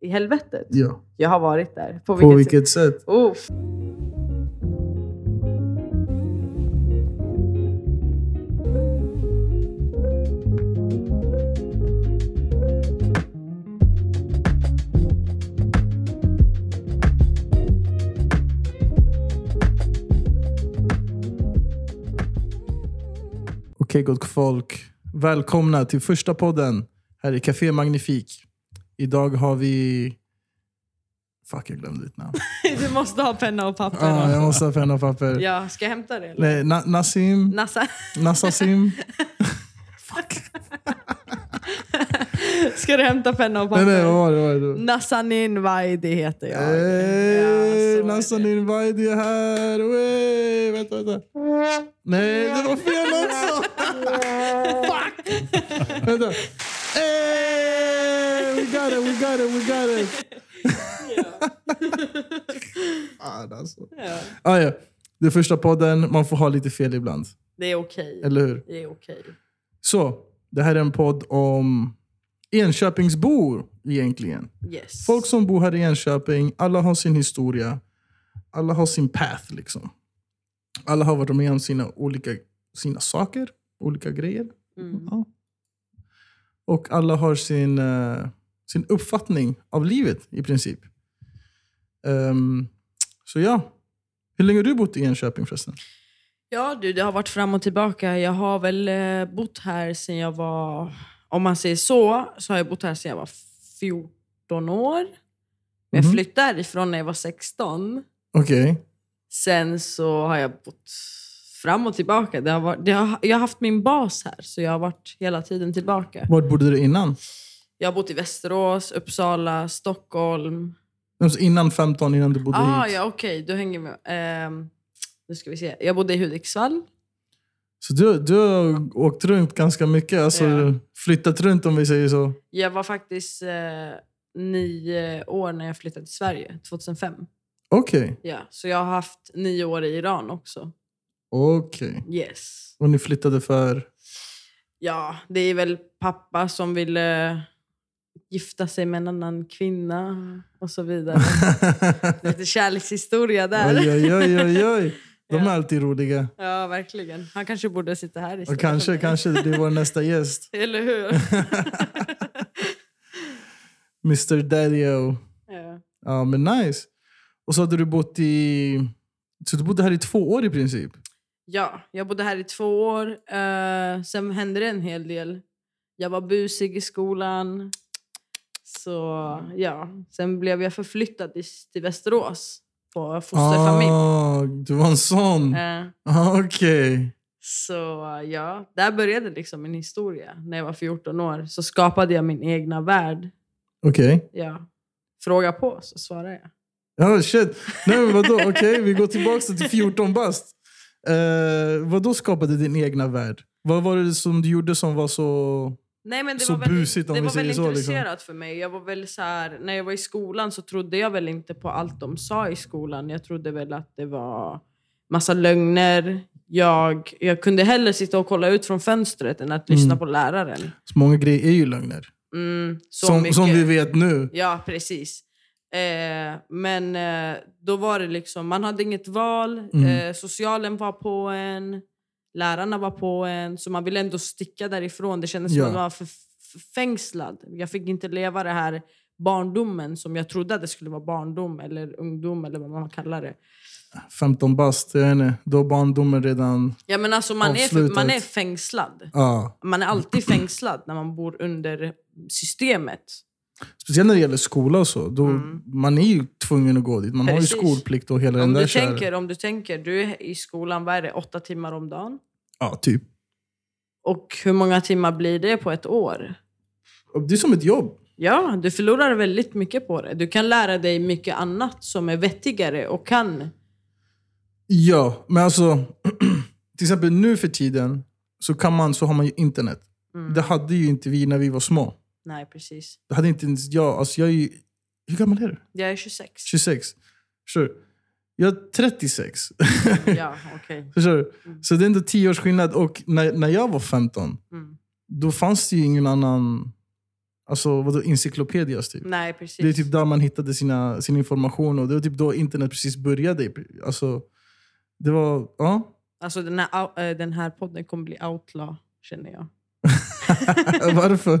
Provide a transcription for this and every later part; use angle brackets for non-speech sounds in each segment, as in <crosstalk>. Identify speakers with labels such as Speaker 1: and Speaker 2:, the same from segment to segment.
Speaker 1: i helvetet.
Speaker 2: Ja.
Speaker 1: Jag har varit där. På
Speaker 2: På
Speaker 1: vilket, sätt?
Speaker 2: vilket sätt?
Speaker 1: Oh.
Speaker 2: Okej gott folk. Välkomna till första podden här i Café Magnifik. Idag har vi... Fuck, jag glömde ditt namn.
Speaker 1: <laughs> Du måste ha penna och papper.
Speaker 2: Ah, jag måste ha penna och papper.
Speaker 1: Ja, ska jag hämta det? Eller?
Speaker 2: Nej, Na- Nassim.
Speaker 1: Nassa, <laughs>
Speaker 2: Nassasim. Fuck.
Speaker 1: ska du hämta penna och papper?
Speaker 2: Nej, nej, Eh. vad var det? Vad var det?
Speaker 1: Nassanin Vaidi heter jag.
Speaker 2: Hej!
Speaker 1: Ja, så är
Speaker 2: Nassan
Speaker 1: det.
Speaker 2: Invaidi är här! Wey! Vänta, vänta. Nej, det var fel
Speaker 1: <laughs>
Speaker 2: också! Fuck! vänta. Hey! We got it, we got it, we got it! <laughs> Fan, alltså.
Speaker 1: Ja.
Speaker 2: ah, ja. Det är första podden, man får ha lite fel ibland.
Speaker 1: Det är okej.
Speaker 2: Eller hur?
Speaker 1: Det är okej.
Speaker 2: Så, det här är en podd om Enköpingsbor egentligen.
Speaker 1: Yes.
Speaker 2: Folk som bor här i Enköping, alla har sin historia. Alla har sin path. liksom. Alla har varit med om sina olika sina saker, olika grejer.
Speaker 1: Mm.
Speaker 2: Ja. Och alla har sin, eh, sin uppfattning av livet i princip. Ehm, så ja. Hur länge har du bott i Enköping förresten?
Speaker 1: Ja du, det har varit fram och tillbaka. Jag har väl eh, bott här sen jag var, om man säger så, så har jag bott här sen jag var 14 år. Men
Speaker 2: Mhm.
Speaker 1: jag flyttade därifrån när jag var 16.
Speaker 2: Okej.
Speaker 1: Sen så har jag bott fram och tillbaka. Det har varit, det har, jag har haft min bas här, så jag har varit hela tiden tillbaka.
Speaker 2: Vart bodde du innan?
Speaker 1: Jag har bott i Västerås, Uppsala, Stockholm.
Speaker 2: Alltså innan 15, innan du bodde
Speaker 1: Ah,
Speaker 2: hit.
Speaker 1: ja, okej. Du hänger med. Ehm, nu ska vi se. Jag bodde i Hudiksvall.
Speaker 2: Så du, du har åkt runt ganska mycket. Alltså
Speaker 1: Ja.
Speaker 2: flyttat runt om vi säger så.
Speaker 1: Jag var faktiskt eh, nio år när jag flyttade till Sverige, 2005.
Speaker 2: Okej.
Speaker 1: Ja, så jag har haft nio år i Iran också.
Speaker 2: Okej.
Speaker 1: Yes.
Speaker 2: Och ni flyttade för...
Speaker 1: Ja, det är väl pappa som ville gifta sig med en annan kvinna och så
Speaker 2: <laughs>
Speaker 1: vidare. Lite kärlekshistoria
Speaker 2: oj,
Speaker 1: där.
Speaker 2: oj, oj, oj, oj. De är
Speaker 1: Ja.
Speaker 2: alltid roliga.
Speaker 1: <laughs> Ja, verkligen. Han kanske borde sitta här istället
Speaker 2: Och
Speaker 1: för
Speaker 2: kanske,
Speaker 1: mig.
Speaker 2: kanske det blir vår nästa gäst.
Speaker 1: <laughs> Eller hur?
Speaker 2: <laughs> Mr Daddy-O.
Speaker 1: ja.
Speaker 2: Ja, men nice. Och så hade du bott i... Så du bodde här i två år i princip?
Speaker 1: Ja, jag bodde här i två år. Eh, sen hände det en hel del. Jag var busig i skolan. Så ja, sen blev jag förflyttad i, till Västerås på fosterfamilj.
Speaker 2: Ah, du var en sån.
Speaker 1: Eh,
Speaker 2: Ah, Okej.
Speaker 1: så ja, där började liksom min historia. När jag var 14 år så skapade jag min egna värld.
Speaker 2: Okej.
Speaker 1: Ja. Fråga på så svarar jag.
Speaker 2: Ja, shit. Nej, men vadå? Okej, vi går tillbaka till 14 bast. Eh, vadå skapade din egna värld? Vad var det som du gjorde som var så...
Speaker 1: Nej, men det
Speaker 2: Så
Speaker 1: var väl,
Speaker 2: busigt om
Speaker 1: det
Speaker 2: vi
Speaker 1: var väl
Speaker 2: säger så, liksom.
Speaker 1: intresserat för mig. Jag var väl så här, när jag var i skolan så trodde jag väl inte på allt de sa i skolan. Jag trodde väl att det var massa lögner. Jag, jag kunde hellre sitta och kolla ut från fönstret än att lyssna
Speaker 2: Mm.
Speaker 1: på läraren.
Speaker 2: Så många grejer är ju lögner.
Speaker 1: Mm, så
Speaker 2: Som,
Speaker 1: mycket.
Speaker 2: som vi vet nu.
Speaker 1: Ja, precis. Eh, men eh, då var det liksom, man hade inget val.
Speaker 2: Mm.
Speaker 1: Eh, socialen var på en, lärarna var på en. Så man ville ändå sticka därifrån. Det kändes
Speaker 2: Ja.
Speaker 1: som att man var för- förfängslad. Jag fick inte leva det här barndomen som jag trodde att det skulle vara barndom eller ungdom eller vad man kallar det.
Speaker 2: 15 bast, jag vet inte. Då är barndomen redan...
Speaker 1: Ja, men alltså, man, är, för- man
Speaker 2: Avslutat.
Speaker 1: är fängslad.
Speaker 2: Ja.
Speaker 1: Man är alltid fängslad när man bor under systemet.
Speaker 2: Speciellt när det gäller skola och så. Då,
Speaker 1: Mm.
Speaker 2: Man är ju tvungen att gå dit. Man
Speaker 1: Precis.
Speaker 2: har ju skolplikt och hela
Speaker 1: Om
Speaker 2: den där
Speaker 1: du,
Speaker 2: kärleken.
Speaker 1: tänker, om du tänker, du är i skolan, vad är det, åtta timmar om dagen?
Speaker 2: Ja, typ.
Speaker 1: Och hur många timmar blir det på ett år?
Speaker 2: Det är som ett jobb.
Speaker 1: Ja, du förlorar väldigt mycket på det. Du kan lära dig mycket annat som är vettigare och kan.
Speaker 2: Ja, men alltså... <clears throat> till exempel nu för tiden så, kan man, så har man ju internet.
Speaker 1: Mm.
Speaker 2: Det hade ju inte vi när vi var små.
Speaker 1: Nej, precis.
Speaker 2: Det hade inte ens jag. Alltså jag är ju, hur gammal är du?
Speaker 1: Jag är
Speaker 2: <laughs>
Speaker 1: 26.
Speaker 2: 26? Sure. Jag är 36.
Speaker 1: Ja, okej.
Speaker 2: <laughs> Förstår du?
Speaker 1: Mm.
Speaker 2: Så det är ändå 10 års skillnad. Och när, när jag var 15,
Speaker 1: Mm.
Speaker 2: då fanns det ju ingen annan... Alltså vadå encyklopedias typ?
Speaker 1: Nej, Mm, precis.
Speaker 2: Det är typ där man hittade sina, sin information och det var typ då internet precis började. Alltså, det var... Ja. <laughs>
Speaker 1: Alltså den här, au- eh, den här podden kommer bli outlaw, känner jag.
Speaker 2: Varför?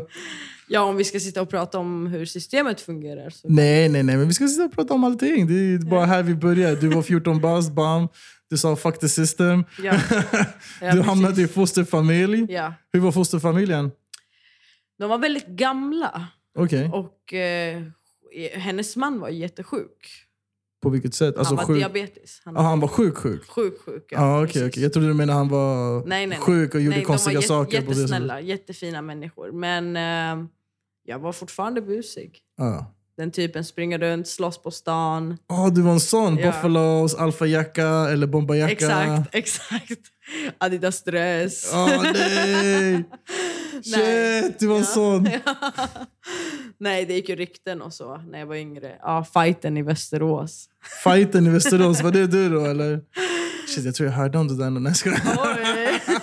Speaker 1: Ja, om vi ska sitta och prata om hur systemet fungerar. Så.
Speaker 2: Nej, nej, nej. Men vi ska sitta och prata om allting. Det är bara här vi börjar. Du var 14 bast, bam. Du sa fuck the system.
Speaker 1: Ja, <laughs> ja,
Speaker 2: <laughs> du hamnade i
Speaker 1: precis.
Speaker 2: fosterfamilj.
Speaker 1: Ja.
Speaker 2: Hur var fosterfamiljen?
Speaker 1: De var väldigt gamla
Speaker 2: Okej.
Speaker 1: och eh, hennes man var jättesjuk.
Speaker 2: På vilket sätt? Alltså,
Speaker 1: han var
Speaker 2: sjuk...
Speaker 1: diabetes. Han
Speaker 2: ah, han var sjuk sjuk?
Speaker 1: sjuk, sjuk.
Speaker 2: Ja, ah, okej.
Speaker 1: precis.
Speaker 2: okej. Jag trodde du menade han var
Speaker 1: Nej, nej, nej.
Speaker 2: sjuk och gjorde
Speaker 1: Nej,
Speaker 2: konstiga
Speaker 1: de var
Speaker 2: saker. på det sättet.
Speaker 1: jättesnälla, jättefina människor. Men eh, jag var fortfarande busig.
Speaker 2: Ja.
Speaker 1: Den typen springer runt, slåss på stan.
Speaker 2: Ah, du var en sån.
Speaker 1: Ja.
Speaker 2: Buffalos, alfajacka eller bombajacka.
Speaker 1: Exakt, <laughs> exakt. Adidas dress. <laughs>
Speaker 2: Ah, nej! Shit, du var en
Speaker 1: Ja.
Speaker 2: sån.
Speaker 1: <laughs> Nej, det gick ju rykten och så när jag var yngre. Ja, fighten i
Speaker 2: <laughs>
Speaker 1: Västerås.
Speaker 2: Fighten i Västerås, var det du då eller? Shit, jag tror jag hörde om det där. någon- Nej, jag skojar.
Speaker 1: Oj.
Speaker 2: <laughs>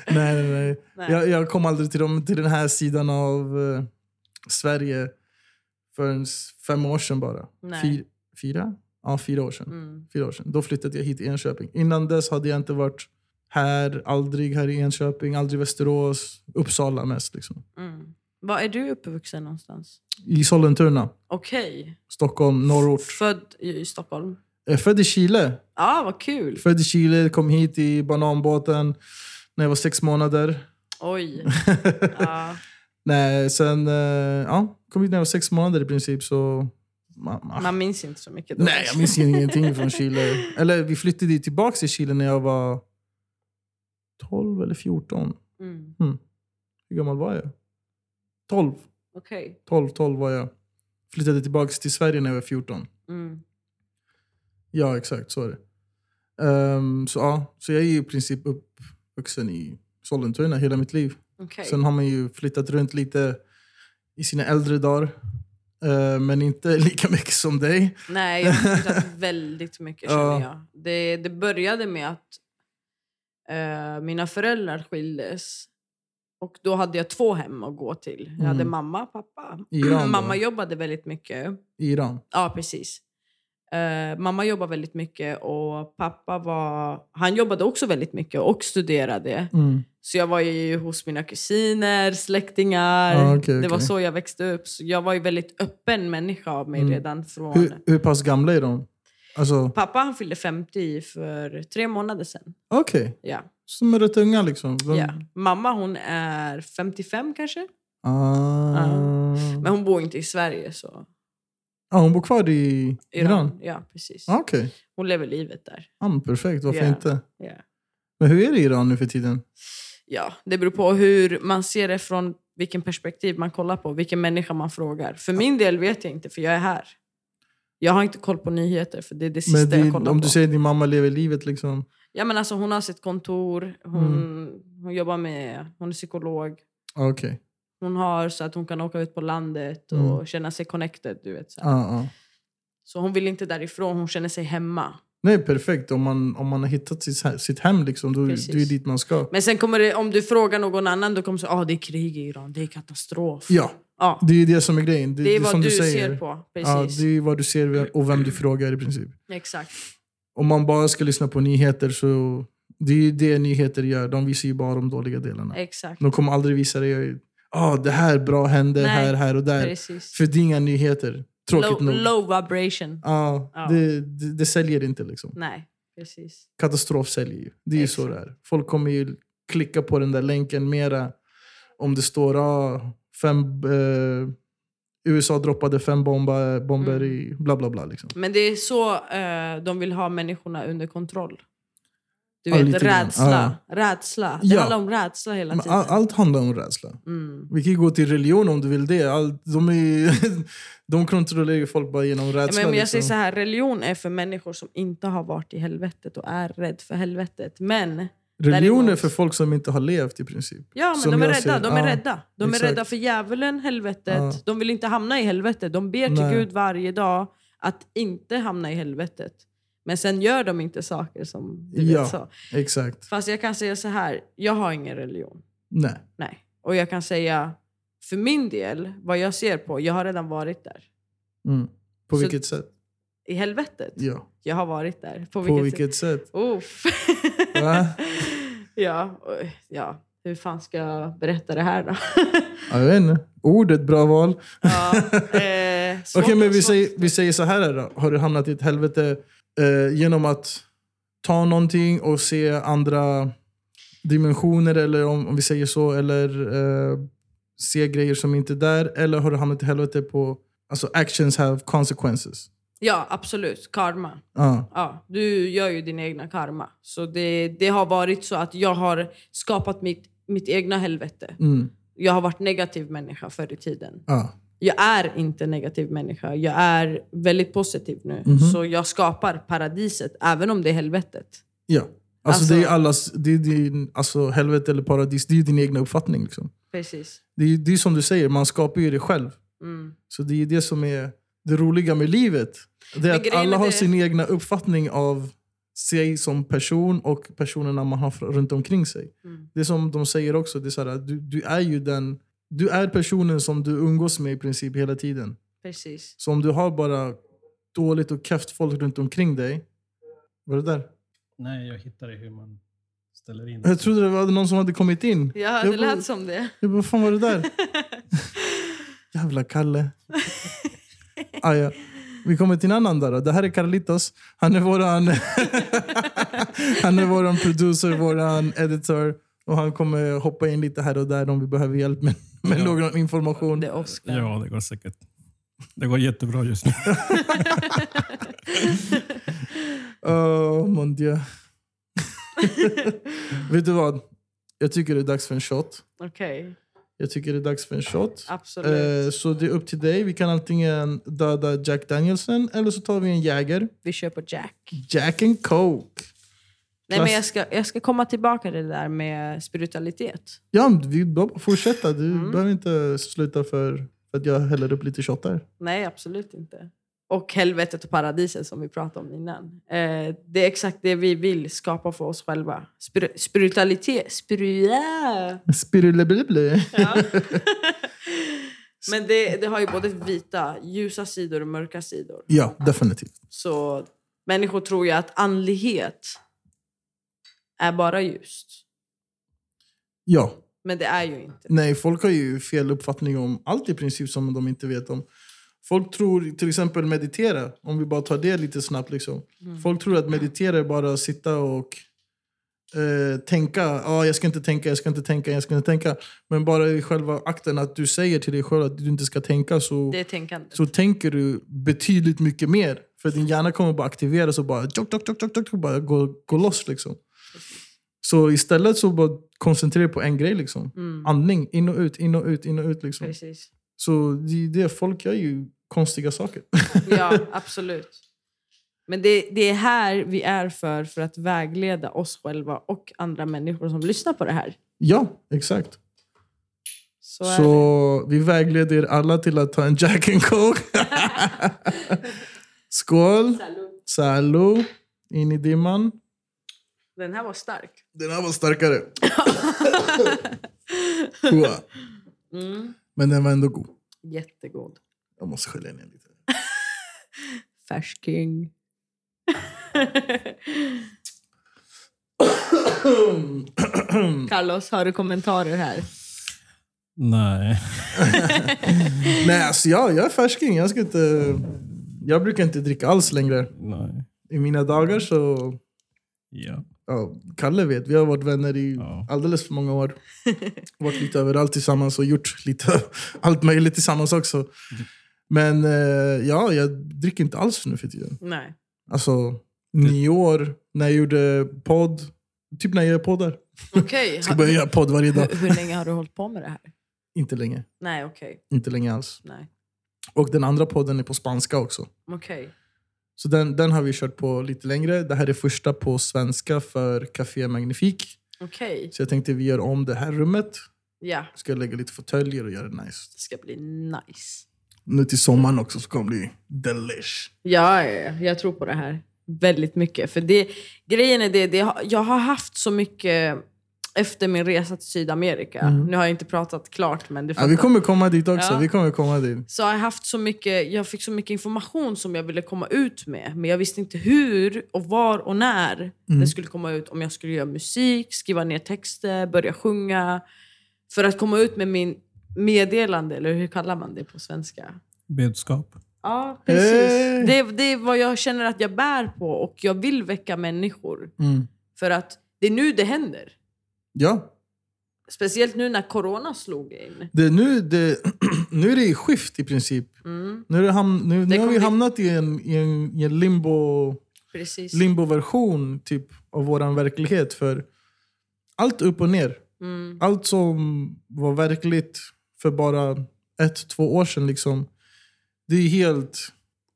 Speaker 1: <laughs>
Speaker 2: nej, nej, nej.
Speaker 1: Nej.
Speaker 2: Jag, jag kom aldrig till, dem, till den här sidan av eh, Sverige förrän fem år sedan bara.
Speaker 1: Nej.
Speaker 2: Fyr, fyra? Ja, fyra år sedan.
Speaker 1: Mm.
Speaker 2: Fyra år sedan. Då flyttade jag hit till Enköping. Innan dess hade jag inte varit här, aldrig här i Enköping, aldrig Västerås, Uppsala mest. Liksom.
Speaker 1: Mm. Var är du uppvuxen någonstans?
Speaker 2: I Sollentuna,
Speaker 1: Okej.
Speaker 2: Stockholm, norrort.
Speaker 1: Född i i Stockholm.
Speaker 2: Jag är född i Chile.
Speaker 1: Ja, ah, vad kul.
Speaker 2: Född i Chile, kom hit i bananbåten när jag var sex månader. <laughs>
Speaker 1: Oj. Ja.
Speaker 2: Nej, sen eh, ja, kom hit när jag var sex månader i princip. Så, mamma.
Speaker 1: Man minns inte så mycket då.
Speaker 2: Nej, jag minns ingenting från Chile. Eller vi flyttade ju tillbaka till Chile när jag var 12 eller 14.
Speaker 1: <laughs> Mm.
Speaker 2: Hur gammal var jag? 12.
Speaker 1: Okej.
Speaker 2: 12, 12 var jag. Flyttade tillbaka till Sverige när jag var 14.
Speaker 1: Mm.
Speaker 2: Ja, exakt. Så är det. Ehm, så, ja, så jag är ju i princip uppvuxen i Sollentuna hela mitt liv.
Speaker 1: Okej.
Speaker 2: Sen har man ju flyttat runt lite i sina äldre dagar. Eh, Men inte <laughs> lika mycket som dig.
Speaker 1: Nej, jag har flyttat väldigt mycket
Speaker 2: <laughs> Ja.
Speaker 1: känner jag. Det, det började med att eh, mina föräldrar skildes. Och då hade jag två hem att gå till. Jag hade
Speaker 2: Mm.
Speaker 1: mamma och pappa.
Speaker 2: I Iran då?
Speaker 1: mamma jobbade väldigt mycket.
Speaker 2: I Iran.
Speaker 1: Ja, precis. Eh, mamma jobbade väldigt mycket och pappa var... Han jobbade också väldigt mycket och studerade.
Speaker 2: Mm.
Speaker 1: Så jag var ju hos mina kusiner, släktingar.
Speaker 2: Ja, Ah, okej,
Speaker 1: Det var
Speaker 2: okej.
Speaker 1: så jag växte upp. Så jag var ju väldigt öppen människa av mig
Speaker 2: Mm.
Speaker 1: redan från...
Speaker 2: Hur, hur pass gamla är de? Alltså,
Speaker 1: Pappa han fyllde 50 för tre månader sedan.
Speaker 2: okej.
Speaker 1: Ja.
Speaker 2: Som är rätt unga liksom. De,
Speaker 1: Ja. Mamma hon är 55 kanske.
Speaker 2: Ah.
Speaker 1: Men hon bor inte i Sverige. så...
Speaker 2: ah, hon bor kvar i Iran?
Speaker 1: Ja, precis.
Speaker 2: Ah, okej.
Speaker 1: Hon lever livet där.
Speaker 2: Ah, men perfekt, varför
Speaker 1: Ja.
Speaker 2: inte?
Speaker 1: Ja.
Speaker 2: Men hur är det i Iran nu för tiden?
Speaker 1: ja, det beror på hur man ser det från vilken perspektiv man kollar på, vilken människa man frågar. För min del vet jag inte, för jag är här. Jag har inte koll på nyheter, för det är det sista
Speaker 2: Men
Speaker 1: jag
Speaker 2: det,
Speaker 1: kollar
Speaker 2: om
Speaker 1: på.
Speaker 2: du säger att din mamma lever livet liksom.
Speaker 1: Ja, men alltså, hon har sitt kontor, hon,
Speaker 2: Mm.
Speaker 1: hon jobbar med, hon är psykolog.
Speaker 2: Ah, okej.
Speaker 1: Hon har så att hon kan åka ut på landet och
Speaker 2: Mm.
Speaker 1: känna sig connected. Du vet, så, här.
Speaker 2: Ah, ah.
Speaker 1: så hon vill inte därifrån, hon känner sig hemma.
Speaker 2: Nej, perfekt. Om man, om man har hittat sitt, he- sitt hem liksom, då,
Speaker 1: Precis.
Speaker 2: då är det dit man ska.
Speaker 1: Men sen kommer det, om du frågar någon annan, då kommer det säga ah, det är krig i Iran, det är katastrof.
Speaker 2: Ja,
Speaker 1: Ja,
Speaker 2: det är ju det som är grejen. Det,
Speaker 1: det är
Speaker 2: det
Speaker 1: vad
Speaker 2: som
Speaker 1: du,
Speaker 2: du säger.
Speaker 1: ser på.
Speaker 2: Ja,
Speaker 1: Precis.
Speaker 2: det är vad du ser och vem du frågar i princip.
Speaker 1: Exakt.
Speaker 2: Om man bara ska lyssna på nyheter så... Det är ju det nyheter gör. De visar ju bara de dåliga delarna.
Speaker 1: Exakt.
Speaker 2: De kommer aldrig visa dig ah det här bra hände
Speaker 1: Nej,
Speaker 2: här, här och där.
Speaker 1: Precis.
Speaker 2: För det är inga nyheter. Tråkigt
Speaker 1: low,
Speaker 2: nog.
Speaker 1: low vibration.
Speaker 2: Ja,
Speaker 1: Ja.
Speaker 2: Det, det, det säljer inte. liksom.
Speaker 1: Nej, precis.
Speaker 2: Katastrof säljer ju. Det är ju så det är. Folk kommer ju klicka på den där länken mera om det står ah, fem, eh, USA droppade fem bomba, bomber
Speaker 1: Mm.
Speaker 2: i bla bla bla. Liksom.
Speaker 1: Men det är så eh, de vill ha människorna under kontroll. Du
Speaker 2: Ja,
Speaker 1: vet,
Speaker 2: lite grann.
Speaker 1: rädsla. Rädsla. Det
Speaker 2: Ja.
Speaker 1: handlar om rädsla hela
Speaker 2: Men
Speaker 1: tiden.
Speaker 2: all, allt handlar om rädsla.
Speaker 1: Mm.
Speaker 2: Vi kan ju gå till religion om du vill det. All, de, är, ju- <laughs> de kontrollerar ju folk bara genom
Speaker 1: Ja,
Speaker 2: rädsla.
Speaker 1: Men, men jag
Speaker 2: liksom.
Speaker 1: säger så här, religion är för människor som inte har varit i helvetet och är rädd för helvetet. Men,
Speaker 2: Religion är
Speaker 1: däremot-
Speaker 2: för folk som inte har levt i princip.
Speaker 1: ja, men
Speaker 2: Som
Speaker 1: de är
Speaker 2: jag
Speaker 1: rädda.
Speaker 2: ser-
Speaker 1: de är
Speaker 2: ja,
Speaker 1: rädda. De
Speaker 2: exakt.
Speaker 1: är rädda för djävulen, helvetet.
Speaker 2: Ja.
Speaker 1: De vill inte hamna i helvetet. De ber till
Speaker 2: Nej.
Speaker 1: Gud varje dag att inte hamna i helvetet. Men sen gör de inte saker som du
Speaker 2: Ja.
Speaker 1: vet så.
Speaker 2: Exakt.
Speaker 1: Fast jag kan säga så här, jag har ingen religion.
Speaker 2: Nej.
Speaker 1: Nej. Och jag kan säga, För min del, vad jag ser på, jag har redan varit där.
Speaker 2: Mm. På
Speaker 1: Så-
Speaker 2: vilket sätt?
Speaker 1: I helvetet.
Speaker 2: Ja.
Speaker 1: Jag har varit där. På
Speaker 2: På
Speaker 1: vilket, sätt?
Speaker 2: vilket sätt?
Speaker 1: Uff.
Speaker 2: Va?
Speaker 1: <laughs> ja, och- ja, hur fan ska jag berätta det
Speaker 2: <laughs>
Speaker 1: här då?
Speaker 2: Ja, Jag vet inte. Ordet, bra val.
Speaker 1: ja, eh, svårt-
Speaker 2: Okej, men vi
Speaker 1: svårt-
Speaker 2: säger, vi säger så här då. Har du hamnat i ett helvete eh, genom att ta någonting och se andra dimensioner, eller om, om vi säger så, eller eh, se grejer som inte är där? Eller har du hamnat i helvete på alltså actions have consequences?
Speaker 1: Ja, absolut. Karma.
Speaker 2: Ja,
Speaker 1: Ja, du gör ju din egna karma. Så det, det har varit så att jag har skapat mitt, mitt egna helvete.
Speaker 2: mm,
Speaker 1: Jag har varit negativ människa förr i tiden.
Speaker 2: ja.
Speaker 1: Jag är inte negativ människa. Jag är väldigt positiv nu.
Speaker 2: Mhm.
Speaker 1: Så jag skapar paradiset, även om det är helvetet.
Speaker 2: ja. Alltså,
Speaker 1: Alltså-
Speaker 2: det är ju allas, det är din, alltså helvete eller paradis, det är ju din egna uppfattning. Liksom.
Speaker 1: Precis.
Speaker 2: Det är ju det är som du säger, man skapar ju det själv.
Speaker 1: Mm.
Speaker 2: Så det är det som är det roliga med livet. Det är
Speaker 1: Men
Speaker 2: att
Speaker 1: grejen
Speaker 2: alla
Speaker 1: är
Speaker 2: har
Speaker 1: det-
Speaker 2: sin egna uppfattning av sig som person och personerna man har fr- runt omkring sig.
Speaker 1: Mm.
Speaker 2: Det är som de säger också, det är så här, att du, du är ju den du är personen som du umgås med i princip hela tiden.
Speaker 1: Precis.
Speaker 2: Så om du har bara dåligt och kefft folk runt omkring dig. Var det där?
Speaker 3: Nej, jag hittade hur man ställer in.
Speaker 2: Jag trodde det var någon som hade kommit in.
Speaker 1: Ja,
Speaker 2: Jag
Speaker 1: det
Speaker 2: bara-
Speaker 1: lät som det.
Speaker 2: Jag bara, vad fan var det där? Jävla Kalle. Ah, ja. Vi kommer till en annan där. då. Det här är Carlitos. Han är våran, <laughs> han är våran producer, våran editor. Och han kommer hoppa in lite här och där om vi behöver hjälp med, med
Speaker 3: Ja.
Speaker 2: någon information.
Speaker 1: Det är Oscar.
Speaker 3: Ja, det går säkert. Det går jättebra just nu.
Speaker 2: Oh, mon dieu. Vet du vad? Jag tycker det är dags för en shot.
Speaker 1: Okej,
Speaker 2: Jag tycker det är dags för en shot.
Speaker 1: absolut.
Speaker 2: Eh, Så det är upp till dig. Vi kan antingen döda Jack Danielsen eller så tar vi en Jäger.
Speaker 1: Vi kör på Jack.
Speaker 2: Jack and Coke.
Speaker 1: Nej,
Speaker 2: klass-
Speaker 1: men jag, ska, jag ska komma tillbaka till det där med spiritualitet.
Speaker 2: Ja, men vi bara fortsätta. Du
Speaker 1: Mm.
Speaker 2: behöver inte sluta för för att jag häller upp lite shot där.
Speaker 1: Nej, absolut inte. Och helvetet och paradiset som vi pratade om innan. Eh, det är exakt det vi vill skapa för oss själva. Spir- spiritualitet. Spirua.
Speaker 2: Spirulebibli. <laughs>
Speaker 1: Ja. <laughs> men det, det har ju både vita, ljusa sidor och mörka sidor.
Speaker 2: Ja, definitivt.
Speaker 1: Så människor tror ju att andlighet är bara ljust.
Speaker 2: Ja.
Speaker 1: Men det är ju inte.
Speaker 2: Nej, folk har ju fel uppfattning om allt i princip som de inte vet om. Folk tror, till exempel meditera, om vi bara tar det lite snabbt. Liksom. Folk tror att meditera är bara att sitta och eh, tänka. Ah, jag ska inte tänka, jag ska inte tänka, jag ska inte tänka. Men bara i själva akten att du säger till dig själv att du inte ska tänka så...
Speaker 1: Det är tänkandet.
Speaker 2: så tänker du betydligt mycket mer. För din hjärna kommer bara aktiveras och bara, tjock, tjock, tjock, tjock, tjock, bara gå, gå loss. Liksom. Så istället så bara koncentrera dig på en grej. Liksom.
Speaker 1: Mm,
Speaker 2: Andning, in och ut, in och ut, in och ut. Liksom.
Speaker 1: precis.
Speaker 2: Så det är det, folk gör ju konstiga saker. <laughs>
Speaker 1: Ja, absolut. Men det, det är här vi är för, för att vägleda oss själva och andra människor som lyssnar på det här.
Speaker 2: Ja, exakt.
Speaker 1: Så,
Speaker 2: Så,
Speaker 1: är det.
Speaker 2: vi vägleder er alla till att ta en Jack and Coke.
Speaker 1: <laughs>
Speaker 2: Skål! Salut! In i dimman.
Speaker 1: Den här var stark.
Speaker 2: Den här var starkare.
Speaker 1: <laughs>
Speaker 2: Hua.
Speaker 1: Mm.
Speaker 2: Men den var ändå god.
Speaker 1: Jättegod.
Speaker 2: Jag måste skölja ner lite. <coughs>
Speaker 1: Färsking. Carlos, har du kommentarer här?
Speaker 3: Nej.
Speaker 2: Nej, alltså jag, jag är färsking. Jag, ska inte, jag brukar inte dricka alls längre.
Speaker 3: Nej.
Speaker 2: I mina dagar så...
Speaker 3: Ja.
Speaker 2: Ja, Kalle vet, vi har varit vänner i
Speaker 3: Ja.
Speaker 2: alldeles för många år. Varit lite överallt tillsammans och gjort lite <laughs> allt möjligt tillsammans också. Men eh, ja, jag dricker inte alls nu för tiden.
Speaker 1: Nej.
Speaker 2: Alltså, nio år, när jag gjorde podd. Typ när jag gör poddar.
Speaker 1: Okej.
Speaker 2: Ska börja göra podd varje dag.
Speaker 1: Hur, hur länge har du hållit på med det här?
Speaker 2: Inte länge.
Speaker 1: Nej, okej.
Speaker 2: Inte länge alls.
Speaker 1: Nej.
Speaker 2: Och den andra podden är på spanska också.
Speaker 1: Okej.
Speaker 2: Så den, den har vi kört på lite längre. Det här är första på svenska för Café Magnifik.
Speaker 1: Okej.
Speaker 2: Så jag tänkte vi gör om det här rummet.
Speaker 1: Ja,
Speaker 2: Ska lägga lite fåtöljer och göra det nice.
Speaker 1: det ska bli nice.
Speaker 2: Nu till sommaren också så kommer det bli delish.
Speaker 1: Ja, ja, ja. jag tror på det här väldigt mycket. För det, grejen är det, det, jag har haft så mycket efter min resa till Sydamerika.
Speaker 2: Mm.
Speaker 1: Nu har jag inte pratat klart, men du
Speaker 2: Ja, vi
Speaker 1: fattar.
Speaker 2: kommer komma dit också.
Speaker 1: Ja.
Speaker 2: Vi kommer komma dit.
Speaker 1: Så har jag, haft så mycket, jag fick så mycket information som jag ville komma ut med. Men jag visste inte hur, och var och när
Speaker 2: Mm.
Speaker 1: det skulle komma ut. Om jag skulle göra musik, skriva ner texter, börja sjunga. För att komma ut med min meddelande, eller hur kallar man det på svenska?
Speaker 3: Budskap.
Speaker 1: Ja, precis.
Speaker 2: Hey.
Speaker 1: Det, det är vad jag känner att jag bär på och jag vill väcka människor.
Speaker 2: Mm.
Speaker 1: För att det är nu det händer.
Speaker 2: Ja,
Speaker 1: Speciellt nu när corona slog in.
Speaker 2: det, nu, det, <clears throat> nu är det i skift i princip.
Speaker 1: Mm,
Speaker 2: Nu, är det ham, nu,
Speaker 1: Det
Speaker 2: nu har vi
Speaker 1: kommer-
Speaker 2: hamnat i en, i en, i en limbo,
Speaker 1: precis.
Speaker 2: limbo-version typ, av vår verklighet. För allt upp och ner.
Speaker 1: Mm,
Speaker 2: Allt som var verkligt för bara ett, två år sedan, liksom, det är helt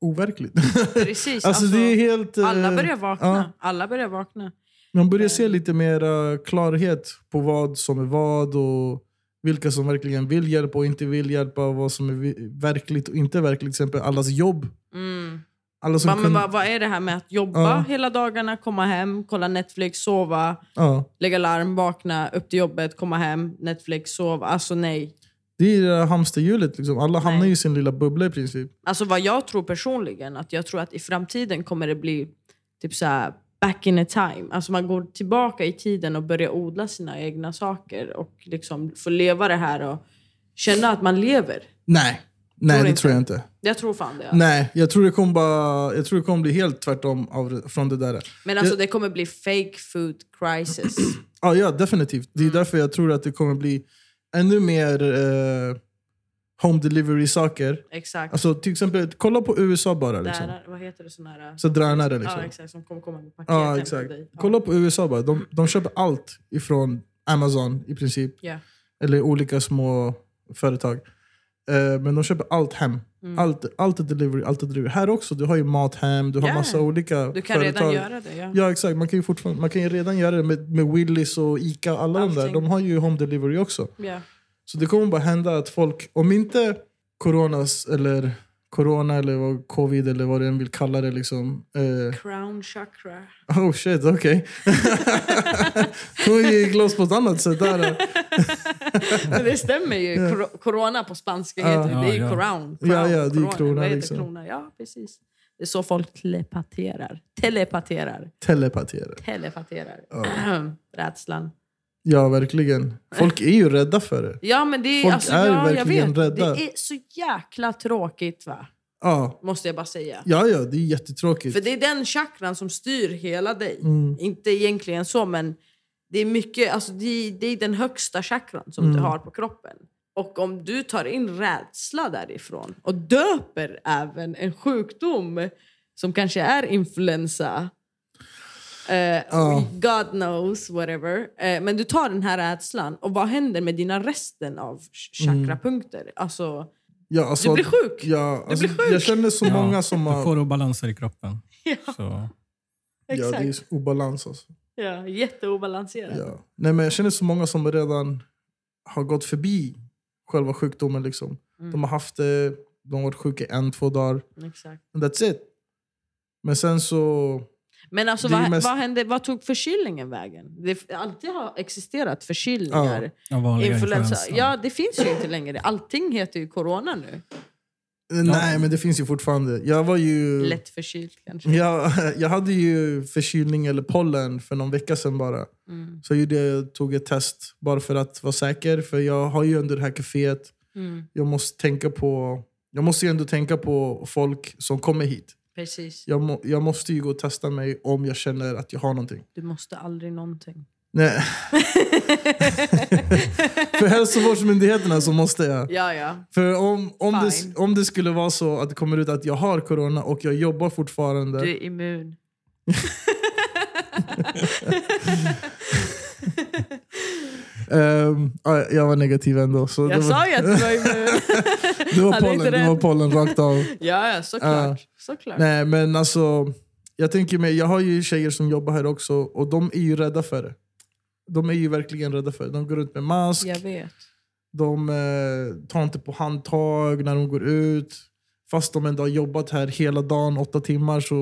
Speaker 2: overkligt.
Speaker 1: precis.
Speaker 2: alltså, det är helt, eh,
Speaker 1: alla börjar vakna.
Speaker 2: ja.
Speaker 1: Alla börjar vakna.
Speaker 2: Man börjar se lite mer eh, klarhet på vad som är vad och vilka som verkligen vill hjälpa och inte vill hjälpa. Vad som är vi- verkligt och inte verkligt. Till exempel allas jobb.
Speaker 1: Mm.
Speaker 2: Alla som
Speaker 1: Bara, men
Speaker 2: kun-
Speaker 1: vad, vad är det här med att jobba
Speaker 2: Ja.
Speaker 1: hela dagarna, komma hem, kolla Netflix, sova,
Speaker 2: ja,
Speaker 1: lägga larm, vakna, upp till jobbet, komma hem, Netflix, sova. Alltså nej.
Speaker 2: det är det där hamsterhjulet. Liksom. Alla hamnar
Speaker 1: Nej.
Speaker 2: i sin lilla bubbla i princip.
Speaker 1: Alltså vad jag tror personligen, att jag tror att i framtiden kommer det bli typ så här back in a time. Alltså man går tillbaka i tiden och börjar odla sina egna saker och liksom får leva det här och känna att man lever.
Speaker 2: Nej, Nej
Speaker 1: Tror
Speaker 2: det
Speaker 1: inte.
Speaker 2: tror jag inte.
Speaker 1: Jag tror fan det.
Speaker 2: Nej, jag tror det kommer, bara, jag tror det kommer bli helt tvärtom av, från det där.
Speaker 1: Men alltså det kommer bli fake food crisis.
Speaker 2: <clears throat> Ja, ja, definitivt.
Speaker 1: Mm.
Speaker 2: Det är därför jag tror att det kommer bli ännu mer eh, home delivery-saker.
Speaker 1: Exakt.
Speaker 2: Alltså till exempel, kolla på USA bara. Liksom.
Speaker 1: Där, vad heter det? Sån här...
Speaker 2: Så drönare liksom.
Speaker 1: Ja, exakt. Som kommer komma med paket
Speaker 2: Ja,
Speaker 1: hem till
Speaker 2: exakt.
Speaker 1: dig. Ja.
Speaker 2: Kolla på USA bara. De, de köper allt ifrån Amazon i princip.
Speaker 1: Ja.
Speaker 2: Eller olika små företag. Eh, men de köper allt hem.
Speaker 1: Mm.
Speaker 2: Allt, allt är delivery, allt är delivery. Här också, du har ju mat hem, du har
Speaker 1: Ja.
Speaker 2: massa olika
Speaker 1: Du kan
Speaker 2: företag.
Speaker 1: redan göra det. Ja.
Speaker 2: Ja, exakt. Man kan ju, fortfarande, man kan ju redan göra det med, med Willys och Ica. Alla de där.
Speaker 1: Allting.
Speaker 2: De har ju home delivery också.
Speaker 1: Ja.
Speaker 2: Så det kommer bara hända att folk, om inte coronas eller corona eller vad, covid eller vad du än vill kalla det liksom. Eh,
Speaker 1: Crown
Speaker 2: <laughs>
Speaker 1: chakra.
Speaker 2: Oh shit, okej. <laughs> Hon gick loss på ett annat sätt där.
Speaker 1: Men det stämmer ju. Cor- Corona på spanska heter
Speaker 3: Ja,
Speaker 1: det. Det är ju
Speaker 3: ja.
Speaker 1: crown. crown
Speaker 2: Ja, ja, det är
Speaker 1: corona.
Speaker 2: krona,
Speaker 1: Vad heter
Speaker 2: liksom.
Speaker 1: krona? Ja, precis. Det är så folk telepaterar. Telepaterar.
Speaker 2: Telepaterar.
Speaker 1: Telepaterar.
Speaker 2: Ja.
Speaker 1: <clears throat> Rädslan.
Speaker 2: Ja, verkligen. Folk är ju rädda för det.
Speaker 1: Ja, men det är,
Speaker 2: Folk
Speaker 1: alltså,
Speaker 2: är ju
Speaker 1: ja, jag
Speaker 2: verkligen
Speaker 1: vet.
Speaker 2: rädda.
Speaker 1: Det är så jäkla tråkigt, va?
Speaker 2: Ja,
Speaker 1: Måste jag bara säga.
Speaker 2: ja, ja det är jättetråkigt.
Speaker 1: För det är den chakran som styr hela dig.
Speaker 2: Mm.
Speaker 1: Inte egentligen så, men det är mycket, alltså det, är- det är den högsta chakran som
Speaker 2: Mm.
Speaker 1: du har på kroppen. Och om du tar in rädsla därifrån och döper även en sjukdom som kanske är influensa, eh,
Speaker 2: Ja.
Speaker 1: God knows, whatever. Eh, men du tar den här rädslan och vad händer med dina resten av ch-
Speaker 2: Mm.
Speaker 1: chakrapunkter? Alltså,
Speaker 2: Ja,
Speaker 1: du
Speaker 2: alltså,
Speaker 1: blir sjuk!
Speaker 2: ja, alltså,
Speaker 1: blir sjuk.
Speaker 2: Jag känner så många som
Speaker 3: Du
Speaker 2: har...
Speaker 3: får obalanser i kroppen.
Speaker 1: <laughs> Ja,
Speaker 3: Så,
Speaker 2: Ja, det
Speaker 1: exakt.
Speaker 2: är så obalans alltså.
Speaker 1: Ja, jätteobalanserat.
Speaker 2: Ja. Nej, men jag känner så många som redan har gått förbi själva sjukdomen. Liksom. De har haft det, de har varit sjuka en, två dagar.
Speaker 1: Exakt.
Speaker 2: And that's it. Men sen så...
Speaker 1: Men alltså,
Speaker 2: Det är
Speaker 1: vad,
Speaker 2: ju mest-
Speaker 1: vad, hände, vad tog förkylningen vägen? Det har alltid har existerat förkylningar.
Speaker 3: av vanliga
Speaker 1: Influensa.
Speaker 3: influensan.
Speaker 1: Ja, det finns ju inte längre. Allting heter ju corona nu.
Speaker 2: eh, Nej, men det finns ju fortfarande. Jag var ju...
Speaker 1: Lätt förkyld kanske.
Speaker 2: Jag, <laughs> jag hade ju förkylning eller pollen för någon vecka sedan bara.
Speaker 1: Mm.
Speaker 2: Så jag gjorde, tog ett test bara för att vara säker. För jag har ju ändå det här kaféet.
Speaker 1: Mm,
Speaker 2: Jag måste tänka på... Jag måste ju ändå tänka på folk som kommer hit.
Speaker 1: precis.
Speaker 2: Jag, må, jag måste ju gå och testa mig om jag känner att jag har någonting.
Speaker 1: Du måste aldrig någonting.
Speaker 2: Nej. <laughs> för hälsovårdsmyndigheterna så måste jag.
Speaker 1: Ja, ja.
Speaker 2: För om, om,
Speaker 1: Fine.
Speaker 2: det, om det skulle vara så att det kommer ut att jag har corona och jag jobbar fortfarande.
Speaker 1: Du är immun.
Speaker 2: <laughs> Ehm, ja, jag var negativ ändå. Så det
Speaker 1: Jag
Speaker 2: var,
Speaker 1: sa ju att du var immun.
Speaker 2: <laughs> Det var
Speaker 1: Han är
Speaker 2: pollen,
Speaker 1: inte
Speaker 2: det var
Speaker 1: rädd.
Speaker 2: pollen
Speaker 1: <laughs>
Speaker 2: rakt av.
Speaker 1: Ja, ja, såklart. såklart.
Speaker 2: Nej, men alltså, jag tänker mig, jag har ju tjejer som jobbar här också och de är ju rädda för det. De är ju verkligen rädda för det. De går runt med mask,
Speaker 1: Jag vet.
Speaker 2: de eh, tar inte på handtag när de går ut. Fast de ändå har jobbat här hela dagen, åtta timmar, så...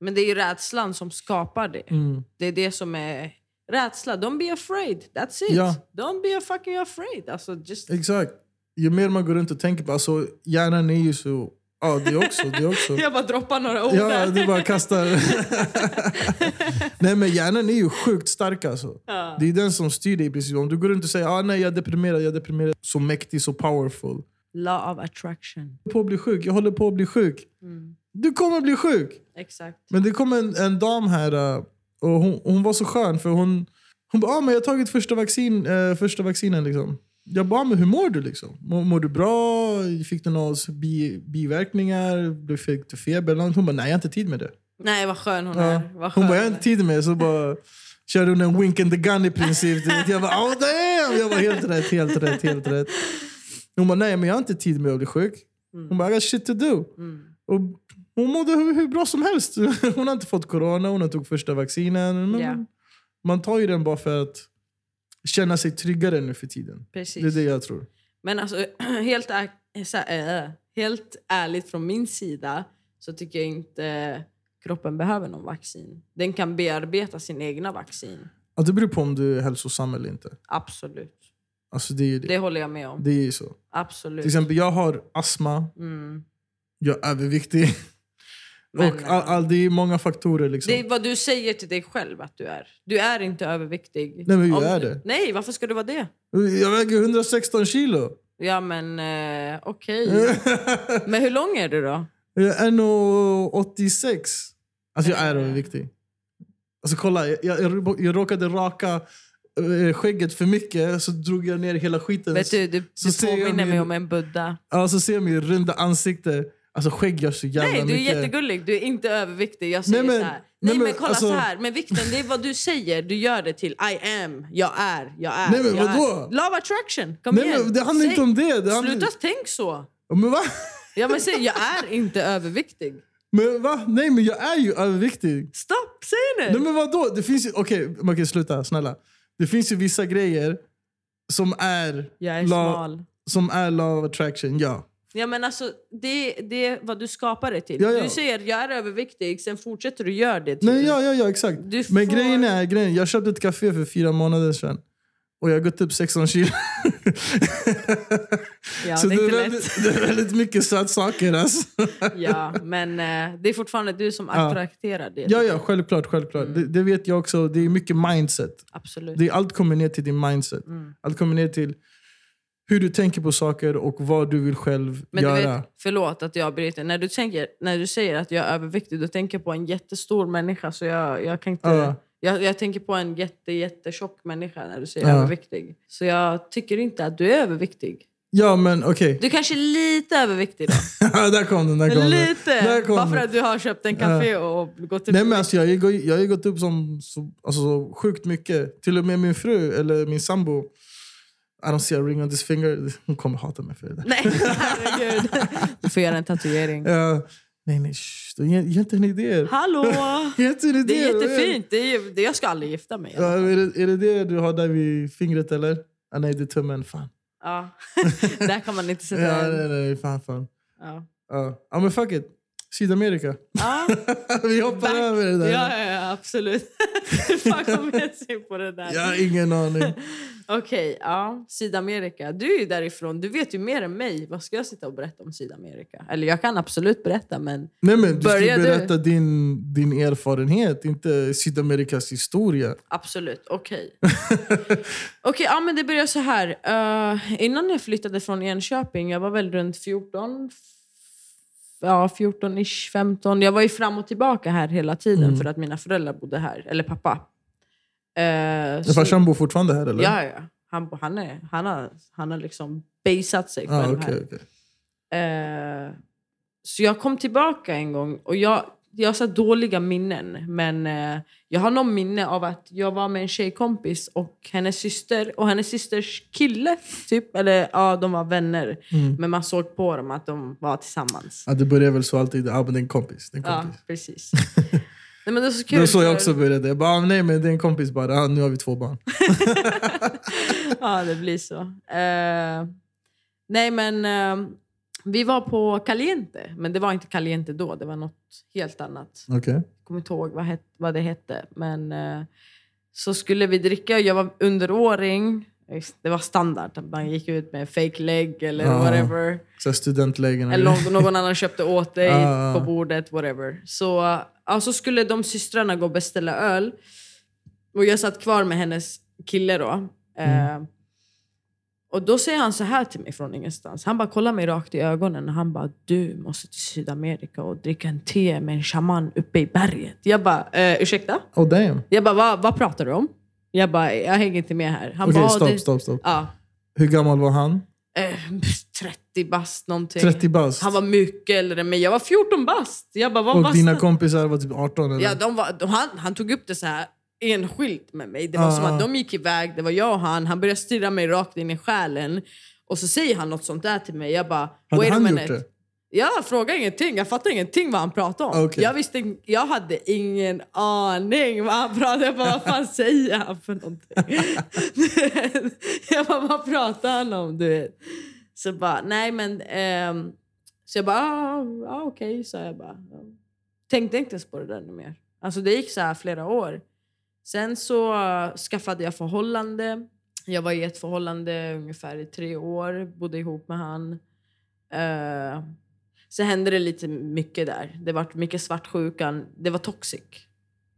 Speaker 1: Men det är ju rädslan som skapar det.
Speaker 2: Mm.
Speaker 1: Det är det som är Rädsla. Don't be afraid. That's it.
Speaker 2: Ja.
Speaker 1: Don't be a fucking afraid. Alltså, just...
Speaker 2: Exakt. Ju mer man går runt och tänker på, alltså hjärnan är ju så... Ja, det också, det också.
Speaker 1: <laughs> Jag bara droppar några ord
Speaker 2: Ja,
Speaker 1: där.
Speaker 2: du bara kastar. <laughs> nej men hjärnan är ju sjukt stark alltså.
Speaker 1: Ja.
Speaker 2: Det är den som styr dig i princip. Om du går runt och säger ah, nej jag är deprimerad, jag är deprimerad. Så mäktig, så powerful.
Speaker 1: Law of attraction.
Speaker 2: Jag håller på att bli sjuk, jag håller på att bli sjuk.
Speaker 1: Mm.
Speaker 2: Du kommer bli sjuk!
Speaker 1: Exakt.
Speaker 2: Men det kom en, en dam här eh, och hon, hon var så skön för hon, hon bara ah, men jag har tagit första, vaccin, eh, första vaccinen. Liksom. Jag bara ah, men hur mår du? Liksom? Mår, mår du bra? Fick du några bi, biverkningar? Du Fick du feber? eller något?" Hon bara nej jag har inte tid med det.
Speaker 1: Nej, vad skön hon
Speaker 2: Ja.
Speaker 1: är. Vad skön
Speaker 2: Hon bara jag har
Speaker 1: hon är.
Speaker 2: inte tid med det. Så bara körde hon en wink and the gun i princip. Du vet, jag bara oh damn! Jag var helt rätt, helt rätt, helt rätt. Hon bara nej men jag har inte tid med att bli sjuk. Hon bara I got shit to do.
Speaker 1: Mm.
Speaker 2: Och hon mådde hur, hur bra som helst. <laughs> Hon har inte fått corona, hon har tog första vaccinen. Men
Speaker 1: Ja.
Speaker 2: man, man tar ju den bara för att känna sig tryggare nu för tiden.
Speaker 1: Precis.
Speaker 2: Det är det jag tror.
Speaker 1: Men alltså, <clears throat> helt, är, så här, äh, helt ärligt från min sida så tycker jag inte kroppen behöver någon vaccin. Den kan bearbeta sin egna vaccin.
Speaker 2: Ja, det beror på om du är hälsosam eller inte.
Speaker 1: Absolut.
Speaker 2: Alltså det är ju det.
Speaker 1: Det håller jag med om.
Speaker 2: Det är ju så.
Speaker 1: Absolut.
Speaker 2: Till exempel, jag har astma,
Speaker 1: Mm.
Speaker 2: jag är överviktig.
Speaker 1: Men,
Speaker 2: och all, all, det är många faktorer. Liksom.
Speaker 1: Det är vad du säger till dig själv att du är. Du är inte överviktig.
Speaker 2: Nej, men jag är det.
Speaker 1: Nej, varför ska du vara det?
Speaker 2: Jag väger 116 kilo.
Speaker 1: Ja, men eh, okej.
Speaker 2: <laughs>
Speaker 1: Men hur lång är du då?
Speaker 2: Jag är nog 86. Alltså jag är
Speaker 1: Eh.
Speaker 2: överviktig. Alltså kolla, jag, jag, jag råkade raka eh, skägget för mycket så drog jag ner hela skiten.
Speaker 1: Vet du, du,
Speaker 2: så
Speaker 1: du
Speaker 2: ser jag
Speaker 1: påminner mig
Speaker 2: min-
Speaker 1: om en buddha.
Speaker 2: Ja, så ser jag mitt runda ansikte. Alltså skägg gör så jävla
Speaker 1: Nej, du är
Speaker 2: mycket.
Speaker 1: jättegullig. Du är inte överviktig. Jag säger
Speaker 2: Nej, men-
Speaker 1: så här. Nej,
Speaker 2: nej,
Speaker 1: men,
Speaker 2: men
Speaker 1: kolla
Speaker 2: alltså-
Speaker 1: så här. Men vikten, det är vad du säger. Du gör det till I am, jag är, jag är.
Speaker 2: Nej, men
Speaker 1: jag
Speaker 2: vadå?
Speaker 1: Är. Love attraction, kom
Speaker 2: Nej,
Speaker 1: igen.
Speaker 2: men det handlar inte om det. det handlar...
Speaker 1: Sluta tänk så.
Speaker 2: Men va?
Speaker 1: Ja, men säg, jag är inte överviktig.
Speaker 2: Men va? Nej, men jag är ju överviktig.
Speaker 1: Stopp, säg det.
Speaker 2: Nej men vadå? Det finns ju... Okej, okay, sluta. Snälla. Det finns ju vissa grejer som är...
Speaker 1: Jag är
Speaker 2: la-
Speaker 1: smal.
Speaker 2: Som är law of attraction, ja.
Speaker 1: Ja, men alltså, det, det är vad du skapar det till.
Speaker 2: Ja, ja.
Speaker 1: Du säger jag är överviktig, sen fortsätter du göra det till.
Speaker 2: Nej, ja, ja, ja exakt.
Speaker 1: Typ. Du
Speaker 2: Men
Speaker 1: får-
Speaker 2: grejen är, grejen, jag köpte ett café för fyra månader sedan. Och jag har gått upp 16 kilo.
Speaker 1: ja,
Speaker 2: så
Speaker 1: det är inte lätt.
Speaker 2: väldigt, det är väldigt mycket sötsaker. Alltså.
Speaker 1: Ja, men eh, det är fortfarande du som
Speaker 2: Ja.
Speaker 1: attrakterar det.
Speaker 2: Ja, ja, självklart. självklart.
Speaker 1: Mm.
Speaker 2: Det, det vet jag också. Det är mycket mindset.
Speaker 1: Absolut.
Speaker 2: Det, är- allt kommer ner till din mindset.
Speaker 1: Mm.
Speaker 2: Allt kommer ner till hur du tänker på saker och vad du vill själv
Speaker 1: Men du
Speaker 2: göra.
Speaker 1: vet, förlåt att jag bryter. När du, tänker, när du säger att jag är överviktig, då tänker jag på en jättestor människa. Så jag, jag, kan inte,
Speaker 2: Ja.
Speaker 1: jag, jag tänker på en jätte, jättetjock människa när du säger
Speaker 2: Ja.
Speaker 1: överviktig. Så jag tycker inte att du är överviktig.
Speaker 2: Ja, men okej. <laughs>
Speaker 1: Du kanske är lite överviktig då.
Speaker 2: där kom den. Där kom Den.
Speaker 1: lite!
Speaker 2: Där kom
Speaker 1: Bara för
Speaker 2: den.
Speaker 1: att du har köpt en kaffe och gått ut.
Speaker 2: Nej, men alltså, jag, har ju gått- jag har ju gått upp som, så, alltså, så sjukt mycket. Till och med min fru, eller min sambo. I don't see a ring on this finger. Hon kommer hata mig för det där.
Speaker 1: Nej,
Speaker 2: <laughs>
Speaker 1: herregud. Du får göra en tatuering.
Speaker 2: Ja, Eh, nej, nej. Shh, ge, ge inte henne idéer. <laughs>
Speaker 1: Hallå!
Speaker 2: Ge inte henne
Speaker 1: Det är
Speaker 2: idéer.
Speaker 1: jättefint. Det är, ju- det, jag ska aldrig gifta mig.
Speaker 2: Ja, är, det, är det det du har där vid fingret eller? Ah, nej, det är tummen. Fan.
Speaker 1: Ja. <laughs> Där kan man inte
Speaker 2: Ja,
Speaker 1: sätta
Speaker 2: nej,
Speaker 1: en...
Speaker 2: nej, fan, fan.
Speaker 1: Ja.
Speaker 2: Ja, ja men fuck it. Sydamerika. <laughs>
Speaker 1: Ja.
Speaker 2: Vi hoppar
Speaker 1: Back.
Speaker 2: över det där.
Speaker 1: Ja, ja, ja absolut. <laughs> Hur fan kom jag in på det där?
Speaker 2: Jag har ingen aning.
Speaker 1: Okej, ja. Sydamerika. Du är ju därifrån. Du vet ju mer än mig. Vad ska jag sitta och berätta om Sydamerika? Eller jag kan absolut berätta, men...
Speaker 2: Nej, men du ska
Speaker 1: Börjar du?
Speaker 2: berätta din, din erfarenhet, inte Sydamerikas historia.
Speaker 1: Absolut, okej. <laughs> okej, ja men det börjar så här. Eh, innan jag flyttade från Enköping, jag var väl runt 14, f- ja 14-ish, 15. Jag var ju fram och tillbaka här hela tiden
Speaker 2: Mm.
Speaker 1: för att mina föräldrar bodde här, eller pappa. Eh,
Speaker 2: Din
Speaker 1: så-
Speaker 2: farsan bor fortfarande här eller?
Speaker 1: Ja, ja. Han, han, är, han, har, han har liksom basat sig
Speaker 2: ah,
Speaker 1: själv
Speaker 2: okej. okej.
Speaker 1: här. Eh, så jag kom tillbaka en gång och jag, jag har så här dåliga minnen. Men eh, jag har någon minne av att jag var med en tjejkompis och hennes syster och hennes systers kille. Typ. Eller ja, de var vänner.
Speaker 2: Mm.
Speaker 1: Men man såg på dem att de var tillsammans.
Speaker 2: Ja, det börjar väl så alltid. Ja, men det är en kompis. Det är en
Speaker 1: Ja,
Speaker 2: kompis.
Speaker 1: precis. <laughs> Nej, men det, var så
Speaker 2: Det
Speaker 1: kul
Speaker 2: var så jag
Speaker 1: för-
Speaker 2: också började. Jag bara, ah, nej men det är en kompis bara. Ah, nu har vi två barn.
Speaker 1: <laughs> Ja, det blir så. Eh, nej, men eh, vi var på Caliente, men det var inte Caliente då. Det var något helt annat.
Speaker 2: Okej.
Speaker 1: Jag kommer inte ihåg vad, het, vad det hette. Men eh, så skulle vi dricka och jag var underåring. Det var standard att man gick ut med fake leg eller
Speaker 2: Ja.
Speaker 1: whatever.
Speaker 2: Så här studentlägen.
Speaker 1: Eller någon, någon annan köpte åt dig
Speaker 2: Mm. Ah.
Speaker 1: på bordet, whatever. Så alltså skulle de systrarna gå och beställa öl. Och jag satt kvar med hennes kille då.
Speaker 2: Mm.
Speaker 1: Eh, och då säger han så här till mig från ingenstans. Han bara kollar mig rakt i ögonen och han bara du måste till Sydamerika och dricka en te med en shaman uppe i berget. Jag bara eh, ursäkta?
Speaker 2: Oh damn.
Speaker 1: Jag bara "Va- vad pratar du om? Jag bara jag hänger inte med här. Han
Speaker 2: Okej,
Speaker 1: bara "Ah,
Speaker 2: stopp,
Speaker 1: det-
Speaker 2: stopp, stopp.
Speaker 1: Ja,
Speaker 2: Hur gammal var han?
Speaker 1: eh, 30 bast någonting.
Speaker 2: 30 bast?
Speaker 1: Han var mycket äldre än mig. Jag var 14 bast. Jag bara, vad
Speaker 2: Och
Speaker 1: bast
Speaker 2: dina
Speaker 1: är-
Speaker 2: kompisar var typ 18 eller?
Speaker 1: ja, de var, de, han, han tog upp det så här enskilt med mig. Det var
Speaker 2: Ah.
Speaker 1: som att de gick iväg, det var jag och han. Han började stirra mig rakt in i själen. Och så säger han något sånt där till mig. Jag bara,
Speaker 2: Hade
Speaker 1: wait a
Speaker 2: han gjort
Speaker 1: minute.
Speaker 2: det?
Speaker 1: Jag frågade ingenting. Jag fattade ingenting vad han pratade om.
Speaker 2: Okej.
Speaker 1: Jag, visste, in- jag hade ingen aning vad han pratade om. Jag bara, vad fan säger han för någonting? <laughs> jag bara, vad pratar han om? Du vet. Så bara, nej men... ehm, så jag bara, ah, ah, okej, sa jag bara. Ja. Tänkte inte ens på det där nu mer. Alltså det gick så här flera år. Sen så eh, skaffade jag förhållande. Jag var i ett förhållande ungefär i tre år. Bodde ihop med han. Eh, så hände det lite mycket där. Det var mycket svartsjukan. Det var toxic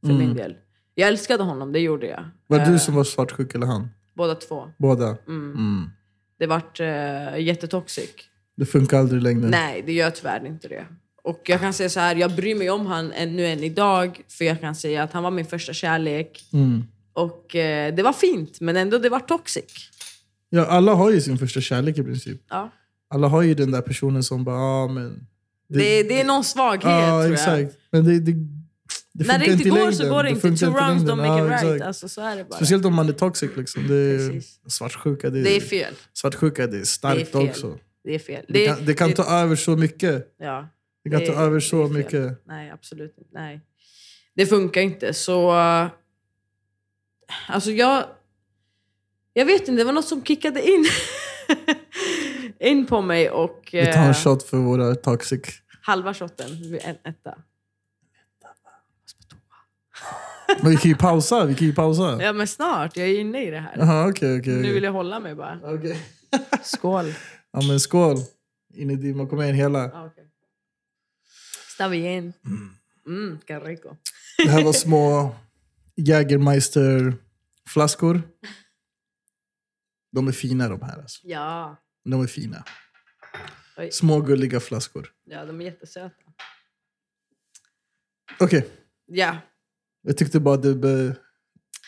Speaker 1: för min
Speaker 2: Mm.
Speaker 1: del. Jag älskade honom, det gjorde jag.
Speaker 2: Var det
Speaker 1: Eh,
Speaker 2: du som var svartsjuk eller han?
Speaker 1: Båda två.
Speaker 2: Båda?
Speaker 1: Mm.
Speaker 2: Mm.
Speaker 1: Det vart uh, jättetoxic.
Speaker 2: Det funkar aldrig i längden.
Speaker 1: Nej, det gör tyvärr inte det. Och jag kan säga så här, jag bryr mig om han ännu än idag. För jag kan säga att han var min första kärlek.
Speaker 2: Mm.
Speaker 1: Och eh, det var fint, men ändå det var toxic.
Speaker 2: Ja, alla har ju sin första kärlek i princip.
Speaker 1: Ja.
Speaker 2: Alla har ju den där personen som bara, ah, men...
Speaker 1: Det, det, är någon svaghet
Speaker 2: Ja,
Speaker 1: tror jag.
Speaker 2: exakt. Men det, det, det
Speaker 1: När det
Speaker 2: funkar
Speaker 1: inte
Speaker 2: i
Speaker 1: går så
Speaker 2: längden.
Speaker 1: går det inte.
Speaker 2: funkar
Speaker 1: Two
Speaker 2: i
Speaker 1: wrongs
Speaker 2: längden.
Speaker 1: don't make
Speaker 2: Ja,
Speaker 1: it right.
Speaker 2: exakt.
Speaker 1: Alltså, så är det bara.
Speaker 2: Speciellt om man är toxic. Liksom. Det är
Speaker 1: Precis.
Speaker 2: svartsjuka, det är,
Speaker 1: Det är fel.
Speaker 2: svartsjuka det är starkt
Speaker 1: fel.
Speaker 2: också.
Speaker 1: Det är fel.
Speaker 2: Det, kan, det kan ta över så mycket.
Speaker 1: ja.
Speaker 2: Det kan
Speaker 1: Det-
Speaker 2: ta över
Speaker 1: det
Speaker 2: så
Speaker 1: är fel.
Speaker 2: mycket.
Speaker 1: Nej, absolut inte. Nej. Det funkar inte. Så... eh, Alltså jag... Jag vet inte, det var något som kickade in. <laughs> in på mig och...
Speaker 2: Vi tar
Speaker 1: eh,
Speaker 2: en shot för våra toxic.
Speaker 1: Halva shotten. En etta.
Speaker 2: Men vi kan ju pausa. Vi kan ju pausa.
Speaker 1: Ja, men snart. Jag är inne i det här.
Speaker 2: Jaha, okej, okej.
Speaker 1: Nu
Speaker 2: okej.
Speaker 1: vill jag hålla mig bara.
Speaker 2: Okej.
Speaker 1: Skål.
Speaker 2: Ja, men skål. In i dimman, kom igen hela.
Speaker 1: Ah, okay. Está bien. Mm, qué rico.
Speaker 2: Det här var
Speaker 1: <laughs>
Speaker 2: små Jägermeister-flaskor. De är fina de här. Alltså.
Speaker 1: Ja.
Speaker 2: De är fina.
Speaker 1: Oj.
Speaker 2: Små gulliga flaskor.
Speaker 1: ja, de är jättesöta.
Speaker 2: Okej,
Speaker 1: Ja,
Speaker 2: jag tyckte bara du, be,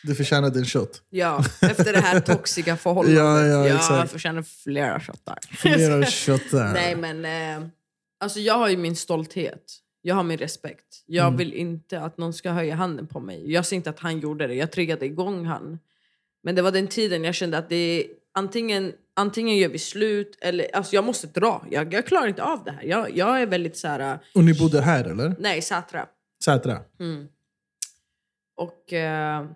Speaker 2: du förtjänade en
Speaker 1: <laughs>
Speaker 2: shot.
Speaker 1: ja. efter det här toxiga förhållandet.
Speaker 2: Ja, ja,
Speaker 1: jag
Speaker 2: exakt.
Speaker 1: förtjänar flera shottar.
Speaker 2: Flera shot där.
Speaker 1: Nej, men eh, alltså jag har ju min stolthet. Jag har min respekt. Jag
Speaker 2: Mm.
Speaker 1: vill inte att någon ska höja handen på mig. Jag ser inte att han gjorde det. Jag triggade igång han. Men det var den tiden jag kände att det är, antingen, antingen gör vi slut eller alltså jag måste dra. Jag, jag klarar inte av det här. Jag, jag är väldigt så här,
Speaker 2: Och ni bodde här eller?
Speaker 1: nej, Sätra.
Speaker 2: Sätra?
Speaker 1: Mm. Och eh,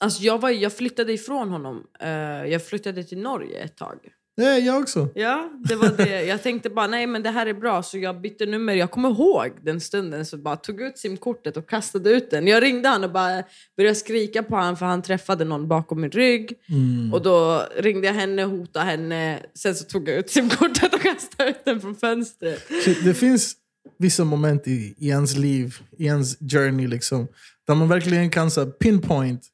Speaker 1: alltså jag, var, jag flyttade ifrån honom. Eh, jag flyttade till Norge ett tag.
Speaker 2: Nej, jag också.
Speaker 1: Ja, det var det. <laughs> Jag tänkte bara, nej men det här är bra. Så jag bytte nummer. Jag kommer ihåg den stunden. Så bara tog ut simkortet och kastade ut den. Jag ringde han och bara började skrika på han för han träffade någon bakom min rygg.
Speaker 2: Mm.
Speaker 1: Och då ringde jag henne, hotade henne. Sen så tog jag ut simkortet och <laughs> kastade ut den från fönstret.
Speaker 2: Shit, Det finns vissa moment i, i ens liv, i ens journey, liksom, där man verkligen kan så här, pinpoint.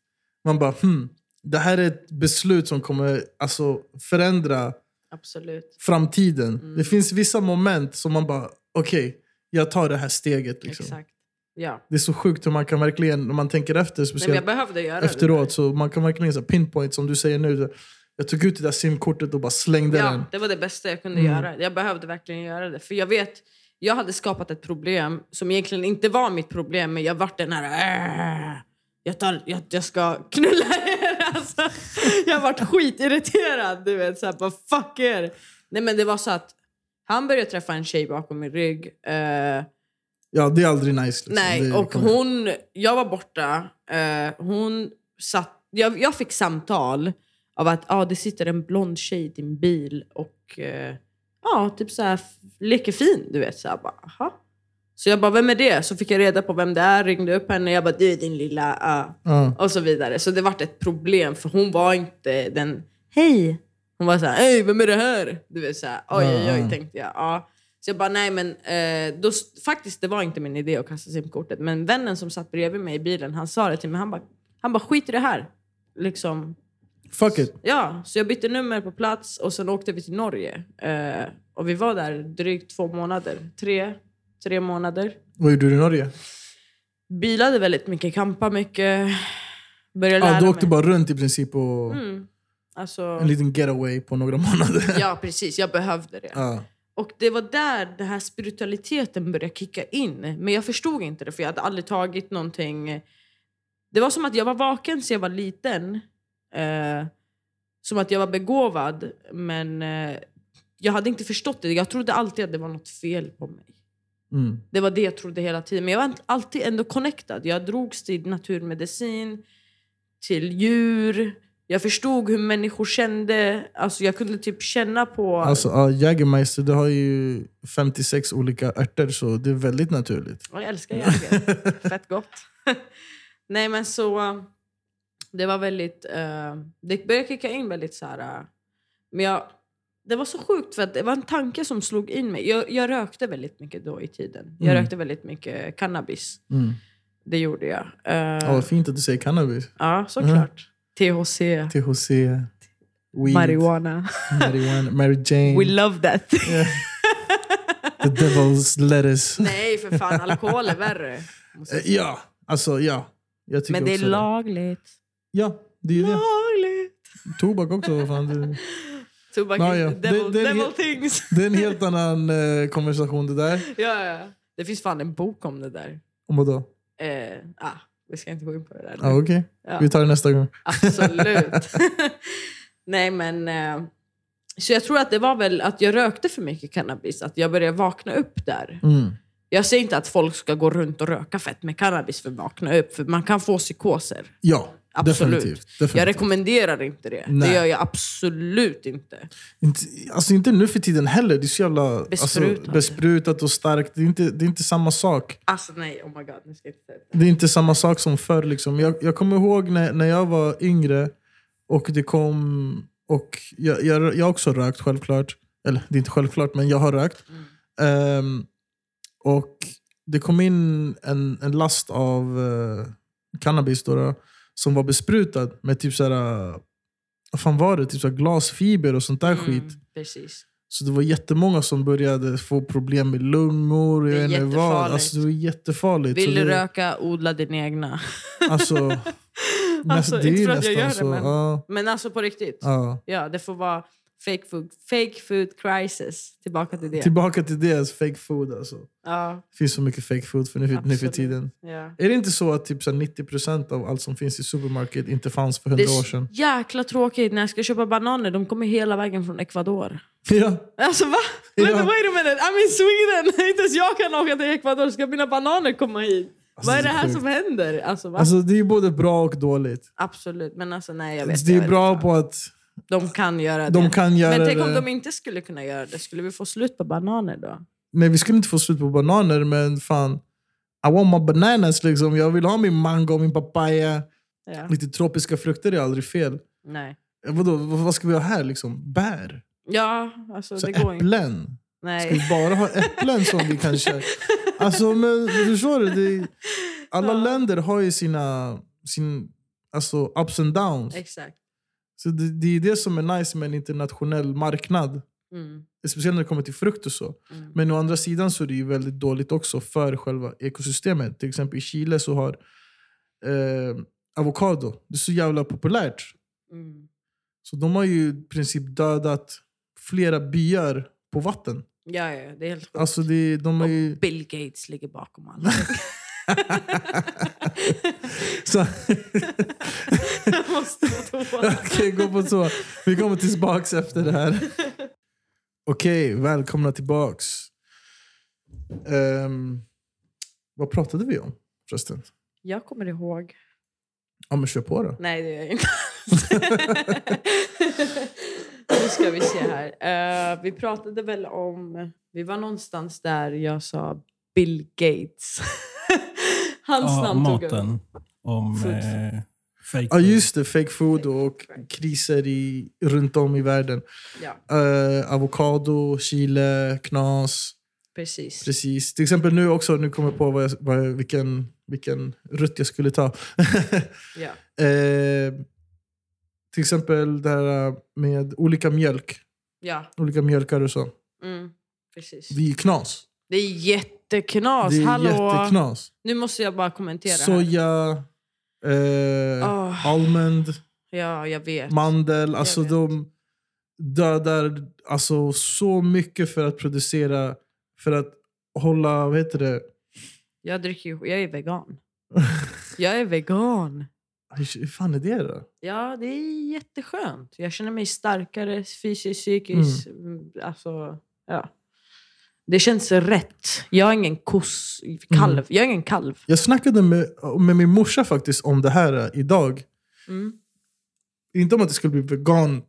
Speaker 2: Man bara, hmm, det här är ett beslut som kommer alltså, förändra
Speaker 1: Absolut.
Speaker 2: framtiden.
Speaker 1: Mm.
Speaker 2: Det finns vissa moment som man bara, okej, jag tar det här steget. Liksom.
Speaker 1: Exakt. Ja.
Speaker 2: Det är så sjukt hur man kan verkligen, när man tänker efter,
Speaker 1: Nej, men
Speaker 2: speciellt
Speaker 1: jag behövde göra
Speaker 2: efteråt, så man kan verkligen så här, pinpoint som du säger nu. Jag tog ut det där simkortet och bara
Speaker 1: det.
Speaker 2: slängde
Speaker 1: Ja,
Speaker 2: den.
Speaker 1: det var det bästa jag kunde
Speaker 2: Mm.
Speaker 1: göra. Jag behövde verkligen göra det. För jag vet, jag hade skapat ett problem som egentligen inte var mitt problem, men jag vart den här... "Äh, Jag, tar, jag, jag ska knulla er! <laughs> Alltså, jag vart skitirriterad. Du vet, så här, bara fuck er! Nej men det var så att han började träffa en tjej bakom min rygg. Eh,
Speaker 2: Ja, det är aldrig nice. Liksom. det,
Speaker 1: Nej,
Speaker 2: det
Speaker 1: och
Speaker 2: kommer-
Speaker 1: hon, jag var borta. Eh, hon satt, jag, jag fick samtal av att ah, det sitter en blond tjej i din bil och eh, ja, typ så här, f- leker fin. Du vet, så här, bara, aha. Så jag bara, vem är det? Så fick jag reda på vem det är, ringde upp henne. Jag bara, du är din lilla... ah.
Speaker 2: Ja.
Speaker 1: Och så vidare. Så det vart ett problem för hon var inte den, hej. Hon var så här, hej vem är det här? Du vet så här, oj oj oj
Speaker 2: Mm.
Speaker 1: tänkte jag. Ja. Så jag bara, nej men eh, då, faktiskt det var inte min idé att kasta simkortet. Men vännen som satt bredvid mig i bilen, han sa det till mig. Han bara, han bara skit i det här. Liksom,
Speaker 2: Fuck it.
Speaker 1: Ja, så jag bytte nummer på plats och sen åkte vi till Norge. Eh, och vi var där drygt två månader. Tre, tre månader.
Speaker 2: Vad gjorde du i Norge?
Speaker 1: Bilade väldigt mycket, kampa mycket. Började lära
Speaker 2: Ah, du åkte
Speaker 1: mig.
Speaker 2: bara runt i princip och
Speaker 1: Mm. Alltså,
Speaker 2: en liten getaway på några <laughs> månader.
Speaker 1: ja, precis. Jag behövde
Speaker 2: <laughs>
Speaker 1: det.
Speaker 2: Ah.
Speaker 1: Och det var där den här spiritualiteten började kicka in. Men jag förstod inte det, för jag hade aldrig tagit någonting. Det var som att jag var vaken så jag var liten. Eh, som att jag var begåvad, men eh, jag hade inte förstått det. Jag trodde alltid att det var något fel på mig.
Speaker 2: Mm.
Speaker 1: Det var det jag trodde hela tiden. Men jag var alltid ändå connectad. Jag drogs till naturmedicin, till djur. Jag förstod hur människor kände. Alltså jag kunde typ känna på...
Speaker 2: Alltså, ah, Jägermeister det har ju 56 olika örter så det är väldigt naturligt.
Speaker 1: Och Jag älskar
Speaker 2: <laughs>
Speaker 1: jäger. Fett gott. <laughs> Nej men så... eh, Det var väldigt... eh, det började kicka in väldigt så här... eh, men jag, det var så sjukt för att det var en tanke som slog in mig. Jag, jag rökte väldigt mycket då i tiden. Jag
Speaker 2: Mm.
Speaker 1: rökte väldigt mycket cannabis.
Speaker 2: Mm.
Speaker 1: Det gjorde jag. Eh,
Speaker 2: Ja, vad fint att du säger cannabis.
Speaker 1: Ja, såklart. THC,
Speaker 2: THC, weed,
Speaker 1: marijuana.
Speaker 2: marijuana, Mary Jane,
Speaker 1: We love that.
Speaker 2: the devil's
Speaker 1: <laughs>
Speaker 2: lettuce.
Speaker 1: Nej, för fan. Alkohol är värre. måste jag
Speaker 2: Eh,
Speaker 1: säga.
Speaker 2: Ja, alltså ja. Jag tycker
Speaker 1: Men det är
Speaker 2: också
Speaker 1: lagligt.
Speaker 2: Ja, det är ju det.
Speaker 1: Lagligt.
Speaker 2: Tobak också. vad Fan, det,
Speaker 1: Tobak
Speaker 2: Ja, ja.
Speaker 1: is devil,
Speaker 2: Det- det är
Speaker 1: devil
Speaker 2: helt-
Speaker 1: things. <laughs>
Speaker 2: det är en helt annan eh, konversation det där.
Speaker 1: ja, ja. Det finns fan en bok om det där.
Speaker 2: Om vadå?
Speaker 1: Eh, ah, vi ska inte gå in på det där. nu.
Speaker 2: Ja, Okej,
Speaker 1: Ja.
Speaker 2: vi tar det nästa gång.
Speaker 1: Absolut.
Speaker 2: <laughs>
Speaker 1: <laughs> Nej, men... Eh, så jag tror att det var väl att jag rökte för mycket cannabis, att jag började vakna upp där.
Speaker 2: Mm.
Speaker 1: Jag säger inte att folk ska gå runt och röka fett med cannabis för att vakna upp, för man kan få psykoser.
Speaker 2: Ja,
Speaker 1: Absolut.
Speaker 2: definitivt. definitivt.
Speaker 1: Jag rekommenderar inte det. Det
Speaker 2: Nej.
Speaker 1: gör jag absolut inte.
Speaker 2: Inte, alltså inte nu för tiden heller. Det är så jävla alltså,
Speaker 1: Besprutat.
Speaker 2: besprutat och starkt. Det är, inte, det är inte samma sak.
Speaker 1: Alltså nej, oh my god. Nu ska jag inte säga det.
Speaker 2: Det är inte samma sak som förr. Liksom. Jag, jag kommer ihåg när, när jag var yngre och det kom... Och jag, jag, jag har också rökt, självklart. Eller det är inte självklart, men jag har rökt. Ehm, och det kom in en, en last av eh, cannabis då, då, som var besprutad med typ så här, eh, vad fan var det? Typ så här glasfiber och sånt där skit.
Speaker 1: Mm, precis.
Speaker 2: Så det var jättemånga som började få problem med lungor.
Speaker 1: Det är
Speaker 2: Jag vet inte vad.
Speaker 1: jättefarligt.
Speaker 2: Alltså, det var jättefarligt.
Speaker 1: Vill
Speaker 2: Så
Speaker 1: du
Speaker 2: det,
Speaker 1: röka, odla din <laughs> egna.
Speaker 2: Alltså,
Speaker 1: Alltså,
Speaker 2: näst-
Speaker 1: inte
Speaker 2: ju
Speaker 1: för att jag
Speaker 2: nästan
Speaker 1: gör det, men-
Speaker 2: ja,
Speaker 1: Men alltså på riktigt. Ja,
Speaker 2: ja.
Speaker 1: det får vara fake food, fake food crisis. Tillbaka till det.
Speaker 2: Tillbaka till det, alltså, fake food. Alltså.
Speaker 1: ja,
Speaker 2: Det finns så mycket fake food för nu, nu för
Speaker 1: absolut.
Speaker 2: tiden.
Speaker 1: Ja.
Speaker 2: Är det inte så att typ, så här 90% av allt som finns i supermarket inte fanns för
Speaker 1: Det
Speaker 2: hundra år
Speaker 1: är så
Speaker 2: sedan? <laughs>
Speaker 1: jäkla tråkigt. När jag ska köpa bananer, de kommer hela vägen från Ecuador.
Speaker 2: Ja,
Speaker 1: Alltså va?
Speaker 2: Ja.
Speaker 1: Vänta, wait a minute, I'm in Sweden! <laughs> Inte ens jag kan åka till Ecuador, ska mina bananer komma hit?
Speaker 2: Alltså,
Speaker 1: Vad är
Speaker 2: det
Speaker 1: det
Speaker 2: är
Speaker 1: här
Speaker 2: sjukt.
Speaker 1: som händer? Alltså, va?
Speaker 2: alltså, det är ju både bra och dåligt.
Speaker 1: Absolut, men alltså nej jag vet
Speaker 2: Det
Speaker 1: jag
Speaker 2: är
Speaker 1: vet
Speaker 2: bra
Speaker 1: fan.
Speaker 2: på att
Speaker 1: De kan göra
Speaker 2: de
Speaker 1: det.
Speaker 2: kan göra
Speaker 1: men tänk om
Speaker 2: det.
Speaker 1: de inte skulle kunna göra det, skulle vi få slut på bananer då?
Speaker 2: Nej, vi skulle inte få slut på bananer, men fan. I want my bananas liksom. Jag vill ha min mango, min papaya.
Speaker 1: Ja.
Speaker 2: Lite tropiska frukter är aldrig fel.
Speaker 1: Nej.
Speaker 2: Eh, Vadå, vad vad ska vi ha här liksom? Bär?
Speaker 1: Ja, alltså
Speaker 2: Så
Speaker 1: det går inte.
Speaker 2: äpplen? Ska
Speaker 1: Nej.
Speaker 2: vi bara ha äpplen som vi kanske... Alltså, men förstår du? Det är, alla
Speaker 1: Ja.
Speaker 2: länder har ju sina sin, alltså, ups and downs.
Speaker 1: Exakt.
Speaker 2: Så det, det är det som är nice med en internationell marknad.
Speaker 1: Mm.
Speaker 2: Speciellt när det kommer till frukt och så.
Speaker 1: Mm.
Speaker 2: Men å andra sidan så är det ju väldigt dåligt också för själva ekosystemet. Till exempel i Chile så har eh, avokado, det är så jävla populärt.
Speaker 1: Mm.
Speaker 2: Så de har ju i princip dödat flera byar på vatten.
Speaker 1: Ja, ja, ja, det är helt sjukt.
Speaker 2: Alltså det, de har ju...
Speaker 1: Bill Gates ligger bakom
Speaker 2: <laughs>
Speaker 1: allt.
Speaker 2: Så,
Speaker 1: <laughs> Jag måste på toa.
Speaker 2: <laughs> Okej, gå på så. Vi kommer tillbaks efter det här. Okej, välkomna tillbaks. Ehm, vad pratade vi om förresten?
Speaker 1: Jag kommer ihåg.
Speaker 2: Ja, men kör på då.
Speaker 1: Nej, det gör jag inte. <laughs> nu ska vi se här. Eh, vi pratade väl om... Vi var någonstans där jag sa Bill Gates. <laughs> Hans
Speaker 3: Ja,
Speaker 1: namn tog jag.
Speaker 3: maten. Om
Speaker 1: Food.
Speaker 3: eh, fake
Speaker 2: Ja,
Speaker 3: food.
Speaker 2: just det. Fake food och kriser i, runt om i världen.
Speaker 1: Ja,
Speaker 2: Eh, avokado, Chile, knas.
Speaker 1: precis.
Speaker 2: Precis. Till exempel nu också, nu kommer jag på vad jag, vad, jag- vilken, vilken rutt jag skulle ta. <laughs>
Speaker 1: Ja.
Speaker 2: Eh, till exempel det här med olika mjölk.
Speaker 1: ja.
Speaker 2: Olika mjölkar och så.
Speaker 1: Mm. precis.
Speaker 2: Det är ju knas.
Speaker 1: Det är jätteknas.
Speaker 2: Det är
Speaker 1: Hallå.
Speaker 2: jätteknas.
Speaker 1: Nu måste jag bara kommentera. här. Ah.
Speaker 2: Soja, eh,
Speaker 1: Åh,
Speaker 2: almond,
Speaker 1: ja, jag vet.
Speaker 2: mandel. Alltså
Speaker 1: vet.
Speaker 2: de dödar alltså, så mycket för att producera, för att hålla, vad heter det?
Speaker 1: Jag dricker ju... Jag är vegan. jag är vegan.
Speaker 2: Aj, Hur fan är det då?
Speaker 1: Ja, det är jätteskönt. Jag känner mig starkare fysiskt, psykiskt. Mm. Alltså, ja. Det känns rätt. Jag är ingen koss, kalv.
Speaker 2: Mm.
Speaker 1: Jag är ingen kalv.
Speaker 2: Jag snackade med, med min morsa faktiskt om det här eh, idag.
Speaker 1: Mm.
Speaker 2: Inte om att det skulle bli vegan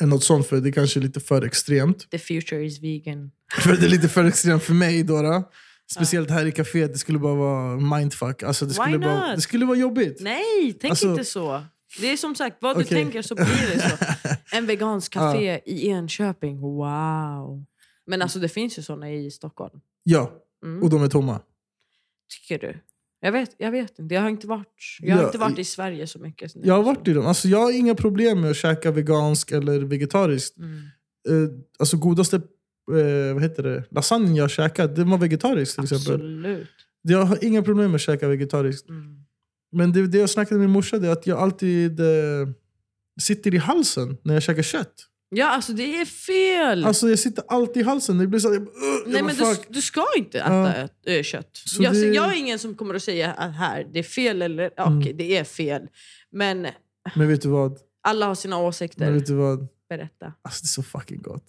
Speaker 2: eller något sånt, för det kanske är lite för extremt.
Speaker 1: The future is vegan.
Speaker 2: För det är lite för extremt för mig då. då. Speciellt här i kaféet, det skulle bara vara mindfuck. Alltså, det,
Speaker 1: Why
Speaker 2: skulle bara,
Speaker 1: not?
Speaker 2: det skulle vara jobbigt.
Speaker 1: Nej, tänk
Speaker 2: Alltså-
Speaker 1: inte så. Det är som sagt, vad du
Speaker 2: Okej.
Speaker 1: tänker så blir
Speaker 2: <laughs>
Speaker 1: det så. En vegansk café i Enköping. Wow. Men alltså det finns ju såna i Stockholm.
Speaker 2: Ja,
Speaker 1: Mm.
Speaker 2: och de är tomma.
Speaker 1: Tycker du? Jag vet, jag vet inte. Jag har inte varit, jag har
Speaker 2: Ja,
Speaker 1: inte varit
Speaker 2: i-
Speaker 1: i Sverige så mycket. nu,
Speaker 2: Jag har
Speaker 1: så.
Speaker 2: varit i dem. Alltså, jag har inga problem med att käka vegansk eller vegetariskt.
Speaker 1: Mm.
Speaker 2: Eh, alltså godaste eh, vad heter det? lasagnen jag käkat, den var vegetarisk till exempel.
Speaker 1: Absolut.
Speaker 2: Jag har inga problem med att käka vegetariskt.
Speaker 1: Mm.
Speaker 2: Men det, det jag snackade med min morsa det är att jag alltid eh, sitter i halsen när jag käkar kött.
Speaker 1: Ja, alltså det är fel!
Speaker 2: Alltså jag sitter alltid i halsen. Det blir så här, jag, bara, "Ugh", jag
Speaker 1: Nej,
Speaker 2: bara,
Speaker 1: men du,
Speaker 2: "Fuck."
Speaker 1: du ska inte
Speaker 2: Ja.
Speaker 1: äta ett, ö, kött.
Speaker 2: Så
Speaker 1: Jag,
Speaker 2: det-
Speaker 1: jag är ingen som kommer att säga att här, det är fel eller... Ja,
Speaker 2: Mm.
Speaker 1: Okej, det är fel. Men
Speaker 2: Men vet du vad?
Speaker 1: alla har sina
Speaker 2: Men
Speaker 1: åsikter.
Speaker 2: vet du vad?
Speaker 1: Berätta.
Speaker 2: Alltså det är så fucking gott.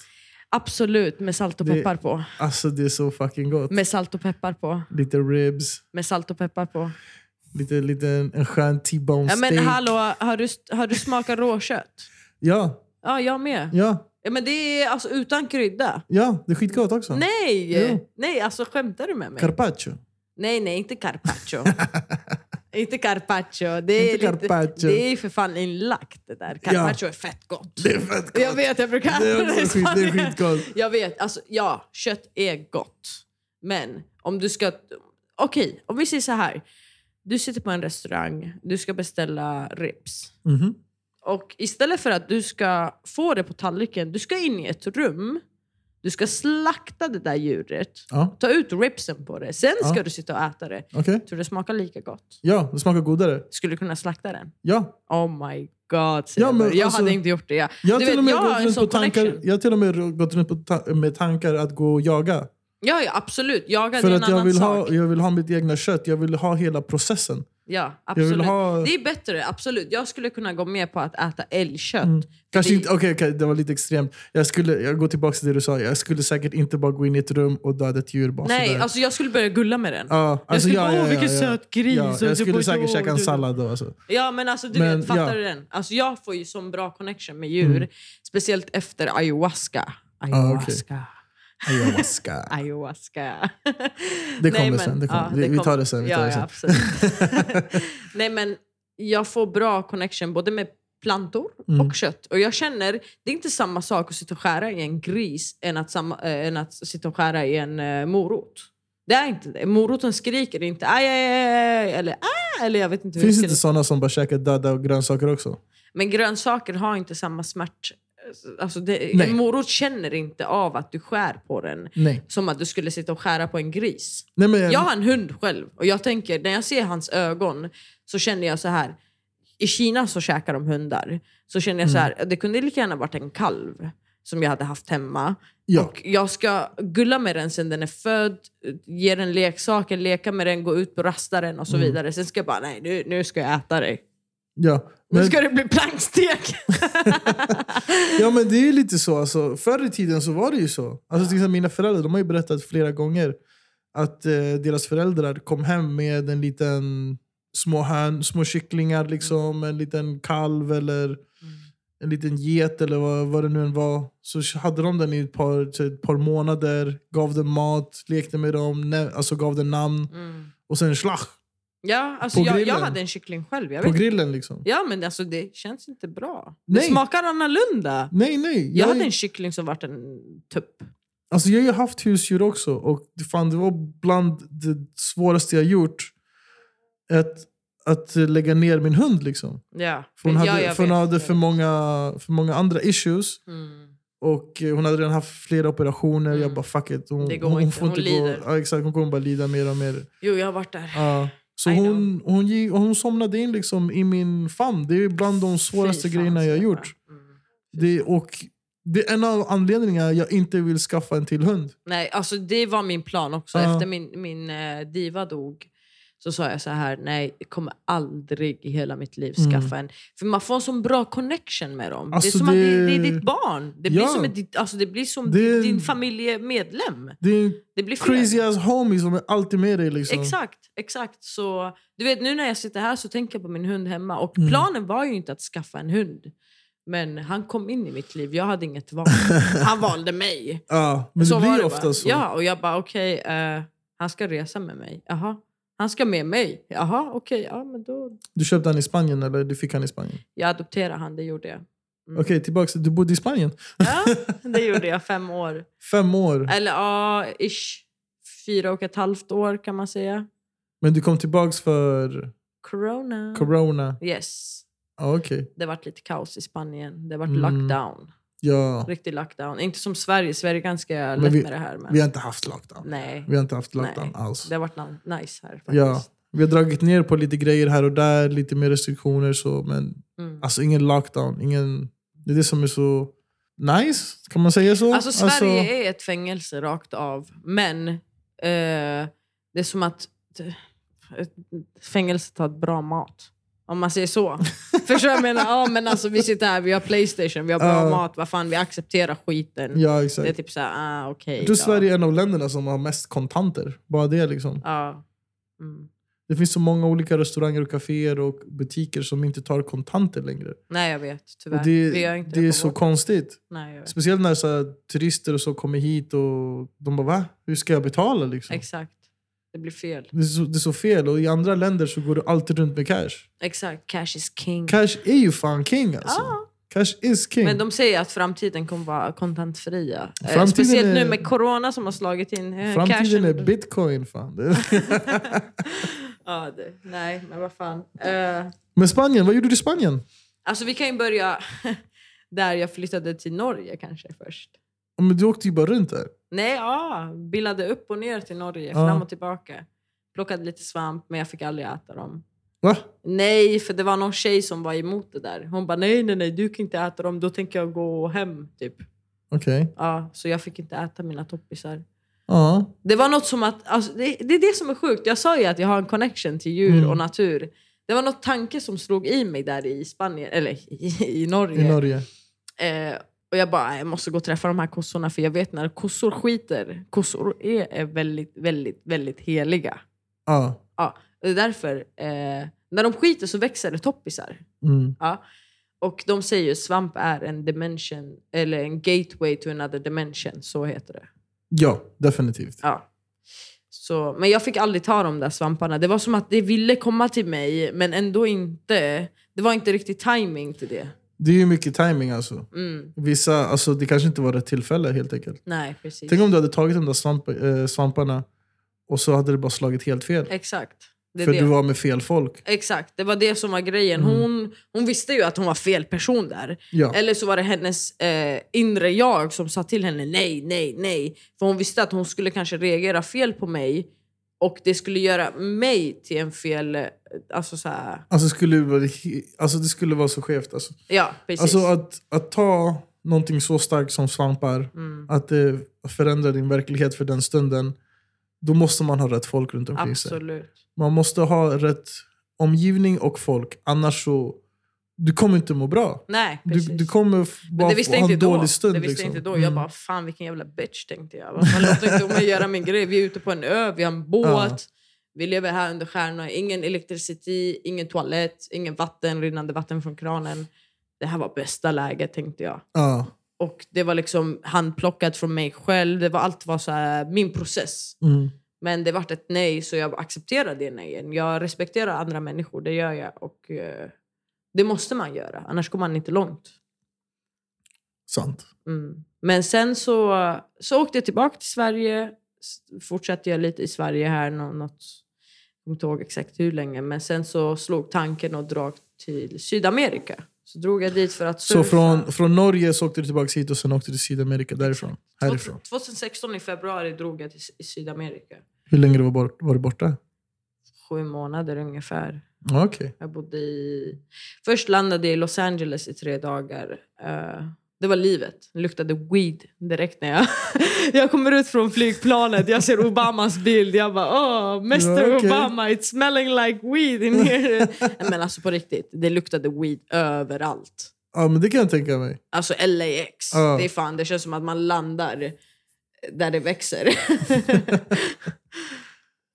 Speaker 1: Absolut, med salt och
Speaker 2: Det-
Speaker 1: peppar på.
Speaker 2: Alltså det är så fucking gott.
Speaker 1: Med salt och peppar på.
Speaker 2: Lite ribs,
Speaker 1: Med salt och peppar på.
Speaker 2: lite, lite en, en skön T-bone
Speaker 1: Ja,
Speaker 2: steak.
Speaker 1: men hallå, har du, har du smakat råkött?
Speaker 2: Ja,
Speaker 1: Ja, jag med.
Speaker 2: ja,
Speaker 1: Ja, men det är alltså utan krydda.
Speaker 2: ja, det är skitgott också.
Speaker 1: Nej!
Speaker 2: Jo.
Speaker 1: Nej, alltså skämtar du med mig?
Speaker 2: Carpaccio.
Speaker 1: Nej, nej, inte
Speaker 2: <laughs>
Speaker 1: carpaccio. inte carpaccio. Det är,
Speaker 2: Inte carpaccio.
Speaker 1: Lite, det är ju för fan inlagt det där. Carpaccio är fett gott.
Speaker 2: Det är fett gott.
Speaker 1: Jag vet, jag brukar
Speaker 2: Det
Speaker 1: <laughs>
Speaker 2: är,
Speaker 1: använda i
Speaker 2: också skit, det är
Speaker 1: Spanien.
Speaker 2: skitgott.
Speaker 1: Jag vet, alltså ja, kött är gott. Men om du ska... Okej, om vi säger så här. Du sitter på en restaurang, du ska beställa ribs.
Speaker 2: Mhm.
Speaker 1: Och istället för att du ska få det på tallriken, du ska in i ett rum, du ska slakta det där djuret,
Speaker 2: Ja,
Speaker 1: ta ut ribsen på det, sen ska
Speaker 2: Ja.
Speaker 1: du sitta och äta det.
Speaker 2: okej.
Speaker 1: Tror du det smakar lika gott?
Speaker 2: Ja, det smakar godare.
Speaker 1: Skulle du kunna slakta den?
Speaker 2: Ja.
Speaker 1: Oh my god,
Speaker 2: Ja,
Speaker 1: ja,
Speaker 2: men
Speaker 1: jag
Speaker 2: alltså-
Speaker 1: hade inte gjort det. Jag,
Speaker 2: Jag har,
Speaker 1: Du
Speaker 2: till
Speaker 1: vet,
Speaker 2: och med
Speaker 1: jag har
Speaker 2: gått
Speaker 1: en
Speaker 2: runt
Speaker 1: sån
Speaker 2: på tankar,
Speaker 1: connection.
Speaker 2: jag har till och med gått runt på ta- med tankar att gå och jaga.
Speaker 1: ja, ja absolut. Jaga det
Speaker 2: För
Speaker 1: är en
Speaker 2: att jag
Speaker 1: annan
Speaker 2: vill,
Speaker 1: sak.
Speaker 2: ha, jag vill ha mitt egna kött. Jag vill ha hela processen.
Speaker 1: Ja,
Speaker 2: Jag
Speaker 1: absolut.
Speaker 2: vill ha...
Speaker 1: Det är bättre, absolut. Jag skulle kunna gå med på att äta älgkött.
Speaker 2: Mm. Kanske
Speaker 1: det-
Speaker 2: inte, okej, okej, det var lite extremt. Jag, skulle, jag går tillbaka till det du sa. Jag skulle säkert inte bara gå in i ett rum och döda ett djur bara
Speaker 1: Nej,
Speaker 2: sådär.
Speaker 1: alltså jag skulle börja gulla med den.
Speaker 2: Ja, alltså,
Speaker 1: jag skulle
Speaker 2: ja,
Speaker 1: bara,
Speaker 2: ja,
Speaker 1: åh
Speaker 2: ja,
Speaker 1: vilken
Speaker 2: ja.
Speaker 1: söt gris.
Speaker 2: Ja,
Speaker 1: och du
Speaker 2: jag skulle
Speaker 1: bara,
Speaker 2: säkert
Speaker 1: "Åh,
Speaker 2: käka en
Speaker 1: du-
Speaker 2: sallad då. Alltså.
Speaker 1: Ja, men alltså du
Speaker 2: Men,
Speaker 1: vet, fattar
Speaker 2: ja. Mm.
Speaker 1: du den? Alltså jag får ju sån bra connection med djur. Speciellt efter ayahuasca.
Speaker 2: Ah,
Speaker 1: Ayahuasca. <laughs>
Speaker 2: Ayahuasca.
Speaker 1: Ayahuasca.
Speaker 2: Det kommer sen, det kommer. Vi- vi tar det sen, vi
Speaker 1: ja,
Speaker 2: tar det
Speaker 1: ja,
Speaker 2: sen.
Speaker 1: absolut.
Speaker 2: <laughs>
Speaker 1: <laughs> Nej, men jag får bra connection både med plantor
Speaker 2: Mm.
Speaker 1: och kött. Och jag känner, det är inte samma sak att sitta och skära i en gris än att, samma, eh, än att sitta och skära i en eh, morot. Det är inte det. Moroten skriker inte aj, aj, aj, aj, eller ah, eller jag vet inte hur
Speaker 2: Finns
Speaker 1: den
Speaker 2: det inte
Speaker 1: skriker.
Speaker 2: sådana som bara käkar döda grönsaker också?
Speaker 1: Men grönsaker har inte samma smärt... Alltså det,
Speaker 2: Nej.
Speaker 1: en morot känner inte av att du skär på den
Speaker 2: Nej.
Speaker 1: som att du skulle sitta och skära på en gris.
Speaker 2: Nej men,
Speaker 1: Jag har en hund själv och jag tänker, när jag ser hans ögon så känner jag så här. I Kina så käkar de hundar. Så känner jag så
Speaker 2: Mm.
Speaker 1: här, det kunde lika gärna varit en kalv som jag hade haft hemma.
Speaker 2: ja.
Speaker 1: Och jag ska gulla med den sen den är född, ge den leksaker, leka med den, gå ut på rastaren och så
Speaker 2: Mm.
Speaker 1: vidare. Sen ska jag bara, nej nu, nu ska jag äta dig.
Speaker 2: Ja.
Speaker 1: Nu
Speaker 2: Men,
Speaker 1: ska det bli
Speaker 2: <laughs>
Speaker 1: plankstek!
Speaker 2: ja, men det är ju lite så. Alltså, förr i tiden så var det ju så. Alltså, till exempel mina föräldrar de har ju berättat flera gånger att eh, deras föräldrar kom hem med en liten små hön, små kycklingar, liksom, en liten kalv eller en liten get eller vad, vad det nu än var. Så hade de den i ett par, så ett par månader, gav den mat, lekte med dem, nä- alltså gav den namn.
Speaker 1: Mm.
Speaker 2: Och sen slach,
Speaker 1: Ja, alltså
Speaker 2: På
Speaker 1: jag, jag
Speaker 2: grillen.
Speaker 1: hade en kyckling själv. Jag
Speaker 2: på
Speaker 1: vet.
Speaker 2: grillen liksom.
Speaker 1: Ja, men alltså, det känns inte bra. Det
Speaker 2: Nej.
Speaker 1: smakar annorlunda.
Speaker 2: Nej, nej.
Speaker 1: Jag hade en kyckling som vart en tupp.
Speaker 2: Alltså jag har ju haft husdjur också och det- fan, det var bland det svåraste jag gjort. Att, att lägga ner min hund liksom.
Speaker 1: Ja.
Speaker 2: För hon hade,
Speaker 1: ja, jag
Speaker 2: för, hon
Speaker 1: vet.
Speaker 2: hade för, många, för många andra issues.
Speaker 1: Mm.
Speaker 2: Och eh, hon hade redan haft flera operationer.
Speaker 1: Mm.
Speaker 2: Jag bara fuck it. Hon,
Speaker 1: Det går
Speaker 2: hon,
Speaker 1: inte.
Speaker 2: Får
Speaker 1: Hon
Speaker 2: inte
Speaker 1: lider.
Speaker 2: Gå, ja, exakt, hon kommer bara lida mer och mer.
Speaker 1: Jo, jag har varit där.
Speaker 2: Ja. så
Speaker 1: I
Speaker 2: hon, hon, gick, och hon somnade in liksom i min famn. Det är bland de svåraste
Speaker 1: Fy fan,
Speaker 2: grejerna jag har
Speaker 1: Stefan.
Speaker 2: gjort.
Speaker 1: Mm.
Speaker 2: Det, och det är en av anledningarna jag inte vill skaffa en till hund.
Speaker 1: Nej, alltså det var min plan också.
Speaker 2: Ja.
Speaker 1: Efter min, min eh, diva dog så sa jag så här, nej, jag kommer aldrig i hela mitt liv
Speaker 2: Mm.
Speaker 1: skaffa en. För man får en sån bra connection med dem. det
Speaker 2: Alltså,
Speaker 1: är som att det,
Speaker 2: det-
Speaker 1: det är ditt barn. Det blir
Speaker 2: Ja.
Speaker 1: som, ett, ditt- alltså, det blir som
Speaker 2: Det-
Speaker 1: din familjemedlem.
Speaker 2: Det är en
Speaker 1: Det blir fel.
Speaker 2: crazy ass homies som är alltid med dig. Liksom.
Speaker 1: Exakt, exakt. Så, du vet, nu när jag sitter här så tänker jag på min hund hemma. Och
Speaker 2: Mm.
Speaker 1: planen var ju inte att skaffa en hund. Men han kom in i mitt liv. Jag hade inget
Speaker 2: <laughs>
Speaker 1: val. Han valde mig.
Speaker 2: Ja, men
Speaker 1: så
Speaker 2: det
Speaker 1: var
Speaker 2: blir
Speaker 1: det
Speaker 2: ofta
Speaker 1: bara.
Speaker 2: så.
Speaker 1: Ja, och jag bara okej, eh, han ska resa med mig. Jaha. Han ska med mig. Jaha, okej. ja, men då...
Speaker 2: Du köpte han i Spanien eller du fick han i Spanien?
Speaker 1: Jag adopterade han, det gjorde jag. Mm.
Speaker 2: Okej, tillbaka. Du bodde i Spanien?
Speaker 1: Ja, det gjorde jag. Fem år.
Speaker 2: Fem år.
Speaker 1: Eller ja, ish. Fyra och ett halvt år kan man säga.
Speaker 2: Men du kom tillbaka för
Speaker 1: Corona.
Speaker 2: corona?
Speaker 1: Yes.
Speaker 2: Ja, Okej.
Speaker 1: Det vart lite kaos i Spanien. Det vart
Speaker 2: Mm.
Speaker 1: lockdown.
Speaker 2: Ja.
Speaker 1: Riktig lockdown. Inte som Sverige. Sverige är ganska
Speaker 2: Men
Speaker 1: lätt
Speaker 2: vi-
Speaker 1: med det här. Men
Speaker 2: Vi har inte haft lockdown.
Speaker 1: nej,
Speaker 2: Vi har inte haft lockdown alls.
Speaker 1: det har varit na- nice här faktiskt.
Speaker 2: Ja. Vi har dragit ner på lite grejer här och där, lite mer restriktioner så, men
Speaker 1: Mm.
Speaker 2: alltså ingen lockdown. Ingen... Det är det som är så nice, kan man säga så?
Speaker 1: Alltså Sverige är ett fängelse rakt av. Men eh, det är som att ett fängelse tar bra mat. Om man säger
Speaker 2: <laughs>
Speaker 1: så. Förstår du? Jag menar, ja, men alltså, vi sitter här, vi har Playstation, vi har bra
Speaker 2: Ja.
Speaker 1: mat. Vad fan, vi accepterar skiten.
Speaker 2: Ja,
Speaker 1: Det är
Speaker 2: exakt.
Speaker 1: typ såhär, ah, okej
Speaker 2: Jag tror
Speaker 1: då.
Speaker 2: Sverige är en av länderna som har mest kontanter. Bara det liksom.
Speaker 1: Ja. Mm.
Speaker 2: Det finns så många olika restauranger och kaféer och butiker som inte tar kontanter längre.
Speaker 1: Nej, jag vet. Tyvärr.
Speaker 2: Och det
Speaker 1: vi gör inte
Speaker 2: det är
Speaker 1: på
Speaker 2: så
Speaker 1: vår-
Speaker 2: konstigt.
Speaker 1: Nej, jag vet.
Speaker 2: Speciellt när så här, turister och så kommer hit och de bara va? Hur ska jag betala liksom?
Speaker 1: Exakt. Det blir fel.
Speaker 2: Det är, så, det är så fel. Och i andra länder så går du alltid runt med cash.
Speaker 1: Exakt. Cash is king.
Speaker 2: Cash är ju fan king alltså.
Speaker 1: Ja.
Speaker 2: Cash is king.
Speaker 1: Ah. Men de säger att framtiden kommer vara kontantfria. Eh,
Speaker 2: Framtiden
Speaker 1: Speciellt
Speaker 2: är-
Speaker 1: nu med corona som har slagit in eh,
Speaker 2: Framtiden
Speaker 1: cashen.
Speaker 2: är bitcoin fan. Det- <laughs>
Speaker 1: ja, det, nej, men vad fan. Eh,
Speaker 2: Men Spanien, vad gjorde du i Spanien?
Speaker 1: alltså vi kan ju börja <laughs> där jag flyttade till Norge kanske först.
Speaker 2: Ja, Men du åkte ju bara runt där.
Speaker 1: Nej, ja. Bildade upp och ner till Norge,
Speaker 2: Ja.
Speaker 1: fram och tillbaka. Plockade lite svamp, men jag fick aldrig äta dem.
Speaker 2: Va?
Speaker 1: Nej, för det var någon tjej som var emot det där. Hon bara, nej, nej, nej, du kan inte äta dem. Då tänker jag gå hem, typ.
Speaker 2: Okej.
Speaker 1: Ja, så jag fick inte äta mina toppisar.
Speaker 2: Ja.
Speaker 1: Det var något som att, alltså, det, det är det som är sjukt. Jag sa ju att jag har en connection till djur
Speaker 2: Mm.
Speaker 1: och natur. Det var något tanke som slog i mig där i Spanien, eller i, i Norge.
Speaker 2: I Norge.
Speaker 1: Eh, och jag bara, "Nej, jag måste gå och träffa de här kossorna för jag vet när kossor skiter. Kossor är, är väldigt, väldigt, väldigt heliga.
Speaker 2: Ja.
Speaker 1: Det är därför, eh, när de skiter så växer det toppisar.
Speaker 2: Mm.
Speaker 1: Och de säger ju svamp är en dimension, eller en gateway to another dimension. Så heter det.
Speaker 2: Ja, definitivt.
Speaker 1: Ja. Så, men jag fick aldrig ta de där svamparna. Det var som att det ville komma till mig, men ändå inte. Det var inte riktigt timing till det.
Speaker 2: Det är ju mycket timing alltså.
Speaker 1: Mm,
Speaker 2: Vissa, alltså det kanske inte var rätt tillfälle helt enkelt.
Speaker 1: nej, precis.
Speaker 2: Tänk om du hade tagit de där svamp, eh, svamparna och så hade det bara slagit helt fel.
Speaker 1: Exakt. Det är
Speaker 2: För
Speaker 1: det.
Speaker 2: du var med fel folk.
Speaker 1: Exakt, det var det som var grejen.
Speaker 2: Mm.
Speaker 1: Hon, hon visste ju att hon var fel person där.
Speaker 2: Ja.
Speaker 1: Eller så var det hennes eh, inre jag som sa till henne nej, nej, nej. För hon visste att hon skulle kanske reagera fel på mig och det skulle göra mig till en fel... eh, Alltså så här,
Speaker 2: Alltså, skulle det, vara, alltså det skulle vara så skevt. Alltså,
Speaker 1: Ja, precis.
Speaker 2: alltså att, att ta någonting så starkt som svampar,
Speaker 1: mm,
Speaker 2: att det förändrar din verklighet för den stunden, då måste man ha rätt folk runt omkring sig.
Speaker 1: absolut.
Speaker 2: Man måste ha rätt omgivning och folk, annars så... Du kommer inte må bra.
Speaker 1: Nej,
Speaker 2: Du,
Speaker 1: precis.
Speaker 2: du kommer f-
Speaker 1: Men
Speaker 2: bara
Speaker 1: det
Speaker 2: få
Speaker 1: visste
Speaker 2: ha
Speaker 1: jag
Speaker 2: en
Speaker 1: inte då.
Speaker 2: dålig stund.
Speaker 1: det visste jag
Speaker 2: liksom.
Speaker 1: inte då.
Speaker 2: Mm.
Speaker 1: Jag bara, fan vilken jävla bitch tänkte jag. Man låter inte mig göra min grej. Vi är ute på en ö, vi har en båt.
Speaker 2: Ja.
Speaker 1: Vi lever här under stjärnorna. Ingen elektricitet, ingen toalett, ingen vatten, rinnande vatten från kranen. det här var bästa läget tänkte jag.
Speaker 2: Ja.
Speaker 1: Och det var liksom handplockat från mig själv. Det var, allt var så här, min process.
Speaker 2: Mm.
Speaker 1: Men det vart ett nej, så jag accepterar det nejen. Jag respekterar andra människor, det gör jag. Och eh, det måste man göra, annars kommer man inte långt.
Speaker 2: Sant.
Speaker 1: Mm. Men sen så, så åkte jag tillbaka till Sverige. S- Fortsatte jag lite i Sverige här nå- något, jag kommer inte ihåg exakt hur länge. Men sen så slog tanken och drog till Sydamerika. Så drog jag dit för att
Speaker 2: Så
Speaker 1: surfa.
Speaker 2: från, från Norge så åkte du tillbaka hit och sen åkte du till Sydamerika därifrån? Härifrån?
Speaker 1: 2016 i februari drog jag till S- i Sydamerika.
Speaker 2: Hur länge du var, bort, var du borta?
Speaker 1: Sju månader ungefär.
Speaker 2: Ja, Okej.
Speaker 1: Jag bodde i... Först landade jag i Los Angeles i tre dagar. Eh, det var livet. Det luktade weed direkt när jag... <laughs> jag kommer ut från flygplanet, jag ser Obamas bild. Jag bara åh, Mr
Speaker 2: Ja, okej.
Speaker 1: Obama, it's smelling like weed in here. <laughs> Nej, Men alltså på riktigt, det luktade weed överallt.
Speaker 2: Ja, men det kan jag tänka mig.
Speaker 1: Alltså LAX,
Speaker 2: Ja.
Speaker 1: det är fan, det känns som att man landar där det
Speaker 2: <laughs>
Speaker 1: växer.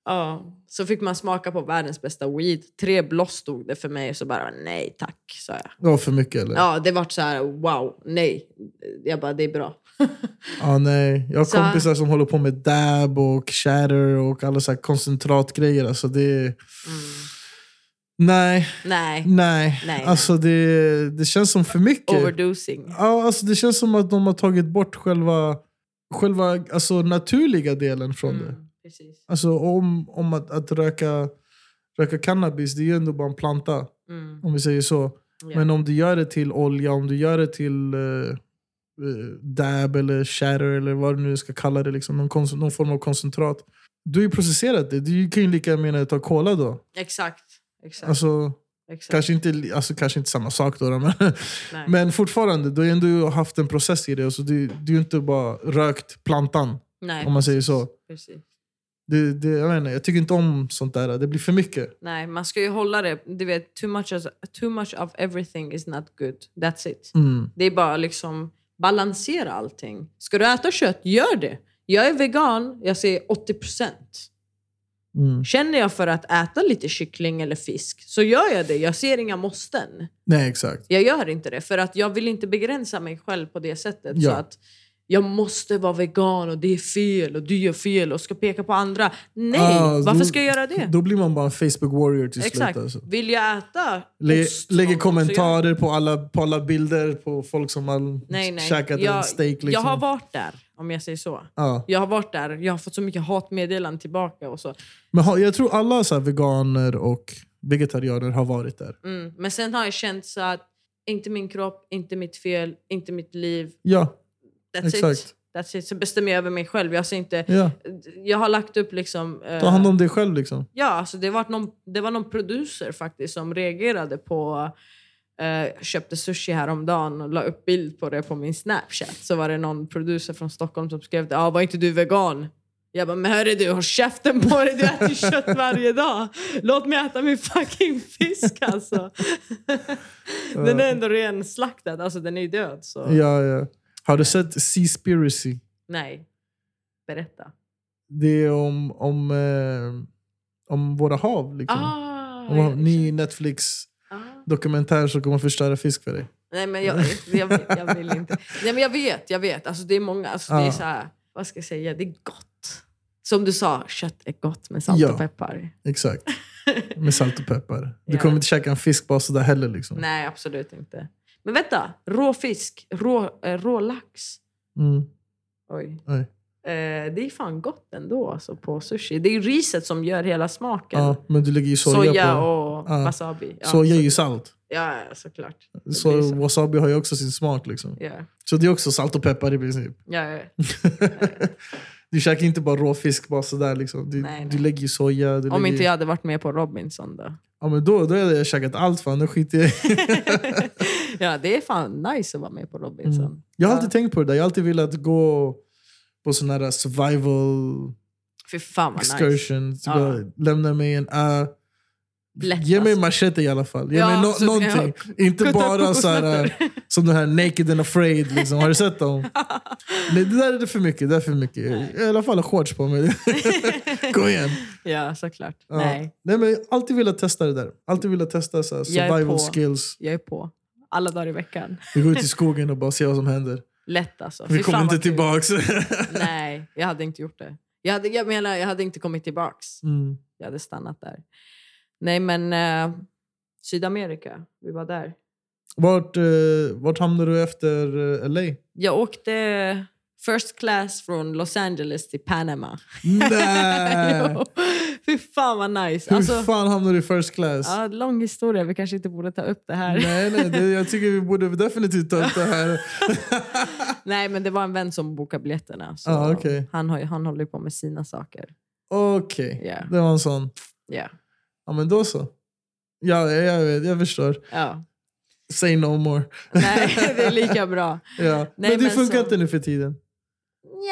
Speaker 1: ja. Så fick man smaka på världens bästa weed. Tre bloss stod det för mig, så bara nej tack, sa jag.
Speaker 2: Det var för mycket eller?
Speaker 1: Ja, det vart så här wow, nej. Jag bara, det är bra.
Speaker 2: Ja, nej. Jag har
Speaker 1: Så-
Speaker 2: kompisar som håller på med dab och shatter och alla så här koncentratgrejer. Alltså det... Nej,
Speaker 1: Mm. Nej,
Speaker 2: nej.
Speaker 1: Nej.
Speaker 2: Alltså det, det känns som för mycket.
Speaker 1: overdosing.
Speaker 2: Ja, alltså det känns som att de har tagit bort själva, själva alltså naturliga delen från det.
Speaker 1: Mm, precis.
Speaker 2: Alltså om, om att, att röka, röka cannabis, det är ju ändå bara en planta.
Speaker 1: Mm,
Speaker 2: Om vi säger så.
Speaker 1: ja.
Speaker 2: Men om du gör det till olja, om du gör det till eh, eh, dab eller shatter eller vad du nu ska kalla det, liksom, någon, kon- någon form av koncentrat. Du har ju processerat det. Du kan ju lika gärna ta cola då.
Speaker 1: Exakt. Exakt.
Speaker 2: Alltså,
Speaker 1: exakt.
Speaker 2: kanske, inte, li- alltså, kanske inte samma sak då, då, men,
Speaker 1: nej.
Speaker 2: <laughs> men fortfarande. Du har ju ändå haft en process i det. Alltså, du, du är ju inte bara rökt plantan,
Speaker 1: nej,
Speaker 2: om man säger så.
Speaker 1: precis.
Speaker 2: Det, det, jag, vet inte, jag tycker inte om sånt där. Det blir för mycket.
Speaker 1: Nej, man ska ju hålla det. Du vet, too much, as, too much of everything is not good. That's it.
Speaker 2: Mm.
Speaker 1: Det är bara liksom balansera allting. Ska du äta kött, gör det. Jag är vegan, jag säger 80%.
Speaker 2: Mm.
Speaker 1: Känner jag för att äta lite kyckling eller fisk så gör jag det. Jag ser inga måsten.
Speaker 2: Nej, exakt.
Speaker 1: Jag gör inte det för att jag vill inte begränsa mig själv på det sättet.
Speaker 2: Ja.
Speaker 1: Så att jag måste vara vegan och det är fel och du gör fel och ska peka på andra. Nej,
Speaker 2: Ah,
Speaker 1: varför
Speaker 2: då-
Speaker 1: ska jag göra det?
Speaker 2: Då blir man bara en Facebook warrior till
Speaker 1: Exakt.
Speaker 2: slut. Alltså.
Speaker 1: Vill jag äta
Speaker 2: Lä-
Speaker 1: ost någon gång
Speaker 2: lägger
Speaker 1: så gör-
Speaker 2: kommentarer på alla, på alla bilder på folk som har
Speaker 1: Nej, nej.
Speaker 2: käkat en
Speaker 1: Jag,
Speaker 2: steak. Liksom.
Speaker 1: jag har varit där, om jag säger så.
Speaker 2: ja.
Speaker 1: Jag har varit där, jag har fått så mycket hatmeddelanden tillbaka. Och så.
Speaker 2: Men har, jag tror alla så här veganer och vegetarianer har varit där.
Speaker 1: Mm. Men sen har jag känt så att inte min kropp, inte mitt fel, inte mitt liv.
Speaker 2: Ja,
Speaker 1: That's
Speaker 2: Exakt.
Speaker 1: it. That's it. Så bestämmer jag över mig själv. Jag, ser inte,
Speaker 2: ja.
Speaker 1: jag har lagt upp liksom... eh,
Speaker 2: Ta hand om dig själv. liksom.
Speaker 1: Ja, alltså det, var någon, det var någon producer faktiskt som reagerade på... Eh, köpte sushi häromdagen och la upp bild på det på min Snapchat. Så var det någon producer från Stockholm som skrev ah, var inte du vegan? Jag bara, men hörru du, håll käften på dig! Du äter kött varje dag! Låt mig äta min fucking fisk alltså! den är ändå renslaktad, alltså den är ju död. Så.
Speaker 2: Ja, ja. Har du sett Seaspiracy?
Speaker 1: Nej. Berätta.
Speaker 2: Det är om, om, eh, om våra hav. Liksom.
Speaker 1: Ah,
Speaker 2: om en ny
Speaker 1: jag-
Speaker 2: Netflix-dokumentär
Speaker 1: ah.
Speaker 2: som kommer förstöra fisk för dig.
Speaker 1: Nej men
Speaker 2: Mm.
Speaker 1: jag, jag, jag vill inte. Nej men jag vet, jag vet. Alltså det är många, alltså det är
Speaker 2: Ja.
Speaker 1: så här, vad ska jag säga, det är gott. Som du sa, kött är gott med salt
Speaker 2: Ja.
Speaker 1: och peppar. <laughs>
Speaker 2: Exakt. Med salt och peppar. Du
Speaker 1: Ja.
Speaker 2: kommer inte käka en fisk bara sådär heller. Liksom.
Speaker 1: Nej absolut inte. Men vänta, råfisk, rå, eh, rålax.
Speaker 2: Mm.
Speaker 1: Oj.
Speaker 2: Oj.
Speaker 1: Eh, det är fan gott ändå alltså, på sushi. Det är ju riset som gör hela smaken.
Speaker 2: Ja, men du lägger ju soja,
Speaker 1: Soja,
Speaker 2: på.
Speaker 1: och
Speaker 2: Ja.
Speaker 1: wasabi. Ja,
Speaker 2: Soja är
Speaker 1: så-
Speaker 2: ju salt.
Speaker 1: ja, ja, såklart. Det blir
Speaker 2: Så
Speaker 1: så.
Speaker 2: wasabi har ju också sin smak. Liksom.
Speaker 1: Ja,
Speaker 2: Så det är också salt och peppar i princip.
Speaker 1: ja, ja.
Speaker 2: <laughs> du käkar inte bara råfisk bara sådär. Liksom. Du,
Speaker 1: Nej, nej.
Speaker 2: du lägger ju soja. Du
Speaker 1: Om
Speaker 2: lägger...
Speaker 1: inte jag hade varit med på Robinson då.
Speaker 2: ja, men då, då hade jag käkat allt. Fan. Då skiter jag... i.
Speaker 1: ja, det är fan nice att vara med på Robinson.
Speaker 2: Mm. jag har
Speaker 1: Ja.
Speaker 2: alltid tänkt på det där. Jag har alltid velat gå på sån här survival
Speaker 1: Fy fan vad nice.
Speaker 2: excursion. Typ
Speaker 1: Ja.
Speaker 2: bara Lämna mig en ö.
Speaker 1: Lätt,
Speaker 2: Ge mig
Speaker 1: alltså.
Speaker 2: machete i alla fall. Ge
Speaker 1: Ja,
Speaker 2: mig
Speaker 1: så
Speaker 2: no-
Speaker 1: ska jag
Speaker 2: någonting. Inte
Speaker 1: kutta
Speaker 2: bara så här,
Speaker 1: kokosnötter.
Speaker 2: som den här Naked and Afraid. Liksom. Har du
Speaker 1: <laughs>
Speaker 2: sett dem? Nej, det där är det för mycket. Det där är för mycket. I alla fall shorts
Speaker 1: <laughs>
Speaker 2: på mig. Kom igen.
Speaker 1: Ja, såklart.
Speaker 2: eh? Ja.
Speaker 1: Nej,
Speaker 2: Nej, men jag har alltid velat testa det där. Alltid velat testa så här,
Speaker 1: Jag är på.
Speaker 2: survival skills.
Speaker 1: jag är på. alla dagar i veckan.
Speaker 2: Vi går ut i skogen och bara ser vad som händer.
Speaker 1: Lätt alltså.
Speaker 2: Vi
Speaker 1: Fy fan
Speaker 2: kommer inte
Speaker 1: vad kul.
Speaker 2: tillbaks.
Speaker 1: <laughs>
Speaker 2: <laughs>
Speaker 1: Nej, jag hade inte gjort det. Jag, hade, jag menar, jag hade inte kommit tillbaks.
Speaker 2: Mm.
Speaker 1: Jag hade stannat där. Nej, men eh, Sydamerika. Vi var där.
Speaker 2: Vart, eh, vart hamnade du efter eh, LA?
Speaker 1: <laughs> Jag åkte first class från Los Angeles till Panama.
Speaker 2: Nej!
Speaker 1: <laughs> Jo, Fy fan vad nice.
Speaker 2: Äh. Hur
Speaker 1: Alltså,
Speaker 2: fan hamnade du i first class?
Speaker 1: ja, lång historia, vi kanske inte borde ta upp det här.
Speaker 2: Nej, nej, det, jag tycker vi borde definitivt ta upp det här.
Speaker 1: <laughs> Nej, men det var en vän som bokade biljetterna. Så
Speaker 2: Ah, okej.
Speaker 1: han, har, ju- han håller ju på med sina saker.
Speaker 2: Okej,
Speaker 1: Ja.
Speaker 2: det var en sån.
Speaker 1: Ja.
Speaker 2: Ja, men då så. Ja, jag, jag, vet, jag förstår. <laughs>
Speaker 1: Ja.
Speaker 2: Say no more.
Speaker 1: Nej, <laughs> det är lika bra.
Speaker 2: Ja.
Speaker 1: Nej,
Speaker 2: men det
Speaker 1: men
Speaker 2: funkar
Speaker 1: så-
Speaker 2: inte nu för tiden.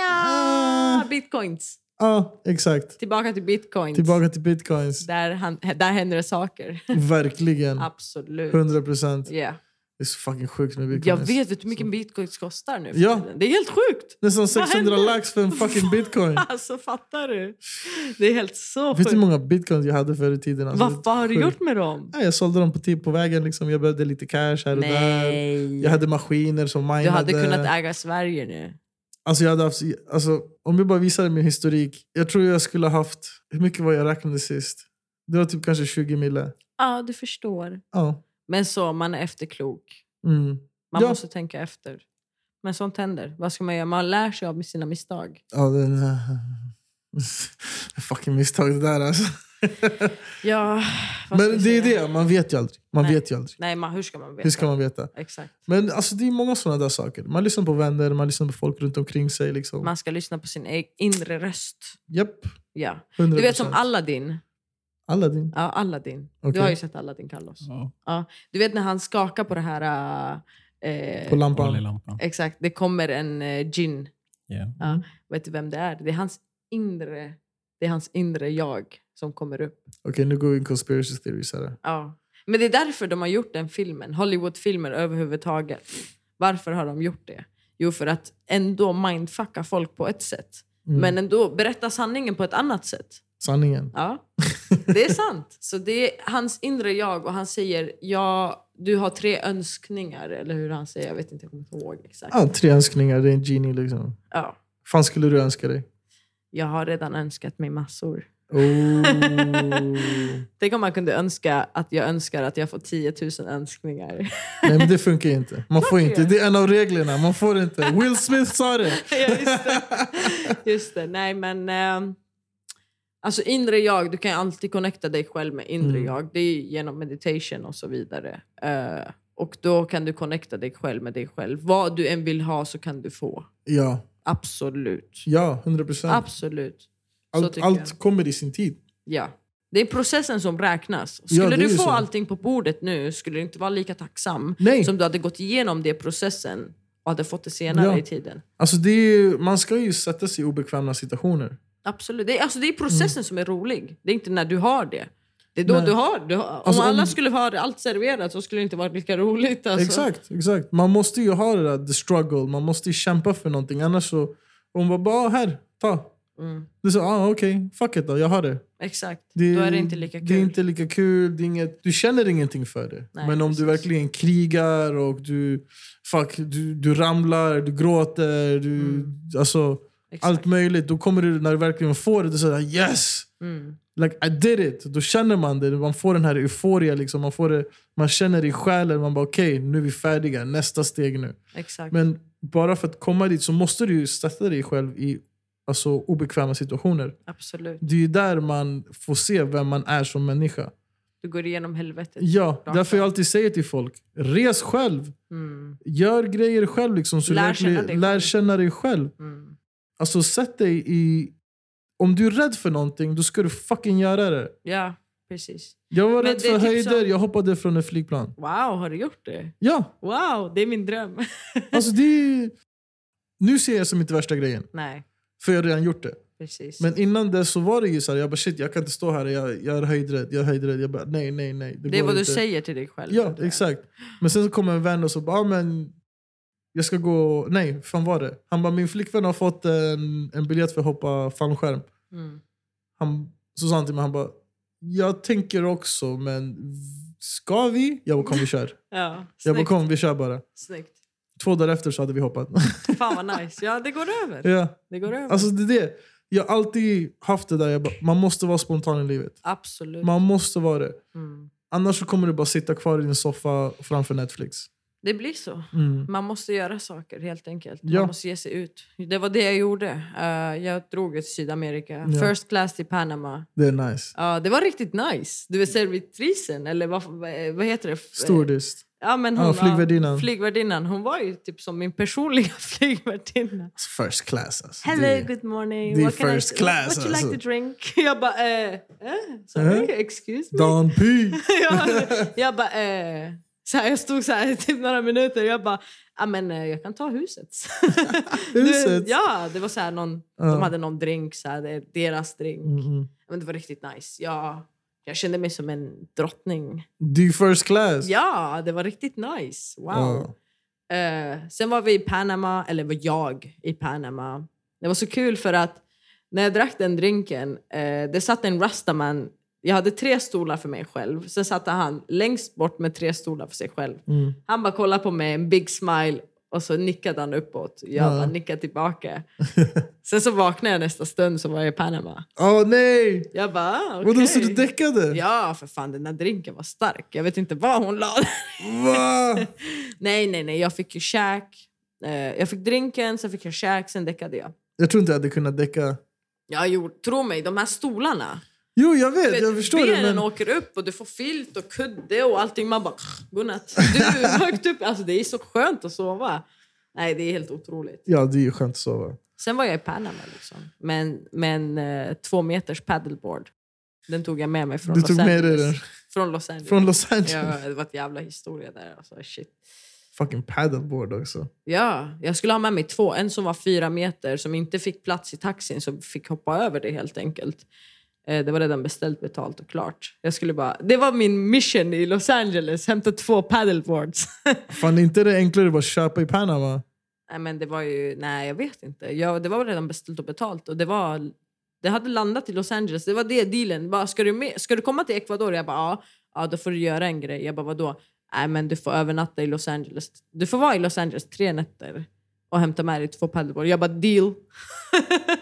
Speaker 2: Ah.
Speaker 1: Ja, bitcoins.
Speaker 2: Ja, exakt.
Speaker 1: Tillbaka till bitcoins.
Speaker 2: Tillbaka Mm. till bitcoins.
Speaker 1: Där, han, där händer det saker.
Speaker 2: Verkligen.
Speaker 1: Absolut.
Speaker 2: 100 procent.
Speaker 1: Ja.
Speaker 2: Det är så fucking sjukt med bitcoins.
Speaker 1: Jag vet, vet du hur mycket bitcoins kostar nu för
Speaker 2: Ja.
Speaker 1: tiden? Det är helt sjukt! <laughs>
Speaker 2: Nästan
Speaker 1: Vad
Speaker 2: 600
Speaker 1: hände?
Speaker 2: lax för en fucking bitcoin.
Speaker 1: Alltså fattar du? Det är helt så
Speaker 2: vet du hur
Speaker 1: sjukt.
Speaker 2: många bitcoins jag hade förr i tiden? Alltså,
Speaker 1: Vad fan har du
Speaker 2: sjukt.
Speaker 1: gjort med dem?
Speaker 2: Ja, jag sålde dem på, typ på vägen. Liksom. Jag behövde lite cash här och där. Jag hade maskiner som minade.
Speaker 1: Du hade kunnat äga Sverige nu.
Speaker 2: Alltså jag hade haft, alltså, om jag bara visade min historik. Jag tror jag skulle ha haft... Hur mycket var jag räknade sist? Det var typ kanske 20 mille.
Speaker 1: Ja, du förstår.
Speaker 2: Ja.
Speaker 1: Men så, man är efterklok.
Speaker 2: Mm.
Speaker 1: Man
Speaker 2: Ja.
Speaker 1: måste tänka efter. Men sånt händer. Vad ska man göra? Man lär sig av sina misstag.
Speaker 2: ja den, eh, <laughs> fucking misstag det där alltså.
Speaker 1: Ja, vad ska
Speaker 2: Men
Speaker 1: jag
Speaker 2: det är
Speaker 1: säga?
Speaker 2: det, man vet ju aldrig. Man
Speaker 1: Nej.
Speaker 2: vet ju aldrig.
Speaker 1: Nej, man, hur ska man veta?
Speaker 2: Hur ska man veta?
Speaker 1: Exakt.
Speaker 2: Men alltså, det är många sådana där saker. Man lyssnar på vänner, man lyssnar på folk runt omkring sig. Liksom.
Speaker 1: Man ska lyssna på sin e- inre röst.
Speaker 2: Japp,
Speaker 1: Ja.
Speaker 2: 100%.
Speaker 1: Du vet som Aladdin.
Speaker 2: Aladdin.
Speaker 1: Ja, Aladdin. Du
Speaker 2: Okej.
Speaker 1: har ju sett Aladdin, Carlos.
Speaker 3: Ja,
Speaker 1: Du vet när han skakar på det här... eh, eh,
Speaker 2: På lampan.
Speaker 3: oljelampan.
Speaker 1: exakt, det kommer en eh, gin.
Speaker 3: Ja.
Speaker 1: Ja. Vet du vem det är? Det är hans inre, det är hans inre jag som kommer upp.
Speaker 2: Okej, nu går vi in conspiracy theories här. Mm.
Speaker 1: Ja. Men det är därför de har gjort den filmen. Hollywoodfilmer överhuvudtaget. Varför har de gjort det? Jo, för att ändå mindfucka folk på ett sätt.
Speaker 2: Mm.
Speaker 1: Men ändå berätta sanningen på ett annat sätt.
Speaker 2: Sanningen.
Speaker 1: Ja, det är sant. Så det är hans inre jag och han säger ja, du har tre önskningar. Eller hur han säger, jag vet inte, jag kommer inte ihåg exakt.
Speaker 2: Ja, tre önskningar, det är en genie liksom.
Speaker 1: Ja,
Speaker 2: fan skulle du önska dig?
Speaker 1: jag har redan önskat mig massor.
Speaker 2: Oh.
Speaker 1: Tänk om man kunde önska att jag önskar att jag får 10 000 önskningar.
Speaker 2: Nej, men det funkar ju inte. Man får
Speaker 1: det
Speaker 2: inte.
Speaker 1: gör.
Speaker 2: Det är en av reglerna. Man får inte. Will Smith sa det.
Speaker 1: ja, just det. Just det. Nej, men... ehm, alltså inre jag, du kan ju alltid connecta dig själv med inre
Speaker 2: Mm.
Speaker 1: jag. Det är ju genom meditation och så vidare. Eh, och då kan du connecta dig själv med dig själv. Vad du än vill ha så kan du få.
Speaker 2: Ja,
Speaker 1: Absolut.
Speaker 2: ja 100 procent.
Speaker 1: Absolut. så
Speaker 2: Allt,
Speaker 1: tycker
Speaker 2: allt kommer i sin tid.
Speaker 1: jag. Ja. Det är processen som räknas. Skulle
Speaker 2: det är
Speaker 1: du
Speaker 2: ju
Speaker 1: få
Speaker 2: så.
Speaker 1: allting på bordet nu skulle du inte vara lika tacksam
Speaker 2: Nej,
Speaker 1: som du hade gått igenom det processen och hade fått det senare
Speaker 2: Ja.
Speaker 1: i tiden.
Speaker 2: alltså det är ju, man ska ju sätta sig i obekväma situationer.
Speaker 1: Absolut. Det är, alltså, det är processen som är rolig. Det är inte när du har det. Det är då
Speaker 2: Mm. Nej.
Speaker 1: du har det. Om
Speaker 2: Alltså, om-
Speaker 1: alla skulle ha det- allt serverat så skulle det inte vara lika roligt. Alltså.
Speaker 2: Exakt, exakt. Man måste ju ha det där, the struggle. Man måste ju kämpa för någonting. Annars så... Hon bara, bara "Ah, här, ta.
Speaker 1: Mm.
Speaker 2: Du sa, ah, okej, fuck it då, jag har det.
Speaker 1: Exakt.
Speaker 2: Det,
Speaker 1: då är det inte lika kul.
Speaker 2: Det är inte lika kul. Det är inget, du känner ingenting för det.
Speaker 1: Nej,
Speaker 2: Men om du
Speaker 1: precis.
Speaker 2: verkligen krigar och du, fuck, du, du ramlar, du gråter, du,
Speaker 1: Mm.
Speaker 2: alltså,
Speaker 1: Exakt.
Speaker 2: allt möjligt. Då kommer du, när du verkligen får det, du säger yes!
Speaker 1: Mm.
Speaker 2: Like I did it! Då känner man det. Man får den här euforia. Liksom. Man, får det, man känner det i själen. Man bara okej, nu är vi färdiga. Nästa steg nu.
Speaker 1: Exakt.
Speaker 2: Men bara för att komma dit så måste du ju sätta dig själv i alltså, obekväma situationer.
Speaker 1: Absolut.
Speaker 2: Det är ju där man får se vem man är som människa.
Speaker 1: Du går igenom helvetet.
Speaker 2: Ja,
Speaker 1: Rakt
Speaker 2: därför jag alltid säger till folk, res själv.
Speaker 1: Mm.
Speaker 2: Gör grejer själv. Liksom, så
Speaker 1: Lär
Speaker 2: lär,
Speaker 1: känna dig
Speaker 2: känna lär
Speaker 1: själv.
Speaker 2: känna dig själv.
Speaker 1: Mm.
Speaker 2: Alltså sätt dig i... Om du är rädd för någonting, då ska du fucking göra det.
Speaker 1: Ja, precis.
Speaker 2: Jag var
Speaker 1: Men
Speaker 2: rädd
Speaker 1: det är
Speaker 2: för
Speaker 1: typ
Speaker 2: höjder,
Speaker 1: som-
Speaker 2: jag hoppade från ett flygplan.
Speaker 1: Wow, har du gjort det?
Speaker 2: Ja,
Speaker 1: Wow, det är min dröm. <laughs>
Speaker 2: alltså det är... Nu ser jag det som inte värsta grejen,
Speaker 1: Nej,
Speaker 2: för jag har redan gjort det.
Speaker 1: precis.
Speaker 2: Men innan det så var det ju så här, jag bara shit, jag kan inte stå här, jag, jag är höjdrädd, jag är höjdrädd. Jag bara nej, nej, nej.
Speaker 1: det är
Speaker 2: går
Speaker 1: vad du
Speaker 2: inte.
Speaker 1: säger till dig själv.
Speaker 2: Ja,
Speaker 1: att du är.
Speaker 2: exakt. Men sen så kommer en vän och så bara, ah, men jag ska gå... Nej, fan var det? Han bara, min flickvän har fått en, en biljett för att hoppa fallskärm.
Speaker 1: Mm.
Speaker 2: Han, så sa han till mig, han bara, jag tänker också men Ska vi? Jag bara kom vi kör.
Speaker 1: Ja,
Speaker 2: Jag bara
Speaker 1: snyggt,
Speaker 2: kom vi kör bara.
Speaker 1: snyggt.
Speaker 2: Två dagar efter så hade vi hoppat. <laughs>
Speaker 1: Fan vad nice. Ja, det går över.
Speaker 2: ja.
Speaker 1: Det går över.
Speaker 2: Alltså det är det. Jag har alltid haft det där, jag bara, man måste vara spontan i livet.
Speaker 1: Absolut.
Speaker 2: Man måste vara det.
Speaker 1: Mm.
Speaker 2: Annars så kommer du bara sitta kvar i din soffa framför Netflix.
Speaker 1: Det blir så.
Speaker 2: Mm.
Speaker 1: Man måste göra saker helt enkelt.
Speaker 2: Ja.
Speaker 1: Man måste ge sig ut. Det var det jag gjorde. Eh, jag drog till Sydamerika.
Speaker 2: Ja.
Speaker 1: First class till Panama.
Speaker 2: Det är nice.
Speaker 1: Ja, det var riktigt nice. Du är servitrisen, eller vad, vad- vad heter det?
Speaker 2: Stordist.
Speaker 1: Ja, men hon,
Speaker 2: Ja,
Speaker 1: ja,
Speaker 2: flygvärdinnan.
Speaker 1: flygvärdinnan. Hon var ju typ som min personliga <laughs> flygvärdinna.
Speaker 2: First class alltså.
Speaker 1: Hello,
Speaker 2: Det-
Speaker 1: good morning.
Speaker 2: det är
Speaker 1: What can
Speaker 2: first
Speaker 1: I,
Speaker 2: class,
Speaker 1: What you like
Speaker 2: alltså.
Speaker 1: to drink? <laughs> Jag bara, eh, eh, sorry,
Speaker 2: Eh?
Speaker 1: <laughs> excuse me.
Speaker 2: Don
Speaker 1: <laughs>
Speaker 2: P!
Speaker 1: jag,
Speaker 2: <laughs>
Speaker 1: <laughs> jag bara... Eh, så här, jag stod så här i typ några minuter jag bara... Ja, men eh, jag kan ta huset. <laughs>
Speaker 2: Huset?
Speaker 1: Du, ja, det var så här någon,
Speaker 2: Ja.
Speaker 1: de hade någon drink, så här, det är deras drink.
Speaker 2: Mm, mm.
Speaker 1: Men det var riktigt nice. Jag, jag kände mig som en drottning.
Speaker 2: The first class!
Speaker 1: Ja, det var riktigt nice. Wow.
Speaker 2: Ja.
Speaker 1: Eh, sen var vi i Panama, eller var jag i Panama. Det var så kul för att när jag drack den drinken, eh, det satt en rastaman. Jag hade tre stolar för mig själv. Sen satt han längst bort med tre stolar för sig själv.
Speaker 2: Mm.
Speaker 1: Han bara kollade på mig, en big smile, och så nickade han uppåt. Jag
Speaker 2: Ja.
Speaker 1: bara nickade
Speaker 2: <laughs>
Speaker 1: tillbaka. sen så vaknade jag nästa stund så var jag i Panama.
Speaker 2: Åh nej!
Speaker 1: Jag bara, ah, okej.
Speaker 2: Vadå, så du däckade?
Speaker 1: Ja, för fan, den där drinken var stark. Jag vet inte vad hon la <laughs>
Speaker 2: Va?
Speaker 1: Nej, nej, nej. Jag fick ju käk. Eh, Jag fick drinken, sen fick jag käk, sen däckade jag.
Speaker 2: Jag tror inte jag hade kunnat däcka.
Speaker 1: Jag gjorde, tro mig, de här stolarna.
Speaker 2: Jo, jag vet,
Speaker 1: Du
Speaker 2: jag
Speaker 1: vet,
Speaker 2: förstår
Speaker 1: benen
Speaker 2: det. Men...
Speaker 1: åker upp och du får filt och kudde och allting. Man bara, godnatt. Du, <laughs> högt upp. Alltså, det är så skönt att sova. Nej, det är helt otroligt.
Speaker 2: Ja, det är ju skönt att sova.
Speaker 1: Sen var jag i Panama liksom. Men, men eh, två meters paddleboard. Den tog jag med mig från
Speaker 2: Du
Speaker 1: Los
Speaker 2: tog med dig
Speaker 1: Angeles.
Speaker 2: den?
Speaker 1: <laughs> Från Los Angeles.
Speaker 2: Från Los Angeles.
Speaker 1: ja, det var ett jävla historia där. Alltså, shit.
Speaker 2: Fucking paddleboard också.
Speaker 1: Ja, jag skulle ha med mig två. En som var fyra meter som inte fick plats i taxin så fick hoppa över det helt enkelt. Eh, Det var redan beställt, betalt och klart. Jag skulle bara, det var min mission i Los Angeles, hämta två paddleboards. <laughs>
Speaker 2: Fan, är inte det enklare att bara köpa i Panama?
Speaker 1: nej, men det var ju, nej jag vet inte. Jag, det var redan beställt och betalt och det var, det hade landat i Los Angeles. Det var det dealen. Bara, ska, du med, ska du komma till Ecuador? Jag bara, ja, ja, då får du göra en grej. Jag bara, vadå? Nej, men du får övernatta i Los Angeles. Du får vara i Los Angeles tre nätter och hämta med dig två paddleboard. Jag bara, deal. <laughs>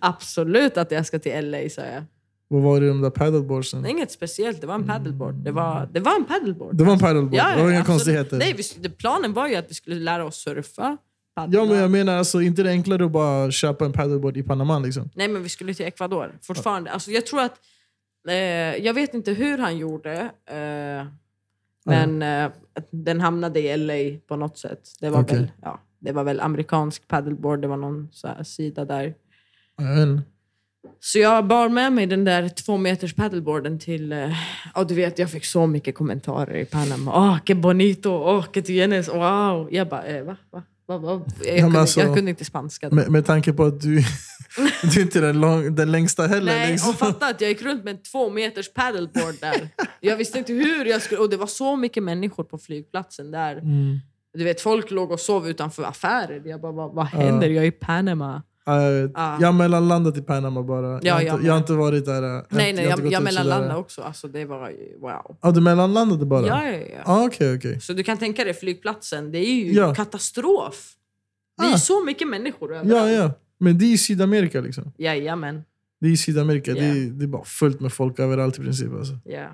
Speaker 1: Absolut att jag ska till LA, sa jag.
Speaker 2: Vad var det i de där paddleboardsen?
Speaker 1: Det är Inget speciellt, det var en paddleboard. Det var, det var en paddleboard.
Speaker 2: Det var en paddleboard,
Speaker 1: Ja, ja,
Speaker 2: det var inga
Speaker 1: absolut.
Speaker 2: konstigheter.
Speaker 1: Nej, vi, det- planen var ju att vi skulle lära oss surfa.
Speaker 2: ja, men
Speaker 1: paddla.
Speaker 2: jag menar, alltså, inte det enklare att bara köpa en paddleboard i Panama? Liksom.
Speaker 1: Nej, men vi skulle till Ecuador fortfarande. Alltså, jag tror att... Eh, jag vet inte hur han gjorde, eh, men eh, att den hamnade i LA på något sätt. Det var,
Speaker 2: Okej.
Speaker 1: väl, ja, det var väl amerikansk paddleboard, det var någon så här sida där.
Speaker 2: Ja, jag vet inte.
Speaker 1: Så jag bar med mig den där två meters paddleboarden till... eh, Ja, du vet, jag fick så mycket kommentarer i Panama. Åh, que bonito! Åh, que tienes! Wow! Jag bara, eh, va? va? va, va? Jag,
Speaker 2: men
Speaker 1: kunde,
Speaker 2: alltså-
Speaker 1: jag kunde inte spanska. då.
Speaker 2: Med, med tanke på
Speaker 1: <laughs>
Speaker 2: att du, du är inte är den, lång, den längsta heller.
Speaker 1: Nej,
Speaker 2: liksom.
Speaker 1: och fatta att jag gick runt med en två meters paddleboard där. Jag visste inte hur jag skulle... Och det var så mycket människor på flygplatsen där.
Speaker 2: mm.
Speaker 1: Du vet, folk låg och sov utanför affärer. Jag bara, vad, vad händer? Jag är i Panama. Ah.
Speaker 2: Ja, jag vet.
Speaker 1: Ja.
Speaker 2: Jag har mellanlandat i Panama bara. jag,
Speaker 1: Ja,
Speaker 2: har
Speaker 1: jag
Speaker 2: inte,
Speaker 1: med.
Speaker 2: jag har inte varit där. äh, inte-
Speaker 1: Nej, nej,
Speaker 2: har inte
Speaker 1: jag,
Speaker 2: gått
Speaker 1: jag
Speaker 2: ut
Speaker 1: mellanlandade
Speaker 2: sådär.
Speaker 1: också. Alltså, det var ju... Wow.
Speaker 2: Ja, du mellanlandade bara?
Speaker 1: Ja, ja, ja.
Speaker 2: Ah, okej, okej.
Speaker 1: Så du kan tänka dig flygplatsen. Det är ju
Speaker 2: Ja.
Speaker 1: katastrof. Det är
Speaker 2: Ah.
Speaker 1: så mycket människor
Speaker 2: Ja,
Speaker 1: överallt.
Speaker 2: ja. Men det är i Sydamerika liksom.
Speaker 1: Jajamän.
Speaker 2: Det är i Sydamerika. Det, är,
Speaker 1: Ja.
Speaker 2: det är bara fullt med folk överallt i princip. Alltså.
Speaker 1: Ja.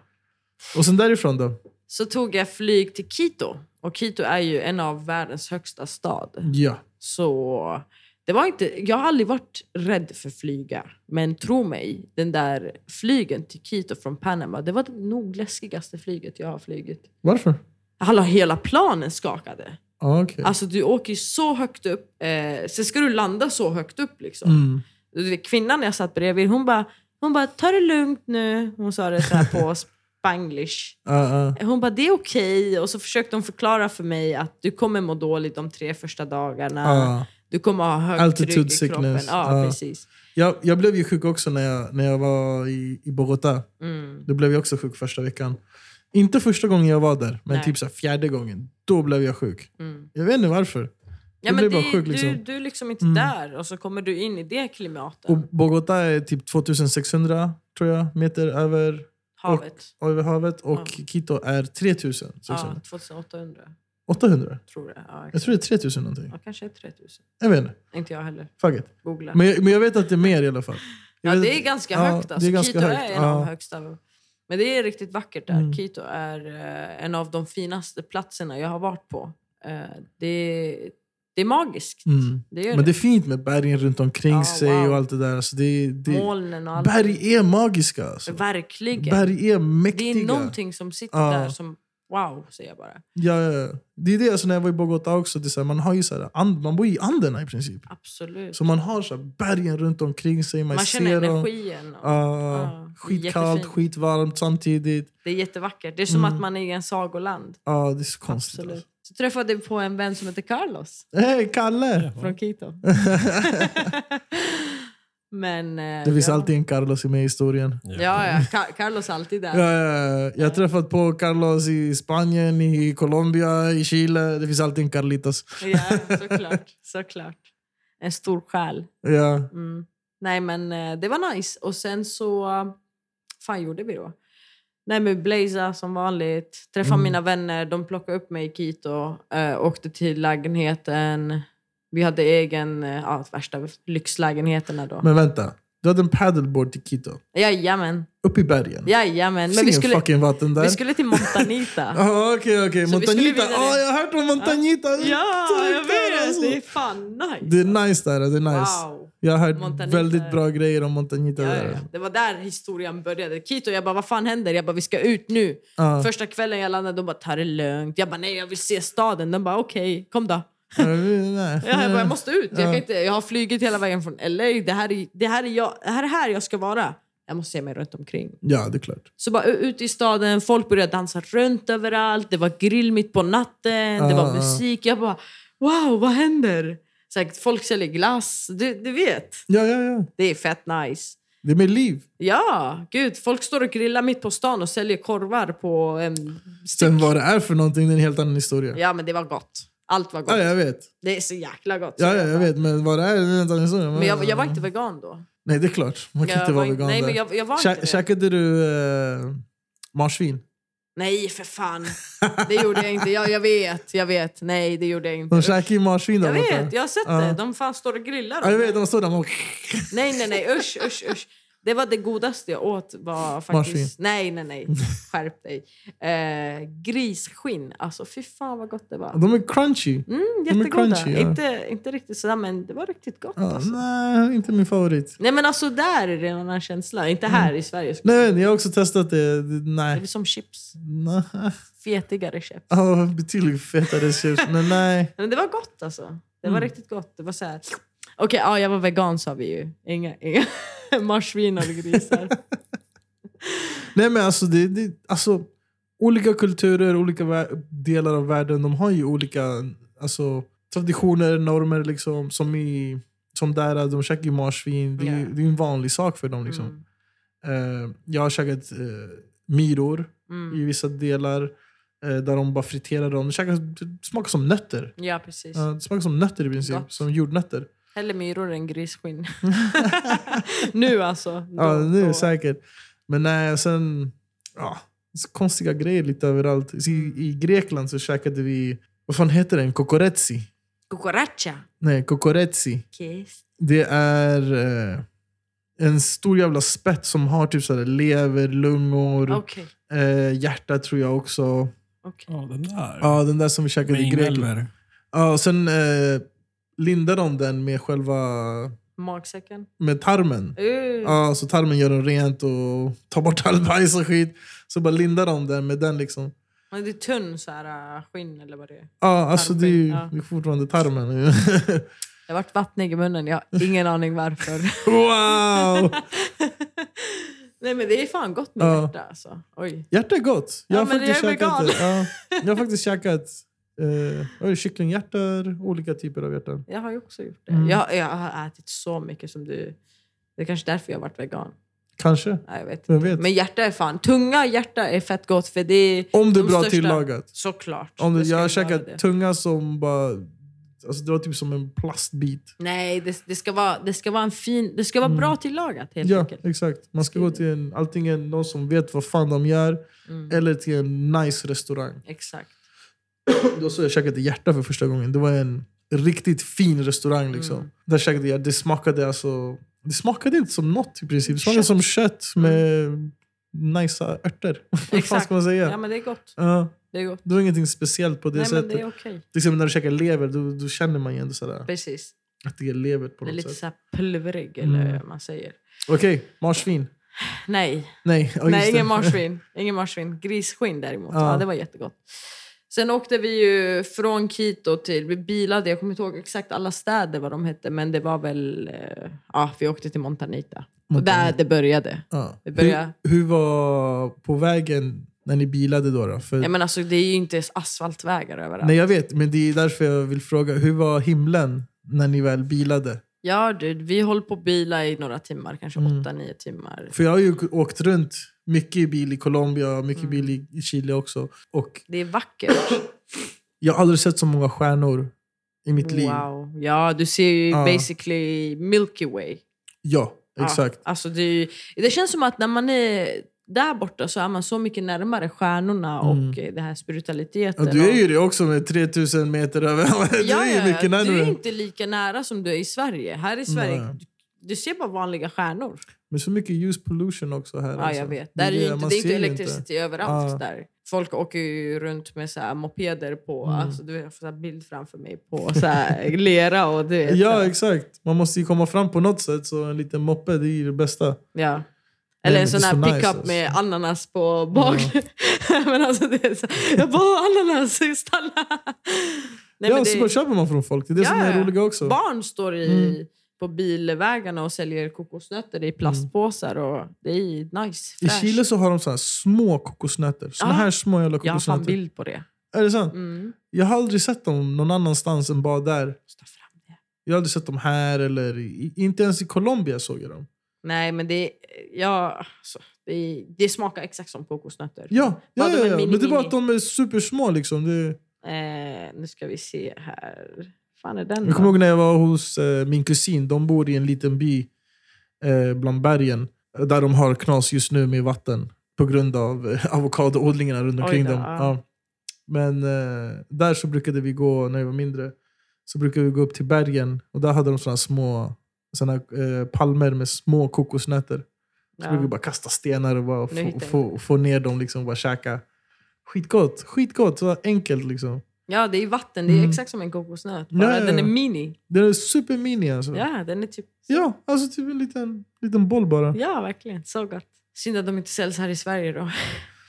Speaker 2: Och sen därifrån då?
Speaker 1: Så tog jag flyg till Quito. Och Quito är ju en av världens högsta stad.
Speaker 2: Ja.
Speaker 1: Så det var inte, jag har aldrig varit rädd för flygar. Men tro mig, den där flygen till Quito från Panama, det var det nog läskigaste flyget jag har flugit.
Speaker 2: Varför?
Speaker 1: Alla, hela planen skakade.
Speaker 2: Ah, okej.
Speaker 1: Alltså du åker ju så högt upp, eh, sen ska du landa så högt upp liksom.
Speaker 2: Mm.
Speaker 1: Du vet, Kvinnan jag satt bredvid, hon bara, hon bara, ta det lugnt nu. Hon sa det så här på spanglish.
Speaker 2: Ah, ah.
Speaker 1: Hon bara, det är okej. Och så försökte hon förklara för mig att du kommer må dåligt de tre första dagarna.
Speaker 2: Ah.
Speaker 1: Du kommer ha högt
Speaker 2: Altitude
Speaker 1: tryck i kroppen.
Speaker 2: sickness.
Speaker 1: Ja,
Speaker 2: Ja.
Speaker 1: precis.
Speaker 2: Jag, jag blev ju sjuk också när jag, när jag var i, i Bogotá.
Speaker 1: Mm.
Speaker 2: Då blev jag också sjuk första veckan. Inte första gången jag var där, men
Speaker 1: Nej.
Speaker 2: typ så här fjärde gången. Då blev jag sjuk.
Speaker 1: Mm.
Speaker 2: Jag vet inte varför.
Speaker 1: Ja,
Speaker 2: blir
Speaker 1: men
Speaker 2: bara
Speaker 1: det,
Speaker 2: sjuk,
Speaker 1: du,
Speaker 2: liksom.
Speaker 1: du är liksom inte
Speaker 2: Mm.
Speaker 1: där och så kommer du in i det klimatet.
Speaker 2: Och Bogotá är typ 2600 tror jag, meter över
Speaker 1: Havet.
Speaker 2: över havet och Quito är 3800.
Speaker 1: Ja, 2800
Speaker 2: 800?
Speaker 1: tror jag. Ja,
Speaker 2: Jag
Speaker 1: exakt.
Speaker 2: tror det är 3000 någonting.
Speaker 1: ja, kanske 3000.
Speaker 2: Jag vet inte.
Speaker 1: Inte jag heller.
Speaker 2: Fuck it.
Speaker 1: Googla.
Speaker 2: Men, jag- men jag vet att det är mer i alla fall. Jag
Speaker 1: ja,
Speaker 2: vet
Speaker 1: det
Speaker 2: att-
Speaker 1: är ganska
Speaker 2: ja,
Speaker 1: högt.
Speaker 2: det är
Speaker 1: Alltså.
Speaker 2: ganska
Speaker 1: Quito
Speaker 2: högt,
Speaker 1: är en av
Speaker 2: ja.
Speaker 1: de högsta. Men det är riktigt vackert där.
Speaker 2: Mm.
Speaker 1: Quito är eh, en av de finaste platserna jag har varit på. Eh, det, det är magiskt.
Speaker 2: Mm.
Speaker 1: Det är
Speaker 2: Men det
Speaker 1: det.
Speaker 2: är fint med bergen runt omkring
Speaker 1: Ja,
Speaker 2: sig
Speaker 1: wow.
Speaker 2: och allt det där. Alltså det, det,
Speaker 1: Molnen och allt.
Speaker 2: berg är magiska. Alltså.
Speaker 1: Verkligen.
Speaker 2: Berg är
Speaker 1: det
Speaker 2: mäktiga.
Speaker 1: är någonting som sitter
Speaker 2: Ja.
Speaker 1: där som wow, säger jag bara.
Speaker 2: Ja, ja, ja. Det är det, alltså, när jag var i Bogotá också, det är så här, man, har ju så här, and, man bor i Anderna i princip.
Speaker 1: Absolut.
Speaker 2: Så man har så här, bergen runt omkring sig, man,
Speaker 1: Man känner
Speaker 2: ser dem.
Speaker 1: energin. Och,
Speaker 2: Ja,
Speaker 1: det är
Speaker 2: skitkallt,
Speaker 1: jättefint.
Speaker 2: skitvarmt samtidigt.
Speaker 1: Det är jättevackert. Det är som
Speaker 2: Mm.
Speaker 1: att man är i en sagoland.
Speaker 2: Ja, det är så konstigt.
Speaker 1: Absolut.
Speaker 2: Alltså.
Speaker 1: Så träffade jag på en vän som heter Carlos.
Speaker 2: Hej, Kalle!
Speaker 3: Jaha.
Speaker 1: Från
Speaker 2: <laughs>
Speaker 1: Quito. Men... eh,
Speaker 2: Det finns
Speaker 1: ja.
Speaker 2: alltid en Carlos i mig i historien.
Speaker 1: Ja, ja. Ka- Carlos är alltid där.
Speaker 2: Ja, ja, ja. Jag har träffat på Carlos i Spanien, i Colombia, i Chile. Det finns alltid en Carlitos.
Speaker 1: Ja, såklart. såklart. En stor själ.
Speaker 2: Ja.
Speaker 1: Mm. Nej, men eh, det var nice. Och sen så... fan gjorde vi då? Nej, men blaza som vanligt. Träffa
Speaker 2: Mm.
Speaker 1: mina vänner. De plockade upp mig i Quito. Eh, åkte till lägenheten. Vi hade egen... Eh, ja, värsta lyxlägenheterna då.
Speaker 2: Men vänta, du hade en paddleboard till Quito.
Speaker 1: Jajamän.
Speaker 2: Upp i bergen.
Speaker 1: Jajamän.
Speaker 2: Finns
Speaker 1: Men vi
Speaker 2: ingen
Speaker 1: skulle,
Speaker 2: fucking vatten där.
Speaker 1: vi skulle till
Speaker 2: <laughs>
Speaker 1: Montanita.
Speaker 2: Ah, Okej, okej.
Speaker 1: Så vi skulle
Speaker 2: Montañita.
Speaker 1: vidare.
Speaker 2: Ah, jag har hört om Montañita.
Speaker 1: Ja,
Speaker 2: Tack,
Speaker 1: jag vet!
Speaker 2: alltså.
Speaker 1: Det är fan nice.
Speaker 2: Det är nice där. Det är nice.
Speaker 1: Wow.
Speaker 2: Jag har hört
Speaker 1: Montañita.
Speaker 2: väldigt bra grejer om Montañita.
Speaker 1: Ja,
Speaker 2: där.
Speaker 1: ja. Det var där historien började. Quito, jag bara vad fan händer? Jag bara vi ska ut nu.
Speaker 2: Ja.
Speaker 1: Första kvällen jag landade, de bara ta det lugnt. Jag bara nej, jag vill se staden. De bara okej, kom då.
Speaker 2: Ja, nej.
Speaker 1: <laughs> Ja, jag bara jag måste ut. Jag, kan
Speaker 2: Ja.
Speaker 1: inte, jag har flugit hela vägen från LA. Det här är, det här är, jag, det här, är här jag ska vara. Jag måste se mig runt omkring.
Speaker 2: Ja, det är klart.
Speaker 1: Så bara u- ute i staden, folk började dansa runt överallt. Det var grill mitt på natten, det
Speaker 2: Ah,
Speaker 1: var
Speaker 2: ah.
Speaker 1: musik. Jag bara wow, vad händer? Så här, folk säljer glass. Du, du vet,
Speaker 2: Ja, ja, ja.
Speaker 1: det är fett nice.
Speaker 2: Det är med liv.
Speaker 1: Ja, gud. Folk står och grillar mitt på stan och säljer korvar på en styck.
Speaker 2: Sen vad det är för någonting, det är en helt annan historia. Ja,
Speaker 1: Ja, men det var gott. Allt var gott.
Speaker 2: jag vet.
Speaker 1: Det är så jäkla gott.
Speaker 2: Ja, ja, jag vet. Men vad det är, det är en helt annan historia.
Speaker 1: Men jag, jag var inte vegan då.
Speaker 2: Nej, det är klart. Man kan
Speaker 1: jag
Speaker 2: inte vara
Speaker 1: var
Speaker 2: vegan
Speaker 1: nej,
Speaker 2: där.
Speaker 1: men jag, jag var inte
Speaker 2: Kä-
Speaker 1: det.
Speaker 2: Käkade du eh, marsvin?
Speaker 1: Nej, för fan. Det gjorde jag inte. Jag, jag vet, jag vet. Nej, det gjorde jag inte.
Speaker 2: De käkar ju marsvin där
Speaker 1: Jag
Speaker 2: borta.
Speaker 1: vet, jag har sett
Speaker 2: Ja.
Speaker 1: det. De fan står och grillar.
Speaker 2: Ja, jag
Speaker 1: dem.
Speaker 2: vet. De står där och...
Speaker 1: <laughs> Nej, nej, nej. Usch, usch, usch. Det var det godaste jag åt. var faktiskt...
Speaker 2: Marsvin.
Speaker 1: Nej, nej, nej. Skärp dig. Eh, grisskinn. Alltså, fy fan vad gott det var.
Speaker 2: De är crunchy.
Speaker 1: Mm,
Speaker 2: de är
Speaker 1: jättegoda.
Speaker 2: crunchy, ja.
Speaker 1: inte, inte riktigt sådär, men det var riktigt gott.
Speaker 2: Ja,
Speaker 1: alltså.
Speaker 2: nej, inte min favorit.
Speaker 1: Nej, men alltså där är det en annan känsla. Inte här i Sverige. skulle jag
Speaker 2: Mm. Nej,
Speaker 1: säga.
Speaker 2: men jag har också testat det. Det-
Speaker 1: Det
Speaker 2: Nej.
Speaker 1: är som chips.
Speaker 2: Nej.
Speaker 1: Fetigare chips.
Speaker 2: Ja, betydligt fetare chips. Men nej.
Speaker 1: Men det var gott alltså. Det var riktigt gott. Det var så här... Okej, ja, jag var vegan sa vi ju. Inga, inga <laughs> marsvin eller grisar.
Speaker 2: Nej men alltså, det, det, alltså olika kulturer, olika vä- delar av världen, de har ju olika alltså, traditioner, normer liksom. Som, i, som där, de käkar ju marsvin. Det, är ju-
Speaker 1: Ja.
Speaker 2: det är ju en vanlig sak för dem. Liksom.
Speaker 1: Mm.
Speaker 2: Eh, jag har käkat eh, myror
Speaker 1: Mm.
Speaker 2: i vissa delar eh, där de bara friterar dem. Det, käkar, det smakar som nötter.
Speaker 1: Ja, precis.
Speaker 2: Ja, det smakar som nötter i princip,
Speaker 1: Gott.
Speaker 2: som jordnötter.
Speaker 1: Hellre myror än <laughs> grisskinn. nu alltså. Då,
Speaker 2: Ja, nu är
Speaker 1: då.
Speaker 2: det säkert. Men nej, sen... Ja, så konstiga grejer lite överallt. I, I
Speaker 1: Mm.
Speaker 2: Grekland så käkade vi... Vad fan heter den? Kokoretsi?
Speaker 1: Cucaracha.
Speaker 2: Nej, kokoretsi.
Speaker 1: Kiss.
Speaker 2: Det är eh, en stor jävla spett som har typ så här lever, lungor,
Speaker 1: Okej. Okay.
Speaker 2: eh, hjärta tror jag också.
Speaker 3: Ja, den där.
Speaker 2: Ja, den där som vi käkade i Grekland.
Speaker 3: Vinälver.
Speaker 2: Ja, och sen eh, lindar de den med själva...
Speaker 1: Magsäcken.
Speaker 2: Med tarmen.
Speaker 1: Uh.
Speaker 2: Ja, så tarmen gör den rent och tar bort all bajs och skit. Så bara lindar de den med den liksom.
Speaker 1: Men det är tunn så här, äh, skinn eller vad det är.
Speaker 2: Ja, alltså det är ju
Speaker 1: Ja.
Speaker 2: det är fortfarande tarmen. <laughs>
Speaker 1: Jag har varit vattnig i munnen. Jag har ingen aning varför.
Speaker 2: wow!
Speaker 1: <laughs> Nej men det är fan gott med
Speaker 2: Ja.
Speaker 1: hjärta alltså. Oj.
Speaker 2: Hjärta är gott. Jag
Speaker 1: Ja,
Speaker 2: har
Speaker 1: men
Speaker 2: faktiskt
Speaker 1: jag är
Speaker 2: käkat,
Speaker 1: vegan.
Speaker 2: det. ja, jag har faktiskt käkat eh, vad är det, kycklinghjärtor, olika typer av hjärtan.
Speaker 1: Jag har ju också gjort det.
Speaker 2: Mm.
Speaker 1: Jag, jag har ätit så mycket som du. Det är kanske därför jag har varit vegan.
Speaker 2: Kanske.
Speaker 1: Nej, jag vet
Speaker 2: Vem
Speaker 1: inte.
Speaker 2: vet?
Speaker 1: Men hjärta är fan... Tunga och hjärta är fett gott för det är
Speaker 2: Om det är
Speaker 1: de
Speaker 2: bra
Speaker 1: största-
Speaker 2: tillagat.
Speaker 1: Såklart.
Speaker 2: Om det,
Speaker 1: Det ska
Speaker 2: jag har
Speaker 1: ju vara
Speaker 2: käkat
Speaker 1: det.
Speaker 2: tunga som bara Alltså, det var typ som en plastbit.
Speaker 1: Nej, det, det, ska vara, det ska vara en fin... Det ska vara
Speaker 2: Mm.
Speaker 1: bra tillagat helt
Speaker 2: ja,
Speaker 1: enkelt.
Speaker 2: exakt. Man ska
Speaker 1: Skriv
Speaker 2: gå
Speaker 1: det.
Speaker 2: till en, antingen någon som vet vad fan de gör
Speaker 1: Mm.
Speaker 2: eller till en nice restaurang.
Speaker 1: Exakt.
Speaker 2: Då så jag käkade hjärta för första gången. Det var en riktigt fin restaurang. Liksom.
Speaker 1: Mm.
Speaker 2: Där käkade jag. Det smakade alltså... Det smakade inte som något i princip. Det smakade som kött med nice örter. <laughs> Vad fan
Speaker 1: Mm. Exakt.
Speaker 2: ska man säga?
Speaker 1: Ja, men det är gott.
Speaker 2: Ja,
Speaker 1: Det är gott.
Speaker 2: det var ingenting speciellt på det
Speaker 1: Nej, men
Speaker 2: sättet.
Speaker 1: det är okej.
Speaker 2: Till exempel när du käkar lever, då, då känner man ju ändå sådär,
Speaker 1: Precis.
Speaker 2: att det är lever på
Speaker 1: Det är
Speaker 2: något
Speaker 1: lite
Speaker 2: sätt.
Speaker 1: så här pulverig, eller
Speaker 2: Mm.
Speaker 1: hur man säger.
Speaker 2: Okej, marsvin.
Speaker 1: Nej,
Speaker 2: Nej, ja,
Speaker 1: Nej
Speaker 2: just
Speaker 1: ingen
Speaker 2: det.
Speaker 1: marsvin. Ingen marsvin. Grisskinn däremot. Ja.
Speaker 2: Ja.
Speaker 1: det var jättegott. Sen åkte vi ju från Quito till... Vi bilade, jag kommer inte ihåg exakt alla städer vad de hette, men det var väl... eh, Ja, vi åkte till Montanita. Och
Speaker 2: Montanita.
Speaker 1: där det började.
Speaker 2: Ja.
Speaker 1: Vi börjar-
Speaker 2: Hur, hur var på vägen när ni bilade då? då? För,
Speaker 1: Ja, men alltså, det är ju inte ens asfaltvägar överallt.
Speaker 2: nej, jag vet, men det är därför jag vill fråga. Hur var himlen när ni väl bilade?
Speaker 1: Ja, du, vi håller på att bila i några timmar, kanske
Speaker 2: Mm.
Speaker 1: åtta, nio timmar.
Speaker 2: För jag har ju åkt runt mycket i bil i Colombia och mycket
Speaker 1: Mm.
Speaker 2: bil i- i Chile också. Och
Speaker 1: Det är vackert.
Speaker 2: jag har aldrig sett så många stjärnor i mitt liv.
Speaker 1: Wow. Ja, du ser ju
Speaker 2: Ja.
Speaker 1: basically Milky Way.
Speaker 2: Ja,
Speaker 1: Ja,
Speaker 2: exakt.
Speaker 1: Alltså det, är ju- det känns som att när man är där borta så är man så mycket närmare stjärnorna
Speaker 2: Mm.
Speaker 1: och eh, det här spiritualiteten.
Speaker 2: Ja, du är
Speaker 1: och-
Speaker 2: ju det också med 3000 meter över. <laughs> Du
Speaker 1: ja,
Speaker 2: är
Speaker 1: ja,
Speaker 2: ju mycket
Speaker 1: ja. Du är
Speaker 2: närmare.
Speaker 1: inte lika nära som du är i Sverige. Här i Sverige,
Speaker 2: Nej.
Speaker 1: du, du ser bara vanliga stjärnor.
Speaker 2: Men så mycket ljus pollution också här.
Speaker 1: Ja,
Speaker 2: alltså.
Speaker 1: jag vet.
Speaker 2: Det
Speaker 1: Där är ju
Speaker 2: det,
Speaker 1: inte,
Speaker 2: man
Speaker 1: det är inte
Speaker 2: ser ju
Speaker 1: elektricitet överallt
Speaker 2: Ja.
Speaker 1: där. Folk åker ju runt med så här mopeder på,
Speaker 2: Mm.
Speaker 1: alltså du har så här bild framför mig på så här lera och du vet. så
Speaker 2: Ja,
Speaker 1: här.
Speaker 2: exakt. Man måste ju komma fram på något sätt, så en liten moppe det är ju det bästa.
Speaker 1: Ja. Eller en
Speaker 2: men
Speaker 1: sån
Speaker 2: det
Speaker 1: här
Speaker 2: är så nice,
Speaker 1: pickup
Speaker 2: alltså.
Speaker 1: med ananas på bak. <laughs> men alltså det är så, jag bara ananas, stanna! Nej,
Speaker 2: ja,
Speaker 1: men
Speaker 2: så bara
Speaker 1: det,
Speaker 2: köper man från folk. Det är det
Speaker 1: Ja,
Speaker 2: som är
Speaker 1: ja.
Speaker 2: roliga också.
Speaker 1: barn står i,
Speaker 2: Mm.
Speaker 1: på bilvägarna och säljer kokosnötter i plastpåsar. Och det är nice.
Speaker 2: I
Speaker 1: fräscht.
Speaker 2: Chile så har de så här små kokosnötter. Såna
Speaker 1: Ja.
Speaker 2: här små jävla
Speaker 1: jag har fan
Speaker 2: kokosnötter.
Speaker 1: bild på det.
Speaker 2: Är det sant?
Speaker 1: Mm.
Speaker 2: Jag har aldrig sett dem någon annanstans än bara där.
Speaker 1: Måste ta fram det.
Speaker 2: Jag har aldrig sett dem här eller i, inte ens i Colombia såg jag dem.
Speaker 1: Nej, men det, ja, alltså, det, det smakar exakt som kokosnötter.
Speaker 2: Ja, ja,
Speaker 1: Bara de är
Speaker 2: ja, ja. men det är bara
Speaker 1: mini-mini.
Speaker 2: att de är supersmå liksom. Det,
Speaker 1: Eh, nu ska vi se här. fan är den
Speaker 2: Jag kommer
Speaker 1: då?
Speaker 2: ihåg när jag var hos eh, min kusin. De bor i en liten by eh, bland bergen eh, där de har knas just nu med vatten på grund av eh, <laughs> avokadoodlingarna runt
Speaker 1: Oj
Speaker 2: omkring
Speaker 1: då,
Speaker 2: dem.
Speaker 1: ja.
Speaker 2: Ja. Men eh, där så brukade vi gå, när jag var mindre, så brukade vi gå upp till bergen och där hade de såna små såna, eh, palmer med små kokosnötter. Så brukade vi
Speaker 1: Ja.
Speaker 2: bara kasta stenar och bara
Speaker 1: Nu
Speaker 2: få,
Speaker 1: hittar jag.
Speaker 2: få, få ner dem liksom, och bara käka. Skitgott, skitgott, så enkelt liksom.
Speaker 1: ja, det är vatten. Det är
Speaker 2: Mm.
Speaker 1: exakt som en kokosnöt.
Speaker 2: Ja,
Speaker 1: Bara
Speaker 2: ja,
Speaker 1: den är
Speaker 2: ja.
Speaker 1: mini.
Speaker 2: Den är supermini alltså.
Speaker 1: Ja, den är typ...
Speaker 2: Ja, alltså typ en liten, liten boll bara.
Speaker 1: Ja, verkligen. Så gott. Synd att de inte säljs här i Sverige då. <laughs>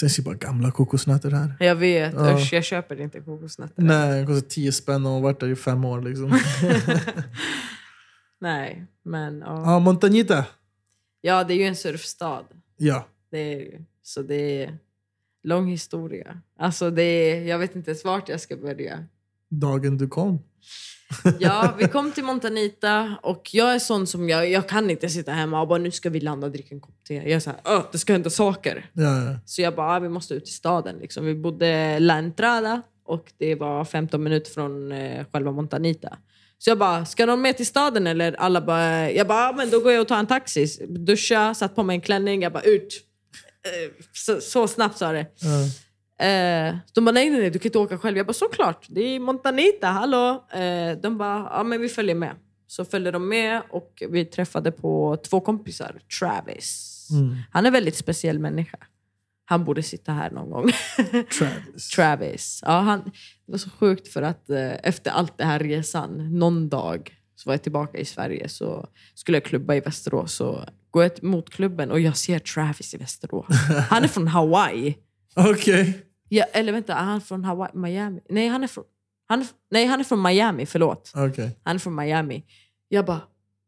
Speaker 2: Sen ser bara gamla kokosnötter här.
Speaker 1: Jag vet.
Speaker 2: Ja.
Speaker 1: Usch, jag köper inte kokosnötter.
Speaker 2: Nej, den kostar 10 spänn och har varit där i fem
Speaker 1: <laughs>
Speaker 2: år. Liksom.
Speaker 1: Nej, men ja.
Speaker 2: ah, Montañita!
Speaker 1: Ja, det är ju en surfstad.
Speaker 2: Ja.
Speaker 1: Det är, det ju. så det är lång historia. Alltså, det är, jag vet inte ens vart jag ska börja.
Speaker 2: Dagen du kom.
Speaker 1: Ja, vi kom till Montanita och jag är sån som jag, jag kan inte sitta hemma och bara nu ska vi landa och dricka en kopp te. Jag är såhär, "Åh, det ska hända saker.
Speaker 2: Ja, ja.
Speaker 1: Så jag bara, ah, vi måste ut i staden. Liksom. Vi bodde La Entrada och det var 15 minuter från eh, själva Montanita. Så jag bara, ska någon med till staden eller? Alla bara, jag bara, ah, men då går jag och tar en taxi. Duscha, satt på mig en klänning, jag bara ut. Eh, Så, så snabbt sa det.
Speaker 2: Ja.
Speaker 1: Eh, de bara, nej, nej, nej, du kan inte åka själv. Jag bara, såklart. Det är Montanita, hallå. Eh, de bara, ja men vi följer med. Så följde de med och vi träffade på två kompisar. Travis.
Speaker 2: Mm.
Speaker 1: Han är en väldigt speciell människa. Han borde sitta här någon gång. <laughs>
Speaker 2: Travis.
Speaker 1: Travis. Ja, han, det var så sjukt för att eh, efter allt det här resan, någon dag så var jag tillbaka i Sverige så skulle jag klubba i Västerås. Så går jag mot klubben och jag ser Travis i Västerås. Han är från Hawaii.
Speaker 2: Okej.
Speaker 1: Ja, eller vänta, är han från Hawaii? Miami? Nej, han är från, han är, nej, han är från Miami. Förlåt.
Speaker 2: Okej.
Speaker 1: Han är från Miami. Jag bara,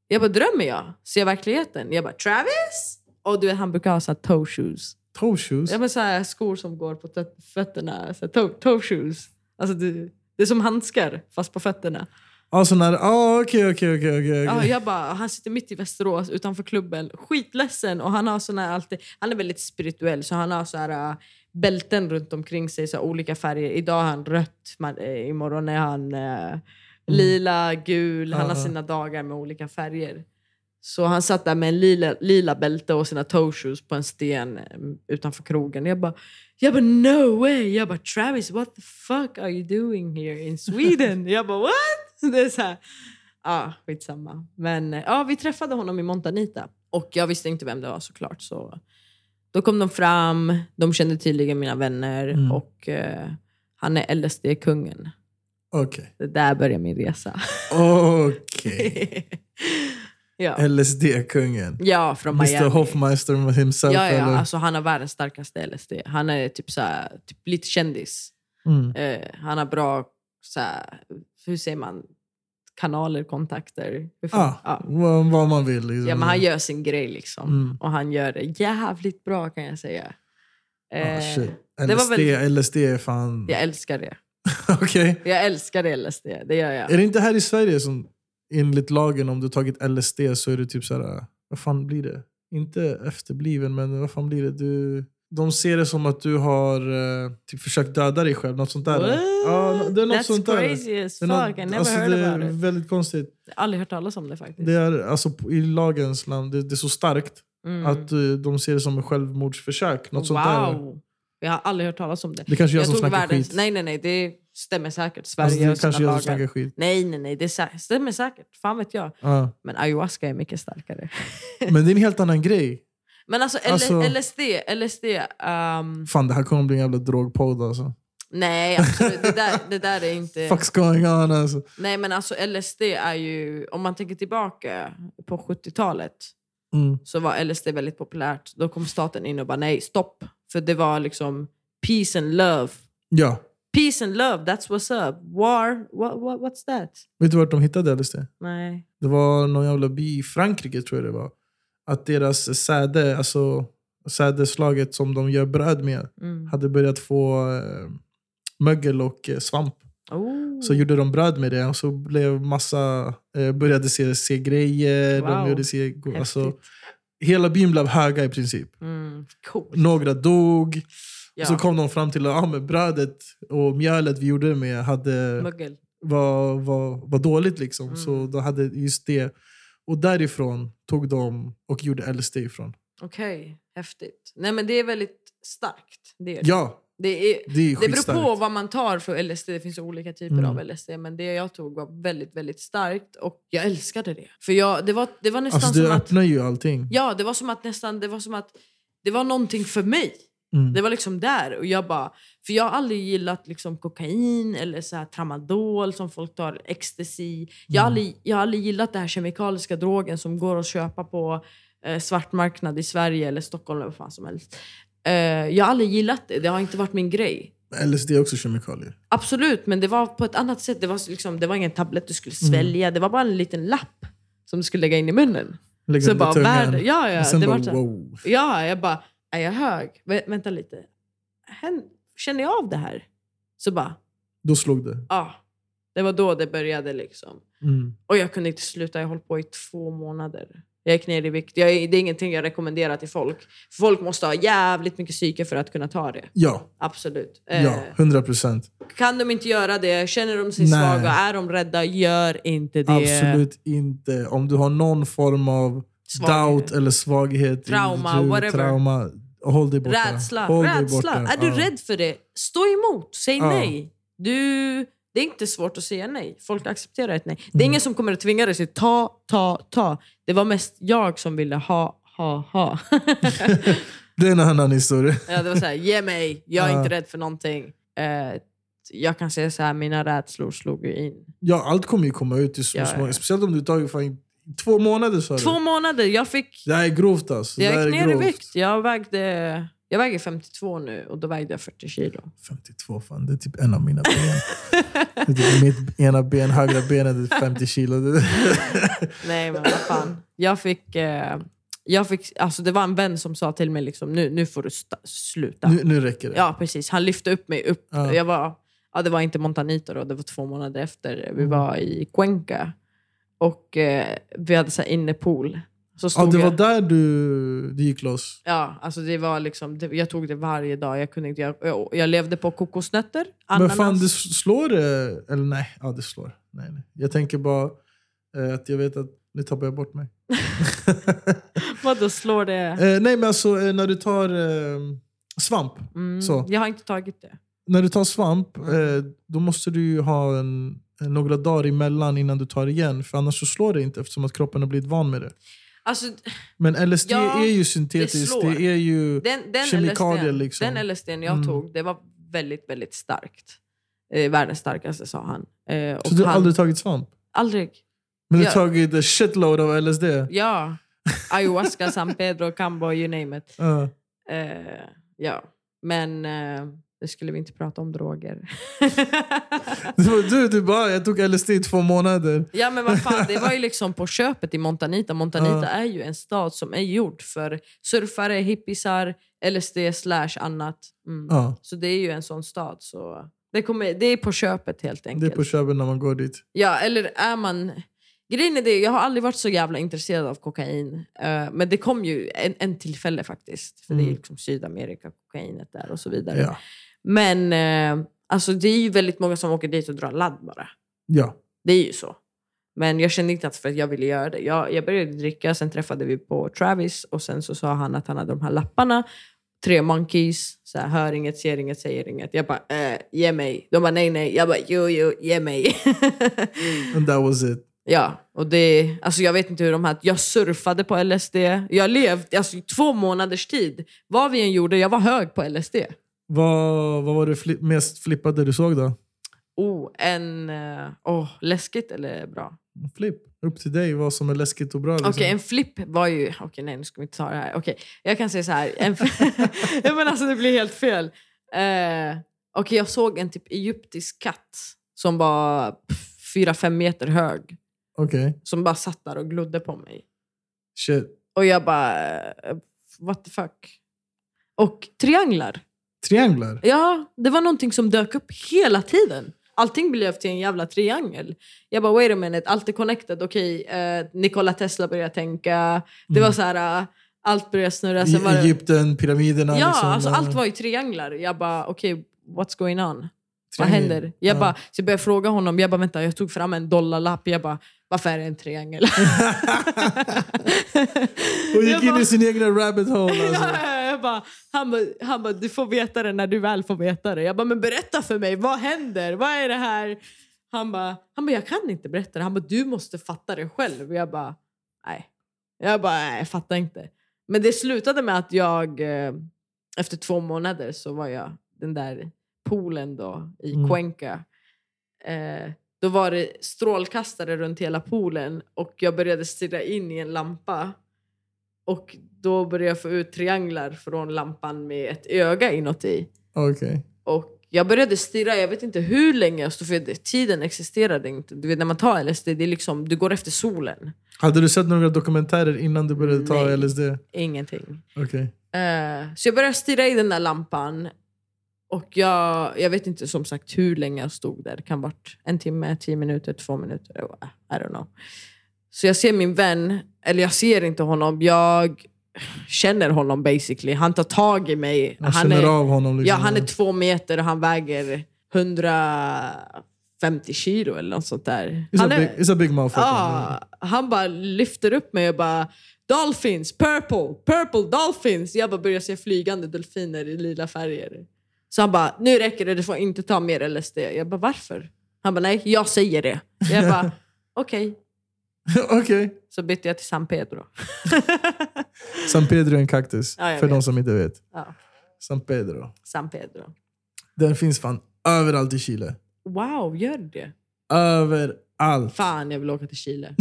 Speaker 1: jag bara drömmer jag? Ser jag verkligheten? Jag bara, Travis? Och du vet, han brukar ha så här toe shoes.
Speaker 2: Toe shoes.
Speaker 1: Ja, men så här, skor som går på tö- fötterna. Så här, toe, toe shoes. Alltså, det, det är som handskar, fast på fötterna.
Speaker 2: Alltså när, ah, okej, okej, okej. okej,
Speaker 1: Ja,
Speaker 2: okej.
Speaker 1: jag bara, han sitter mitt i Västerås utanför klubben, skitledsen. Och han, har såna här, alltid, han är väldigt spirituell, så han har så här, äh, bälten runt omkring sig, så här, olika färger. Idag är han rött, man, eh, imorgon är han eh, lila, gul. Han har
Speaker 2: Ja.
Speaker 1: sina dagar med olika färger. Så han satt där med en lila, lila bälte och sina toe shoes på en sten eh, utanför krogen. Jag bara, jag bara no way! Jag bara Travis what the fuck are you doing here in Sweden? jag bara what? <laughs> Det är så här. Ja, skitsamma. Men eh, ja, vi träffade honom i Montanita. Och jag visste inte vem det var såklart. Så då kom de fram, de kände tydligen mina vänner
Speaker 3: Mm.
Speaker 1: och eh, han är LSD-kungen.
Speaker 2: Okej.
Speaker 1: Det där började min resa.
Speaker 2: Okej.
Speaker 1: <laughs>
Speaker 2: Eh,
Speaker 1: ja.
Speaker 2: LSD-kungen.
Speaker 1: ja, från
Speaker 2: Mr
Speaker 1: Miami.
Speaker 2: Hoffmeister himself.
Speaker 1: Ja, ja,
Speaker 2: eller?
Speaker 1: alltså han har världens starkaste LSD. Han är typ, så här, typ lite kändis.
Speaker 2: Mm.
Speaker 1: Eh, han har bra, så här, hur säger man, kanaler, kontakter. Hur fan-
Speaker 2: Ah,
Speaker 1: ja.
Speaker 2: Vad, vad man vill. Liksom.
Speaker 1: ja, men han gör sin grej liksom.
Speaker 2: Mm.
Speaker 1: Och han gör det jävligt bra kan jag säga.
Speaker 2: Ah,
Speaker 1: Eh,
Speaker 2: shit.
Speaker 1: det var
Speaker 2: LSD, LSD är fan...
Speaker 1: jag älskar det.
Speaker 2: <laughs> Okej.
Speaker 1: Jag älskar LSD, det gör jag.
Speaker 2: Är det inte här i Sverige som enligt lagen om du tagit LSD så är du typ så här, vad fan blir det? Inte efterbliven, men vad fan blir det? Du, de ser det som att du har eh, typ försökt döda dig själv, något sånt där.
Speaker 1: What?
Speaker 2: Ja, det är något
Speaker 1: That's
Speaker 2: sånt där.
Speaker 1: crazy as
Speaker 2: Det
Speaker 1: fuck.
Speaker 2: är något-
Speaker 1: I never
Speaker 2: alltså,
Speaker 1: heard
Speaker 2: det är
Speaker 1: about it.
Speaker 2: väldigt konstigt.
Speaker 1: Jag har aldrig hört talas om det faktiskt.
Speaker 2: Det är, alltså, på- I lagens land, det, det är så starkt
Speaker 1: Mm.
Speaker 2: att eh, de ser det som ett självmordsförsök. Något sånt där.
Speaker 1: wow! Jag har aldrig hört talas om det.
Speaker 2: Det kanske är jag, som
Speaker 1: tog
Speaker 2: snackar
Speaker 1: världens...
Speaker 2: skit.
Speaker 1: Nej, nej, nej. Det stämmer säkert. Sverige
Speaker 2: alltså,
Speaker 1: och
Speaker 2: det är
Speaker 1: sina
Speaker 2: kanske jag som
Speaker 1: lagar.
Speaker 2: snackar skit.
Speaker 1: Nej, nej, nej. Det sä- stämmer säkert. Fan vet jag.
Speaker 2: Ja.
Speaker 1: Men ayahuasca är mycket starkare.
Speaker 2: Men det är en helt annan grej.
Speaker 1: Men alltså, L-
Speaker 2: Alltså-
Speaker 1: LSD... LSD ehm,
Speaker 2: Fan, det här kommer bli en jävla drogpodd alltså.
Speaker 1: nej, absolut. Det där, det där är
Speaker 2: <laughs>
Speaker 1: inte...
Speaker 2: Fuck's going on alltså.
Speaker 1: Nej, men alltså LSD är ju... Om man tänker tillbaka på 70-talet
Speaker 2: Mm.
Speaker 1: så var LSD väldigt populärt. Då kom staten in och bara nej, stopp. För det var liksom peace and love.
Speaker 2: Ja.
Speaker 1: Peace and love, that's what's up. War, what, what, what's that?
Speaker 2: Vet du vart de hittade LSD?
Speaker 1: Nej.
Speaker 2: Det var någon jävla by i Frankrike tror jag det var. Att deras säde, alltså sädeslaget som de gör bröd med,
Speaker 1: Mm.
Speaker 2: hade börjat få eh, mögel och eh, svamp.
Speaker 1: Oh.
Speaker 2: Så gjorde de bröd med det och så blev massa, eh, började se, se grejer.
Speaker 1: Wow.
Speaker 2: De gjorde se, go- alltså,
Speaker 1: Häftigt.
Speaker 2: hela byn blev höga i princip.
Speaker 1: Mm, cool.
Speaker 2: Några dog.
Speaker 1: Ja.
Speaker 2: Så kom de fram till att ah, men brödet och mjölet vi gjorde det med hade
Speaker 1: Mögel.
Speaker 2: var, var, var dåligt. Liksom.
Speaker 1: Mm.
Speaker 2: Så de hade just det. Och därifrån tog de och gjorde LSD ifrån.
Speaker 1: Okej, häftigt. Nej men det är väldigt starkt. Det, är det.
Speaker 2: Ja,
Speaker 1: det, är,
Speaker 2: det är
Speaker 1: det beror på
Speaker 2: skitstarkt.
Speaker 1: vad man tar för LSD. Det finns olika typer
Speaker 2: Mm.
Speaker 1: av LSD. Men det jag tog var väldigt, väldigt starkt. Och jag älskade det. För jag, det, var, det var nästan
Speaker 2: Alltså, det
Speaker 1: som att...
Speaker 2: öppnar ju allting.
Speaker 1: Ja, det var som att nästan... Det var som att det var någonting för mig.
Speaker 2: Mm.
Speaker 1: Det var liksom där. Och jag bara, för jag har aldrig gillat liksom kokain eller så här tramadol som folk tar, ecstasy. Jag har,
Speaker 2: Mm.
Speaker 1: aldrig, jag har aldrig gillat den här kemikaliska drogen som går att köpa på eh, svartmarknad i Sverige eller Stockholm eller vad fan som helst. Eh, jag har aldrig gillat det. Det har inte varit min grej.
Speaker 2: LSD är också kemikalier.
Speaker 1: Absolut, men det var på ett annat sätt. Det var, liksom, det var ingen tablett du
Speaker 2: Mm.
Speaker 1: skulle svälja. Det var bara en liten lapp som du skulle lägga in i munnen.
Speaker 2: Lägger
Speaker 1: Så
Speaker 2: under
Speaker 1: bara,
Speaker 2: tungan.
Speaker 1: världen, ja, ja,
Speaker 2: Och sen
Speaker 1: det
Speaker 2: bara,
Speaker 1: var så här-
Speaker 2: wow.
Speaker 1: Ja, jag bara, är jag hög? Vä vänta lite. Hän- Känner jag av det här? Så bara,
Speaker 2: Då slog det.
Speaker 1: ja. det var då det började liksom.
Speaker 2: Mm.
Speaker 1: Och jag kunde inte sluta. Jag höll på i två månader. Jag gick ner i vikt. Jag, det är ingenting jag rekommenderar till folk. Folk måste ha jävligt mycket psyke för att kunna ta det.
Speaker 2: Ja,
Speaker 1: Absolut.
Speaker 2: ja,
Speaker 1: Eh,
Speaker 2: 100 procent.
Speaker 1: kan de inte göra det, känner de sig
Speaker 2: Nej.
Speaker 1: svaga, är de rädda, gör inte det.
Speaker 2: Absolut inte. Om du har någon form av
Speaker 1: Svaghet.
Speaker 2: doubt eller svaghet.
Speaker 1: Trauma,
Speaker 2: du,
Speaker 1: whatever.
Speaker 2: Trauma, håll dig borta.
Speaker 1: Rädsla.
Speaker 2: Håll dig
Speaker 1: rädsla.
Speaker 2: borta.
Speaker 1: Är du
Speaker 2: Ja.
Speaker 1: rädd för det, stå emot. Säg
Speaker 2: Ja.
Speaker 1: nej. Du, det är inte svårt att säga nej. Folk accepterar ett nej. Det är
Speaker 2: Mm.
Speaker 1: ingen som kommer att tvinga dig att ta, ta, ta. Det var mest jag som ville ha, ha, ha. <laughs>
Speaker 2: Det är en annan historia.
Speaker 1: ja, det var så här, ge mig. Jag är
Speaker 2: Ja.
Speaker 1: inte rädd för någonting. Eh, jag kan säga så här, mina rädslor slog ju in.
Speaker 2: Ja, allt kommer ju komma ut i små,
Speaker 1: Ja,
Speaker 2: små.
Speaker 1: ja.
Speaker 2: Speciellt om du tagit fan, två månader sa
Speaker 1: Två
Speaker 2: du.
Speaker 1: månader. Jag fick
Speaker 2: Det här är grovt alltså. det
Speaker 1: Jag
Speaker 2: här
Speaker 1: gick
Speaker 2: är
Speaker 1: ner i
Speaker 2: grovt.
Speaker 1: vikt. Jag, vägde, jag väger 52 nu och då vägde jag 40 kilo.
Speaker 2: 52 fan, det är typ en av mina ben. det är typ mitt ena ben, högra benet är 50 kilo. Det-
Speaker 1: Nej men vad fan. Jag fick, eh, jag fick, alltså det var en vän som sa till mig liksom, nu, nu får du sta- sluta.
Speaker 2: nu, nu räcker det.
Speaker 1: Ja precis, han lyfte upp mig upp.
Speaker 2: Ja.
Speaker 1: Jag var ja, det var inte Montanito då, det var två månader efter.
Speaker 2: Mm.
Speaker 1: Vi var i Cuenca och eh, vi hade så här innepool. Så
Speaker 2: Ja,
Speaker 1: stod
Speaker 2: det
Speaker 1: jag-
Speaker 2: var där du, du gick loss.
Speaker 1: Ja, alltså det var liksom, det, jag tog det varje dag. Jag, kunde inte, jag, jag, jag levde på kokosnötter,
Speaker 2: Men
Speaker 1: ananas.
Speaker 2: fan, det slår det? Eller nej, ja det slår. Nej, nej. Jag tänker bara eh, att jag vet att nu tappar jag bort mig.
Speaker 1: <laughs> Vadå, slår det?
Speaker 2: Eh, nej, men alltså eh, när du tar eh, svamp.
Speaker 1: Mm,
Speaker 2: så.
Speaker 1: Jag har inte tagit det.
Speaker 2: När du tar svamp, eh, då måste du ju ha en, en, några dagar emellan innan du tar igen. För annars så slår det inte eftersom att kroppen har blivit van med det.
Speaker 1: Alltså,
Speaker 2: Men LSD
Speaker 1: Ja,
Speaker 2: är ju syntetiskt. Det,
Speaker 1: slår.
Speaker 2: är ju...
Speaker 1: den, den
Speaker 2: Kemikalier,
Speaker 1: LSD,
Speaker 2: liksom.
Speaker 1: Den LSD jag
Speaker 2: Mm.
Speaker 1: tog, det var väldigt, väldigt starkt. Eh, världens starkaste, sa han. Eh, och
Speaker 2: så du har
Speaker 1: han,
Speaker 2: aldrig tagit svamp?
Speaker 1: aldrig.
Speaker 2: Men du
Speaker 1: Ja.
Speaker 2: har tagit a shitload av LSD?
Speaker 1: Ja. Ayahuasca, San Pedro, Cambo, you name it.
Speaker 2: Ja. <laughs>
Speaker 1: Eh, ja. Men eh, nu skulle vi inte prata om droger. <laughs>
Speaker 2: Det var du, du bara, "Ah, jag tog LSD i två månader.
Speaker 1: Ja men vad fan, det var ju liksom på köpet i Montanita. Montanita är ju en stad som är gjord för surfare, hippisar, LSD slash annat. Mm.
Speaker 2: Ja,
Speaker 1: Så det är ju en sån stad. Så det, kommer, det är på köpet helt
Speaker 2: det är
Speaker 1: enkelt.
Speaker 2: på köpet när man går dit.
Speaker 1: Ja, eller är man... Grejen är det, jag har aldrig varit så jävla intresserad av kokain. Eh, men det kom ju en, en tillfälle faktiskt. För det är
Speaker 2: Mm.
Speaker 1: liksom Sydamerika, kokainet där och så vidare.
Speaker 2: Ja.
Speaker 1: Men eh, alltså, det är ju väldigt många som åker dit och drar ladd bara.
Speaker 2: ja.
Speaker 1: Det är ju så. Men jag kände inte att för att jag ville göra det. Jag, jag började dricka, sen träffade vi på Travis och sen så sa han att han hade de här lapparna. Tre monkeys, så här, hör inget, ser inget, säger inget. Jag bara, eh, ge mig. De bara, nej, nej. Jag bara, jo, jo, ge mig. <laughs>
Speaker 2: And that was it.
Speaker 1: ja, och det, alltså jag vet inte hur de här, jag surfade på LSD. Jag levde, alltså i två månaders tid, vad vi än gjorde, jag var hög på LSD.
Speaker 2: Vad, vad var det fli- mest flippade du såg då?
Speaker 1: Oh, en, eh, åh, läskigt eller bra?
Speaker 2: Flipp. Upp till dig vad som är läskigt och bra. Liksom.
Speaker 1: Okej, en flipp var ju... Okej, nej nu ska vi inte ta det här. Okej, jag kan säga så här. En <laughs> ja, men alltså det blir helt fel. Eh, Okej, jag såg en typ egyptisk katt som var pff, fyra fem meter hög.
Speaker 2: Okej.
Speaker 1: Som bara satt där och glodde på mig.
Speaker 2: Shit.
Speaker 1: Och jag bara... eh, What the fuck? Och trianglar.
Speaker 2: Trianglar?
Speaker 1: Ja, det var någonting som dök upp hela tiden. Allting blev till en jävla triangel. Jag bara, wait a minute, allt är connected. Okej, eh, Nikola Tesla började tänka. Det var så här, eh, allt började snurra.
Speaker 2: Mm. I
Speaker 1: Sen Alltså, var det,
Speaker 2: Egypten, pyramiderna.
Speaker 1: ja,
Speaker 2: liksom,
Speaker 1: alltså,
Speaker 2: eh,
Speaker 1: allt var ju trianglar. Jag bara, okej, what's going on? Vad
Speaker 2: triangel.
Speaker 1: händer? Jag,
Speaker 2: Ja.
Speaker 1: bara, så jag började fråga honom. Jag bara, vänta, jag tog fram en dollarlapp. Jag bara, varför är det en triangel?
Speaker 2: <laughs> Hon
Speaker 1: Jag
Speaker 2: gick in
Speaker 1: bara-
Speaker 2: i sin egna rabbit hole. Alltså.
Speaker 1: <laughs> Ja, jag bara, han, bara, han bara, du får veta det när du väl får veta det. Jag bara, men berätta för mig, vad händer? Vad är det här? Han bara, han bara jag kan inte berätta det. Han bara, du måste fatta det själv. Jag bara, nej. Jag bara, nej, jag fattar inte. Men det slutade med att jag, eh, efter två månader så var jag den där poolen då i
Speaker 2: Mm.
Speaker 1: Cuenca. Eh, då var det strålkastare runt hela poolen och jag började stirra in i en lampa. Och då började jag få ut trianglar från lampan med ett öga inuti.
Speaker 2: Okej.
Speaker 1: Och jag började stirra, jag vet inte hur länge jag stod, för det- tiden existerade inte. Du vet när man tar LSD, det är liksom, du går efter solen.
Speaker 2: Hade du sett några dokumentärer innan du började ta
Speaker 1: Nej.
Speaker 2: LSD? Okej.
Speaker 1: Ingenting. Eh, så jag började stirra i den där lampan. Och jag, jag vet inte som sagt hur länge jag stod där. Det kan varit en timme, tio minuter, två minuter. Oh, I don't know. Så jag ser min vän, eller jag ser inte honom. Jag känner honom basically. Han tar tag i mig.
Speaker 2: Jag känner av honom. Liksom.
Speaker 1: Ja, han är två meter och han väger 150 kilo eller något sånt där.
Speaker 2: It's,
Speaker 1: Han
Speaker 2: a
Speaker 1: är,
Speaker 2: big, it's a big mouth.
Speaker 1: ja, Ah, han bara lyfter upp mig och bara “Dolphins, purple, purple dolphins”. Jag bara börjar se flygande delfiner i lila färger. Så han bara “Nu räcker det, du får inte ta mer LSD”. Jag bara “Varför?” Han bara “Nej, jag säger det”. Jag
Speaker 2: <laughs>
Speaker 1: bara “Okej”.
Speaker 2: <laughs> Okej.
Speaker 1: Så bytte jag till San
Speaker 2: <laughs>
Speaker 1: Pedro.
Speaker 2: San Pedro är en kaktus,
Speaker 1: Ja, jag
Speaker 2: för de
Speaker 1: vet.
Speaker 2: som inte vet.
Speaker 1: Ja,
Speaker 2: San Pedro.
Speaker 1: San Pedro.
Speaker 2: Den finns fan överallt i Chile.
Speaker 1: Wow, gör det?
Speaker 2: Överallt.
Speaker 1: Fan, jag vill åka till
Speaker 2: <laughs>
Speaker 1: Chile.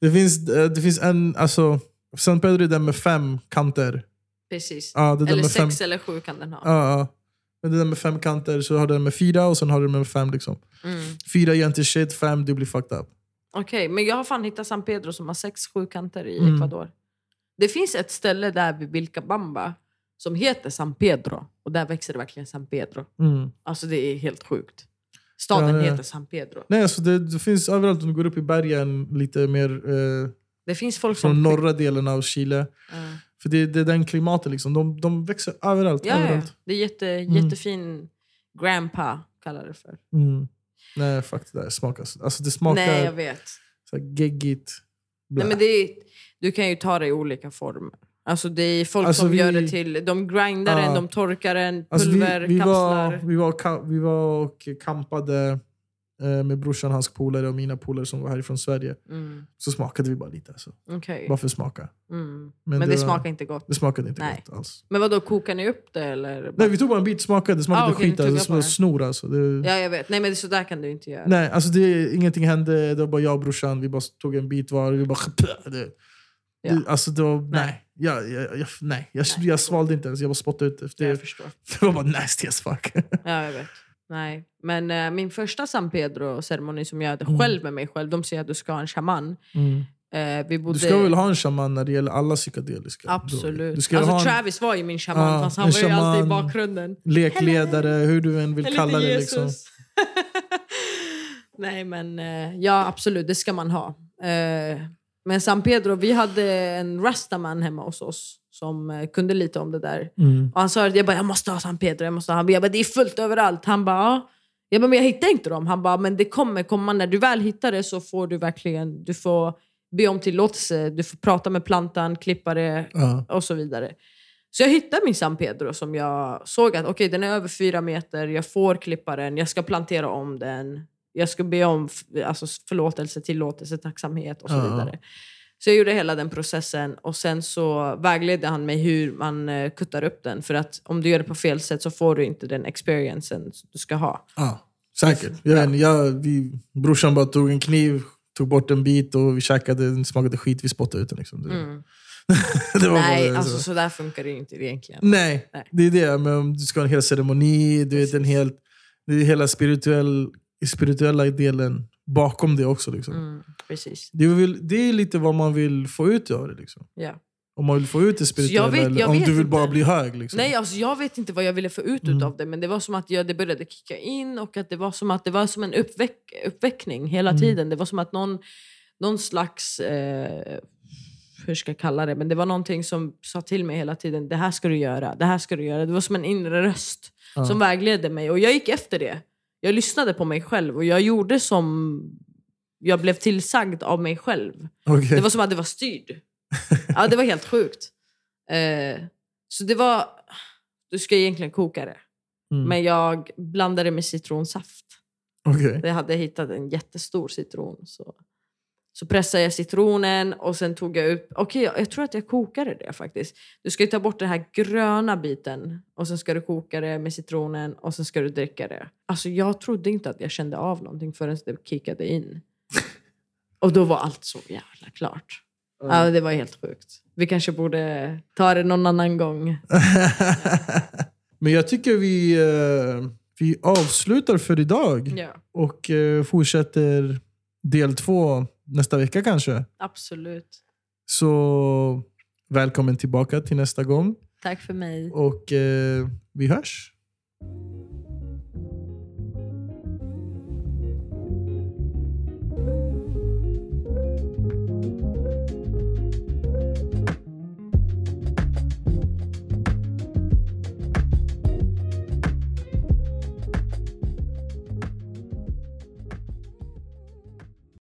Speaker 2: Det finns, eh, det finns en... Alltså, San Pedro är den med fem kanter.
Speaker 1: Precis.
Speaker 2: Ja, det är den
Speaker 1: Eller
Speaker 2: med fem,
Speaker 1: sex eller sju kan den ha.
Speaker 2: ja, ja. Men det är den med fem kanter, så har du den med fyra och sen har du den med fem. Liksom.
Speaker 1: Mm.
Speaker 2: Fyra gör inte shit, fem du blir fucked up.
Speaker 1: Okej, men jag har fan hittat San Pedro som har sex sjukanter i
Speaker 2: Mm.
Speaker 1: Ecuador. Det finns ett ställe där vid Vilcabamba som heter San Pedro. Och där växer det verkligen San Pedro.
Speaker 2: Mm.
Speaker 1: Alltså det är helt sjukt. Staden
Speaker 2: Ja, ja.
Speaker 1: heter San Pedro.
Speaker 2: Nej, alltså det, det finns överallt. Om du går upp i bergen lite mer eh,
Speaker 1: Det finns folk som...
Speaker 2: från norra delen av Chile.
Speaker 1: Ja.
Speaker 2: För det, det är den klimatet liksom. De, de växer överallt.
Speaker 1: Ja, ja.
Speaker 2: överallt.
Speaker 1: Det är jätte, jättefin grandpa, kallar det för.
Speaker 2: Mm. Nej, fuck det där. Smakar, så- alltså det smakar
Speaker 1: Nej, jag vet.
Speaker 2: så här geggigt.
Speaker 1: Nej,
Speaker 2: blä.
Speaker 1: men det är, du kan ju ta det i olika former. Alltså det är folk
Speaker 2: Alltså,
Speaker 1: som
Speaker 2: vi-
Speaker 1: gör det till... De grindar den,
Speaker 2: Ja.
Speaker 1: de torkar den,
Speaker 2: Alltså,
Speaker 1: pulver,
Speaker 2: vi, vi, var,
Speaker 1: kapslar.
Speaker 2: vi, var, ka- vi var och kampade eh, med brorsan, hans polare och mina polare som var härifrån Sverige.
Speaker 1: Mm,
Speaker 2: Så smakade vi bara lite. Alltså.
Speaker 1: okej.
Speaker 2: Bara för att smaka.
Speaker 1: Mm. Men,
Speaker 2: Men
Speaker 1: det,
Speaker 2: det var-
Speaker 1: smakar inte gott.
Speaker 2: Det smakade inte
Speaker 1: Nej.
Speaker 2: gott alls.
Speaker 1: Men vad då kokar ni upp det eller?
Speaker 2: Nej, vi tog bara en bit, smakade. Det smakade
Speaker 1: Ah, okej, ni
Speaker 2: skit.
Speaker 1: tog
Speaker 2: Alltså, det
Speaker 1: upp bara.
Speaker 2: smakade snor alltså. Det,
Speaker 1: Ja, jag vet. Nej, men det- så där kan du inte göra.
Speaker 2: Nej, alltså det, ingenting hände. Det var bara jag och brorsan. Vi bara tog en bit var. Vi bara... <laughs> Det,
Speaker 1: Ja.
Speaker 2: det, alltså det var, nej.
Speaker 1: Nej.
Speaker 2: Jag, jag, jag, nej. Jag,
Speaker 1: Nej.
Speaker 2: jag svalde inte ens. Jag bara spottade ut. Det,
Speaker 1: Jag
Speaker 2: det,
Speaker 1: förstår.
Speaker 2: <laughs> det var bara nasty
Speaker 1: <laughs>
Speaker 2: as fuck.
Speaker 1: Ja, jag vet. Nej. Men eh, min första San Pedro-ceremoni som jag hade
Speaker 2: Mm.
Speaker 1: själv med mig själv, de säger att du ska ha en shaman. Eh, vi bodde...
Speaker 2: Du ska väl ha en shaman när det gäller alla psykedeliska droger?
Speaker 1: Absolut.
Speaker 2: Du ska
Speaker 1: alltså,
Speaker 2: ha en
Speaker 1: Travis var ju min shaman,
Speaker 2: Ja,
Speaker 1: fast han
Speaker 2: en
Speaker 1: var ju alltid i
Speaker 2: shaman.
Speaker 1: bakgrunden.
Speaker 2: lekledare, hur du än vill
Speaker 1: Eller
Speaker 2: kalla
Speaker 1: lite
Speaker 2: det. Liksom.
Speaker 1: <laughs> Nej, men eh, ja, absolut, det ska man ha. Eh, men San Pedro, vi hade en rastaman hemma hos oss som eh, kunde lite om det där.
Speaker 2: Mm.
Speaker 1: Och han sa att jag bara, jag måste ha San Pedro. Jag, måste ha. jag bara, det är fullt överallt. Han bara, ja. Jag bara, men jag hittar inte dem. Han bara, men det kommer komma. När du väl hittar det så får du verkligen, du får be om tillåtelse. Du får prata med plantan, klippa det
Speaker 2: Ja.
Speaker 1: och så vidare. Så jag hittade min San Pedro som jag såg att okej, den är över fyra meter, jag får klippa den, jag ska plantera om den. Jag ska be om f- alltså, förlåtelse, tillåtelse, tacksamhet och så
Speaker 2: Ja.
Speaker 1: vidare. Så jag gjorde hela den processen och sen så vägledde han mig hur man eh, kuttar upp den. För att om du gör det på fel sätt så får du inte den experiencen du ska ha.
Speaker 2: Ja. Säkert. Jag, jag, vi, brorsan bara tog en kniv, tog bort en bit och vi käkade. Den smakade skit, vi spottade ut den. Liksom. Det, <laughs> det var bara
Speaker 1: Mm. Nej,
Speaker 2: det,
Speaker 1: alltså
Speaker 2: så.
Speaker 1: så där funkar det ju inte egentligen.
Speaker 2: Nej,
Speaker 1: Nej.
Speaker 2: det är det. Men om du ska ha en hel ceremoni, du vet, en hel, det är hela spirituell, spirituella delen bakom det också. Liksom.
Speaker 1: Mm, precis.
Speaker 2: Det, är väl, det är lite vad man vill få ut av det. Liksom.
Speaker 1: Ja.
Speaker 2: Om man vill få ut det spirituella
Speaker 1: jag vet-
Speaker 2: eller
Speaker 1: jag
Speaker 2: om
Speaker 1: vet
Speaker 2: du vill
Speaker 1: inte.
Speaker 2: bara bli hög. Liksom.
Speaker 1: Nej, alltså jag vet inte vad jag ville få ut
Speaker 2: Mm.
Speaker 1: av det, men det var som att jag, det började kicka in och att det var som att det var som en uppväck, uppväckning hela
Speaker 2: Mm.
Speaker 1: tiden. Det var som att någon, någon slags, eh, hur ska jag kalla det, men det var någonting som sa till mig hela tiden, det här ska du göra, det här ska du göra. Det var som en inre röst
Speaker 2: Ja.
Speaker 1: som vägledde mig och jag gick efter det. Jag lyssnade på mig själv och jag gjorde som jag blev tillsagd av mig själv.
Speaker 2: Okej.
Speaker 1: Det var som att det var styrd. Ja, det var helt sjukt. Eh, så det var... Du ska egentligen koka det.
Speaker 2: Mm.
Speaker 1: Men jag blandade med citronsaft.
Speaker 2: Okej.
Speaker 1: Jag hade hittat en jättestor citron. Så, så pressade jag citronen och sen tog jag upp... Okej, jag, jag tror att jag kokade det faktiskt. Du ska ju ta bort den här gröna biten och sen ska du koka det med citronen och sen ska du dricka det. Alltså jag trodde inte att jag kände av någonting förrän det kickade in. Och då var allt så jävla klart. Ja, det var helt sjukt. Vi kanske borde ta det någon annan gång.
Speaker 2: <laughs> Men jag tycker vi, eh, vi avslutar för idag
Speaker 1: Ja,
Speaker 2: och eh, fortsätter del två nästa vecka kanske.
Speaker 1: absolut.
Speaker 2: Så välkommen tillbaka till nästa gång
Speaker 1: Tack för mig.
Speaker 2: och eh, vi hörs.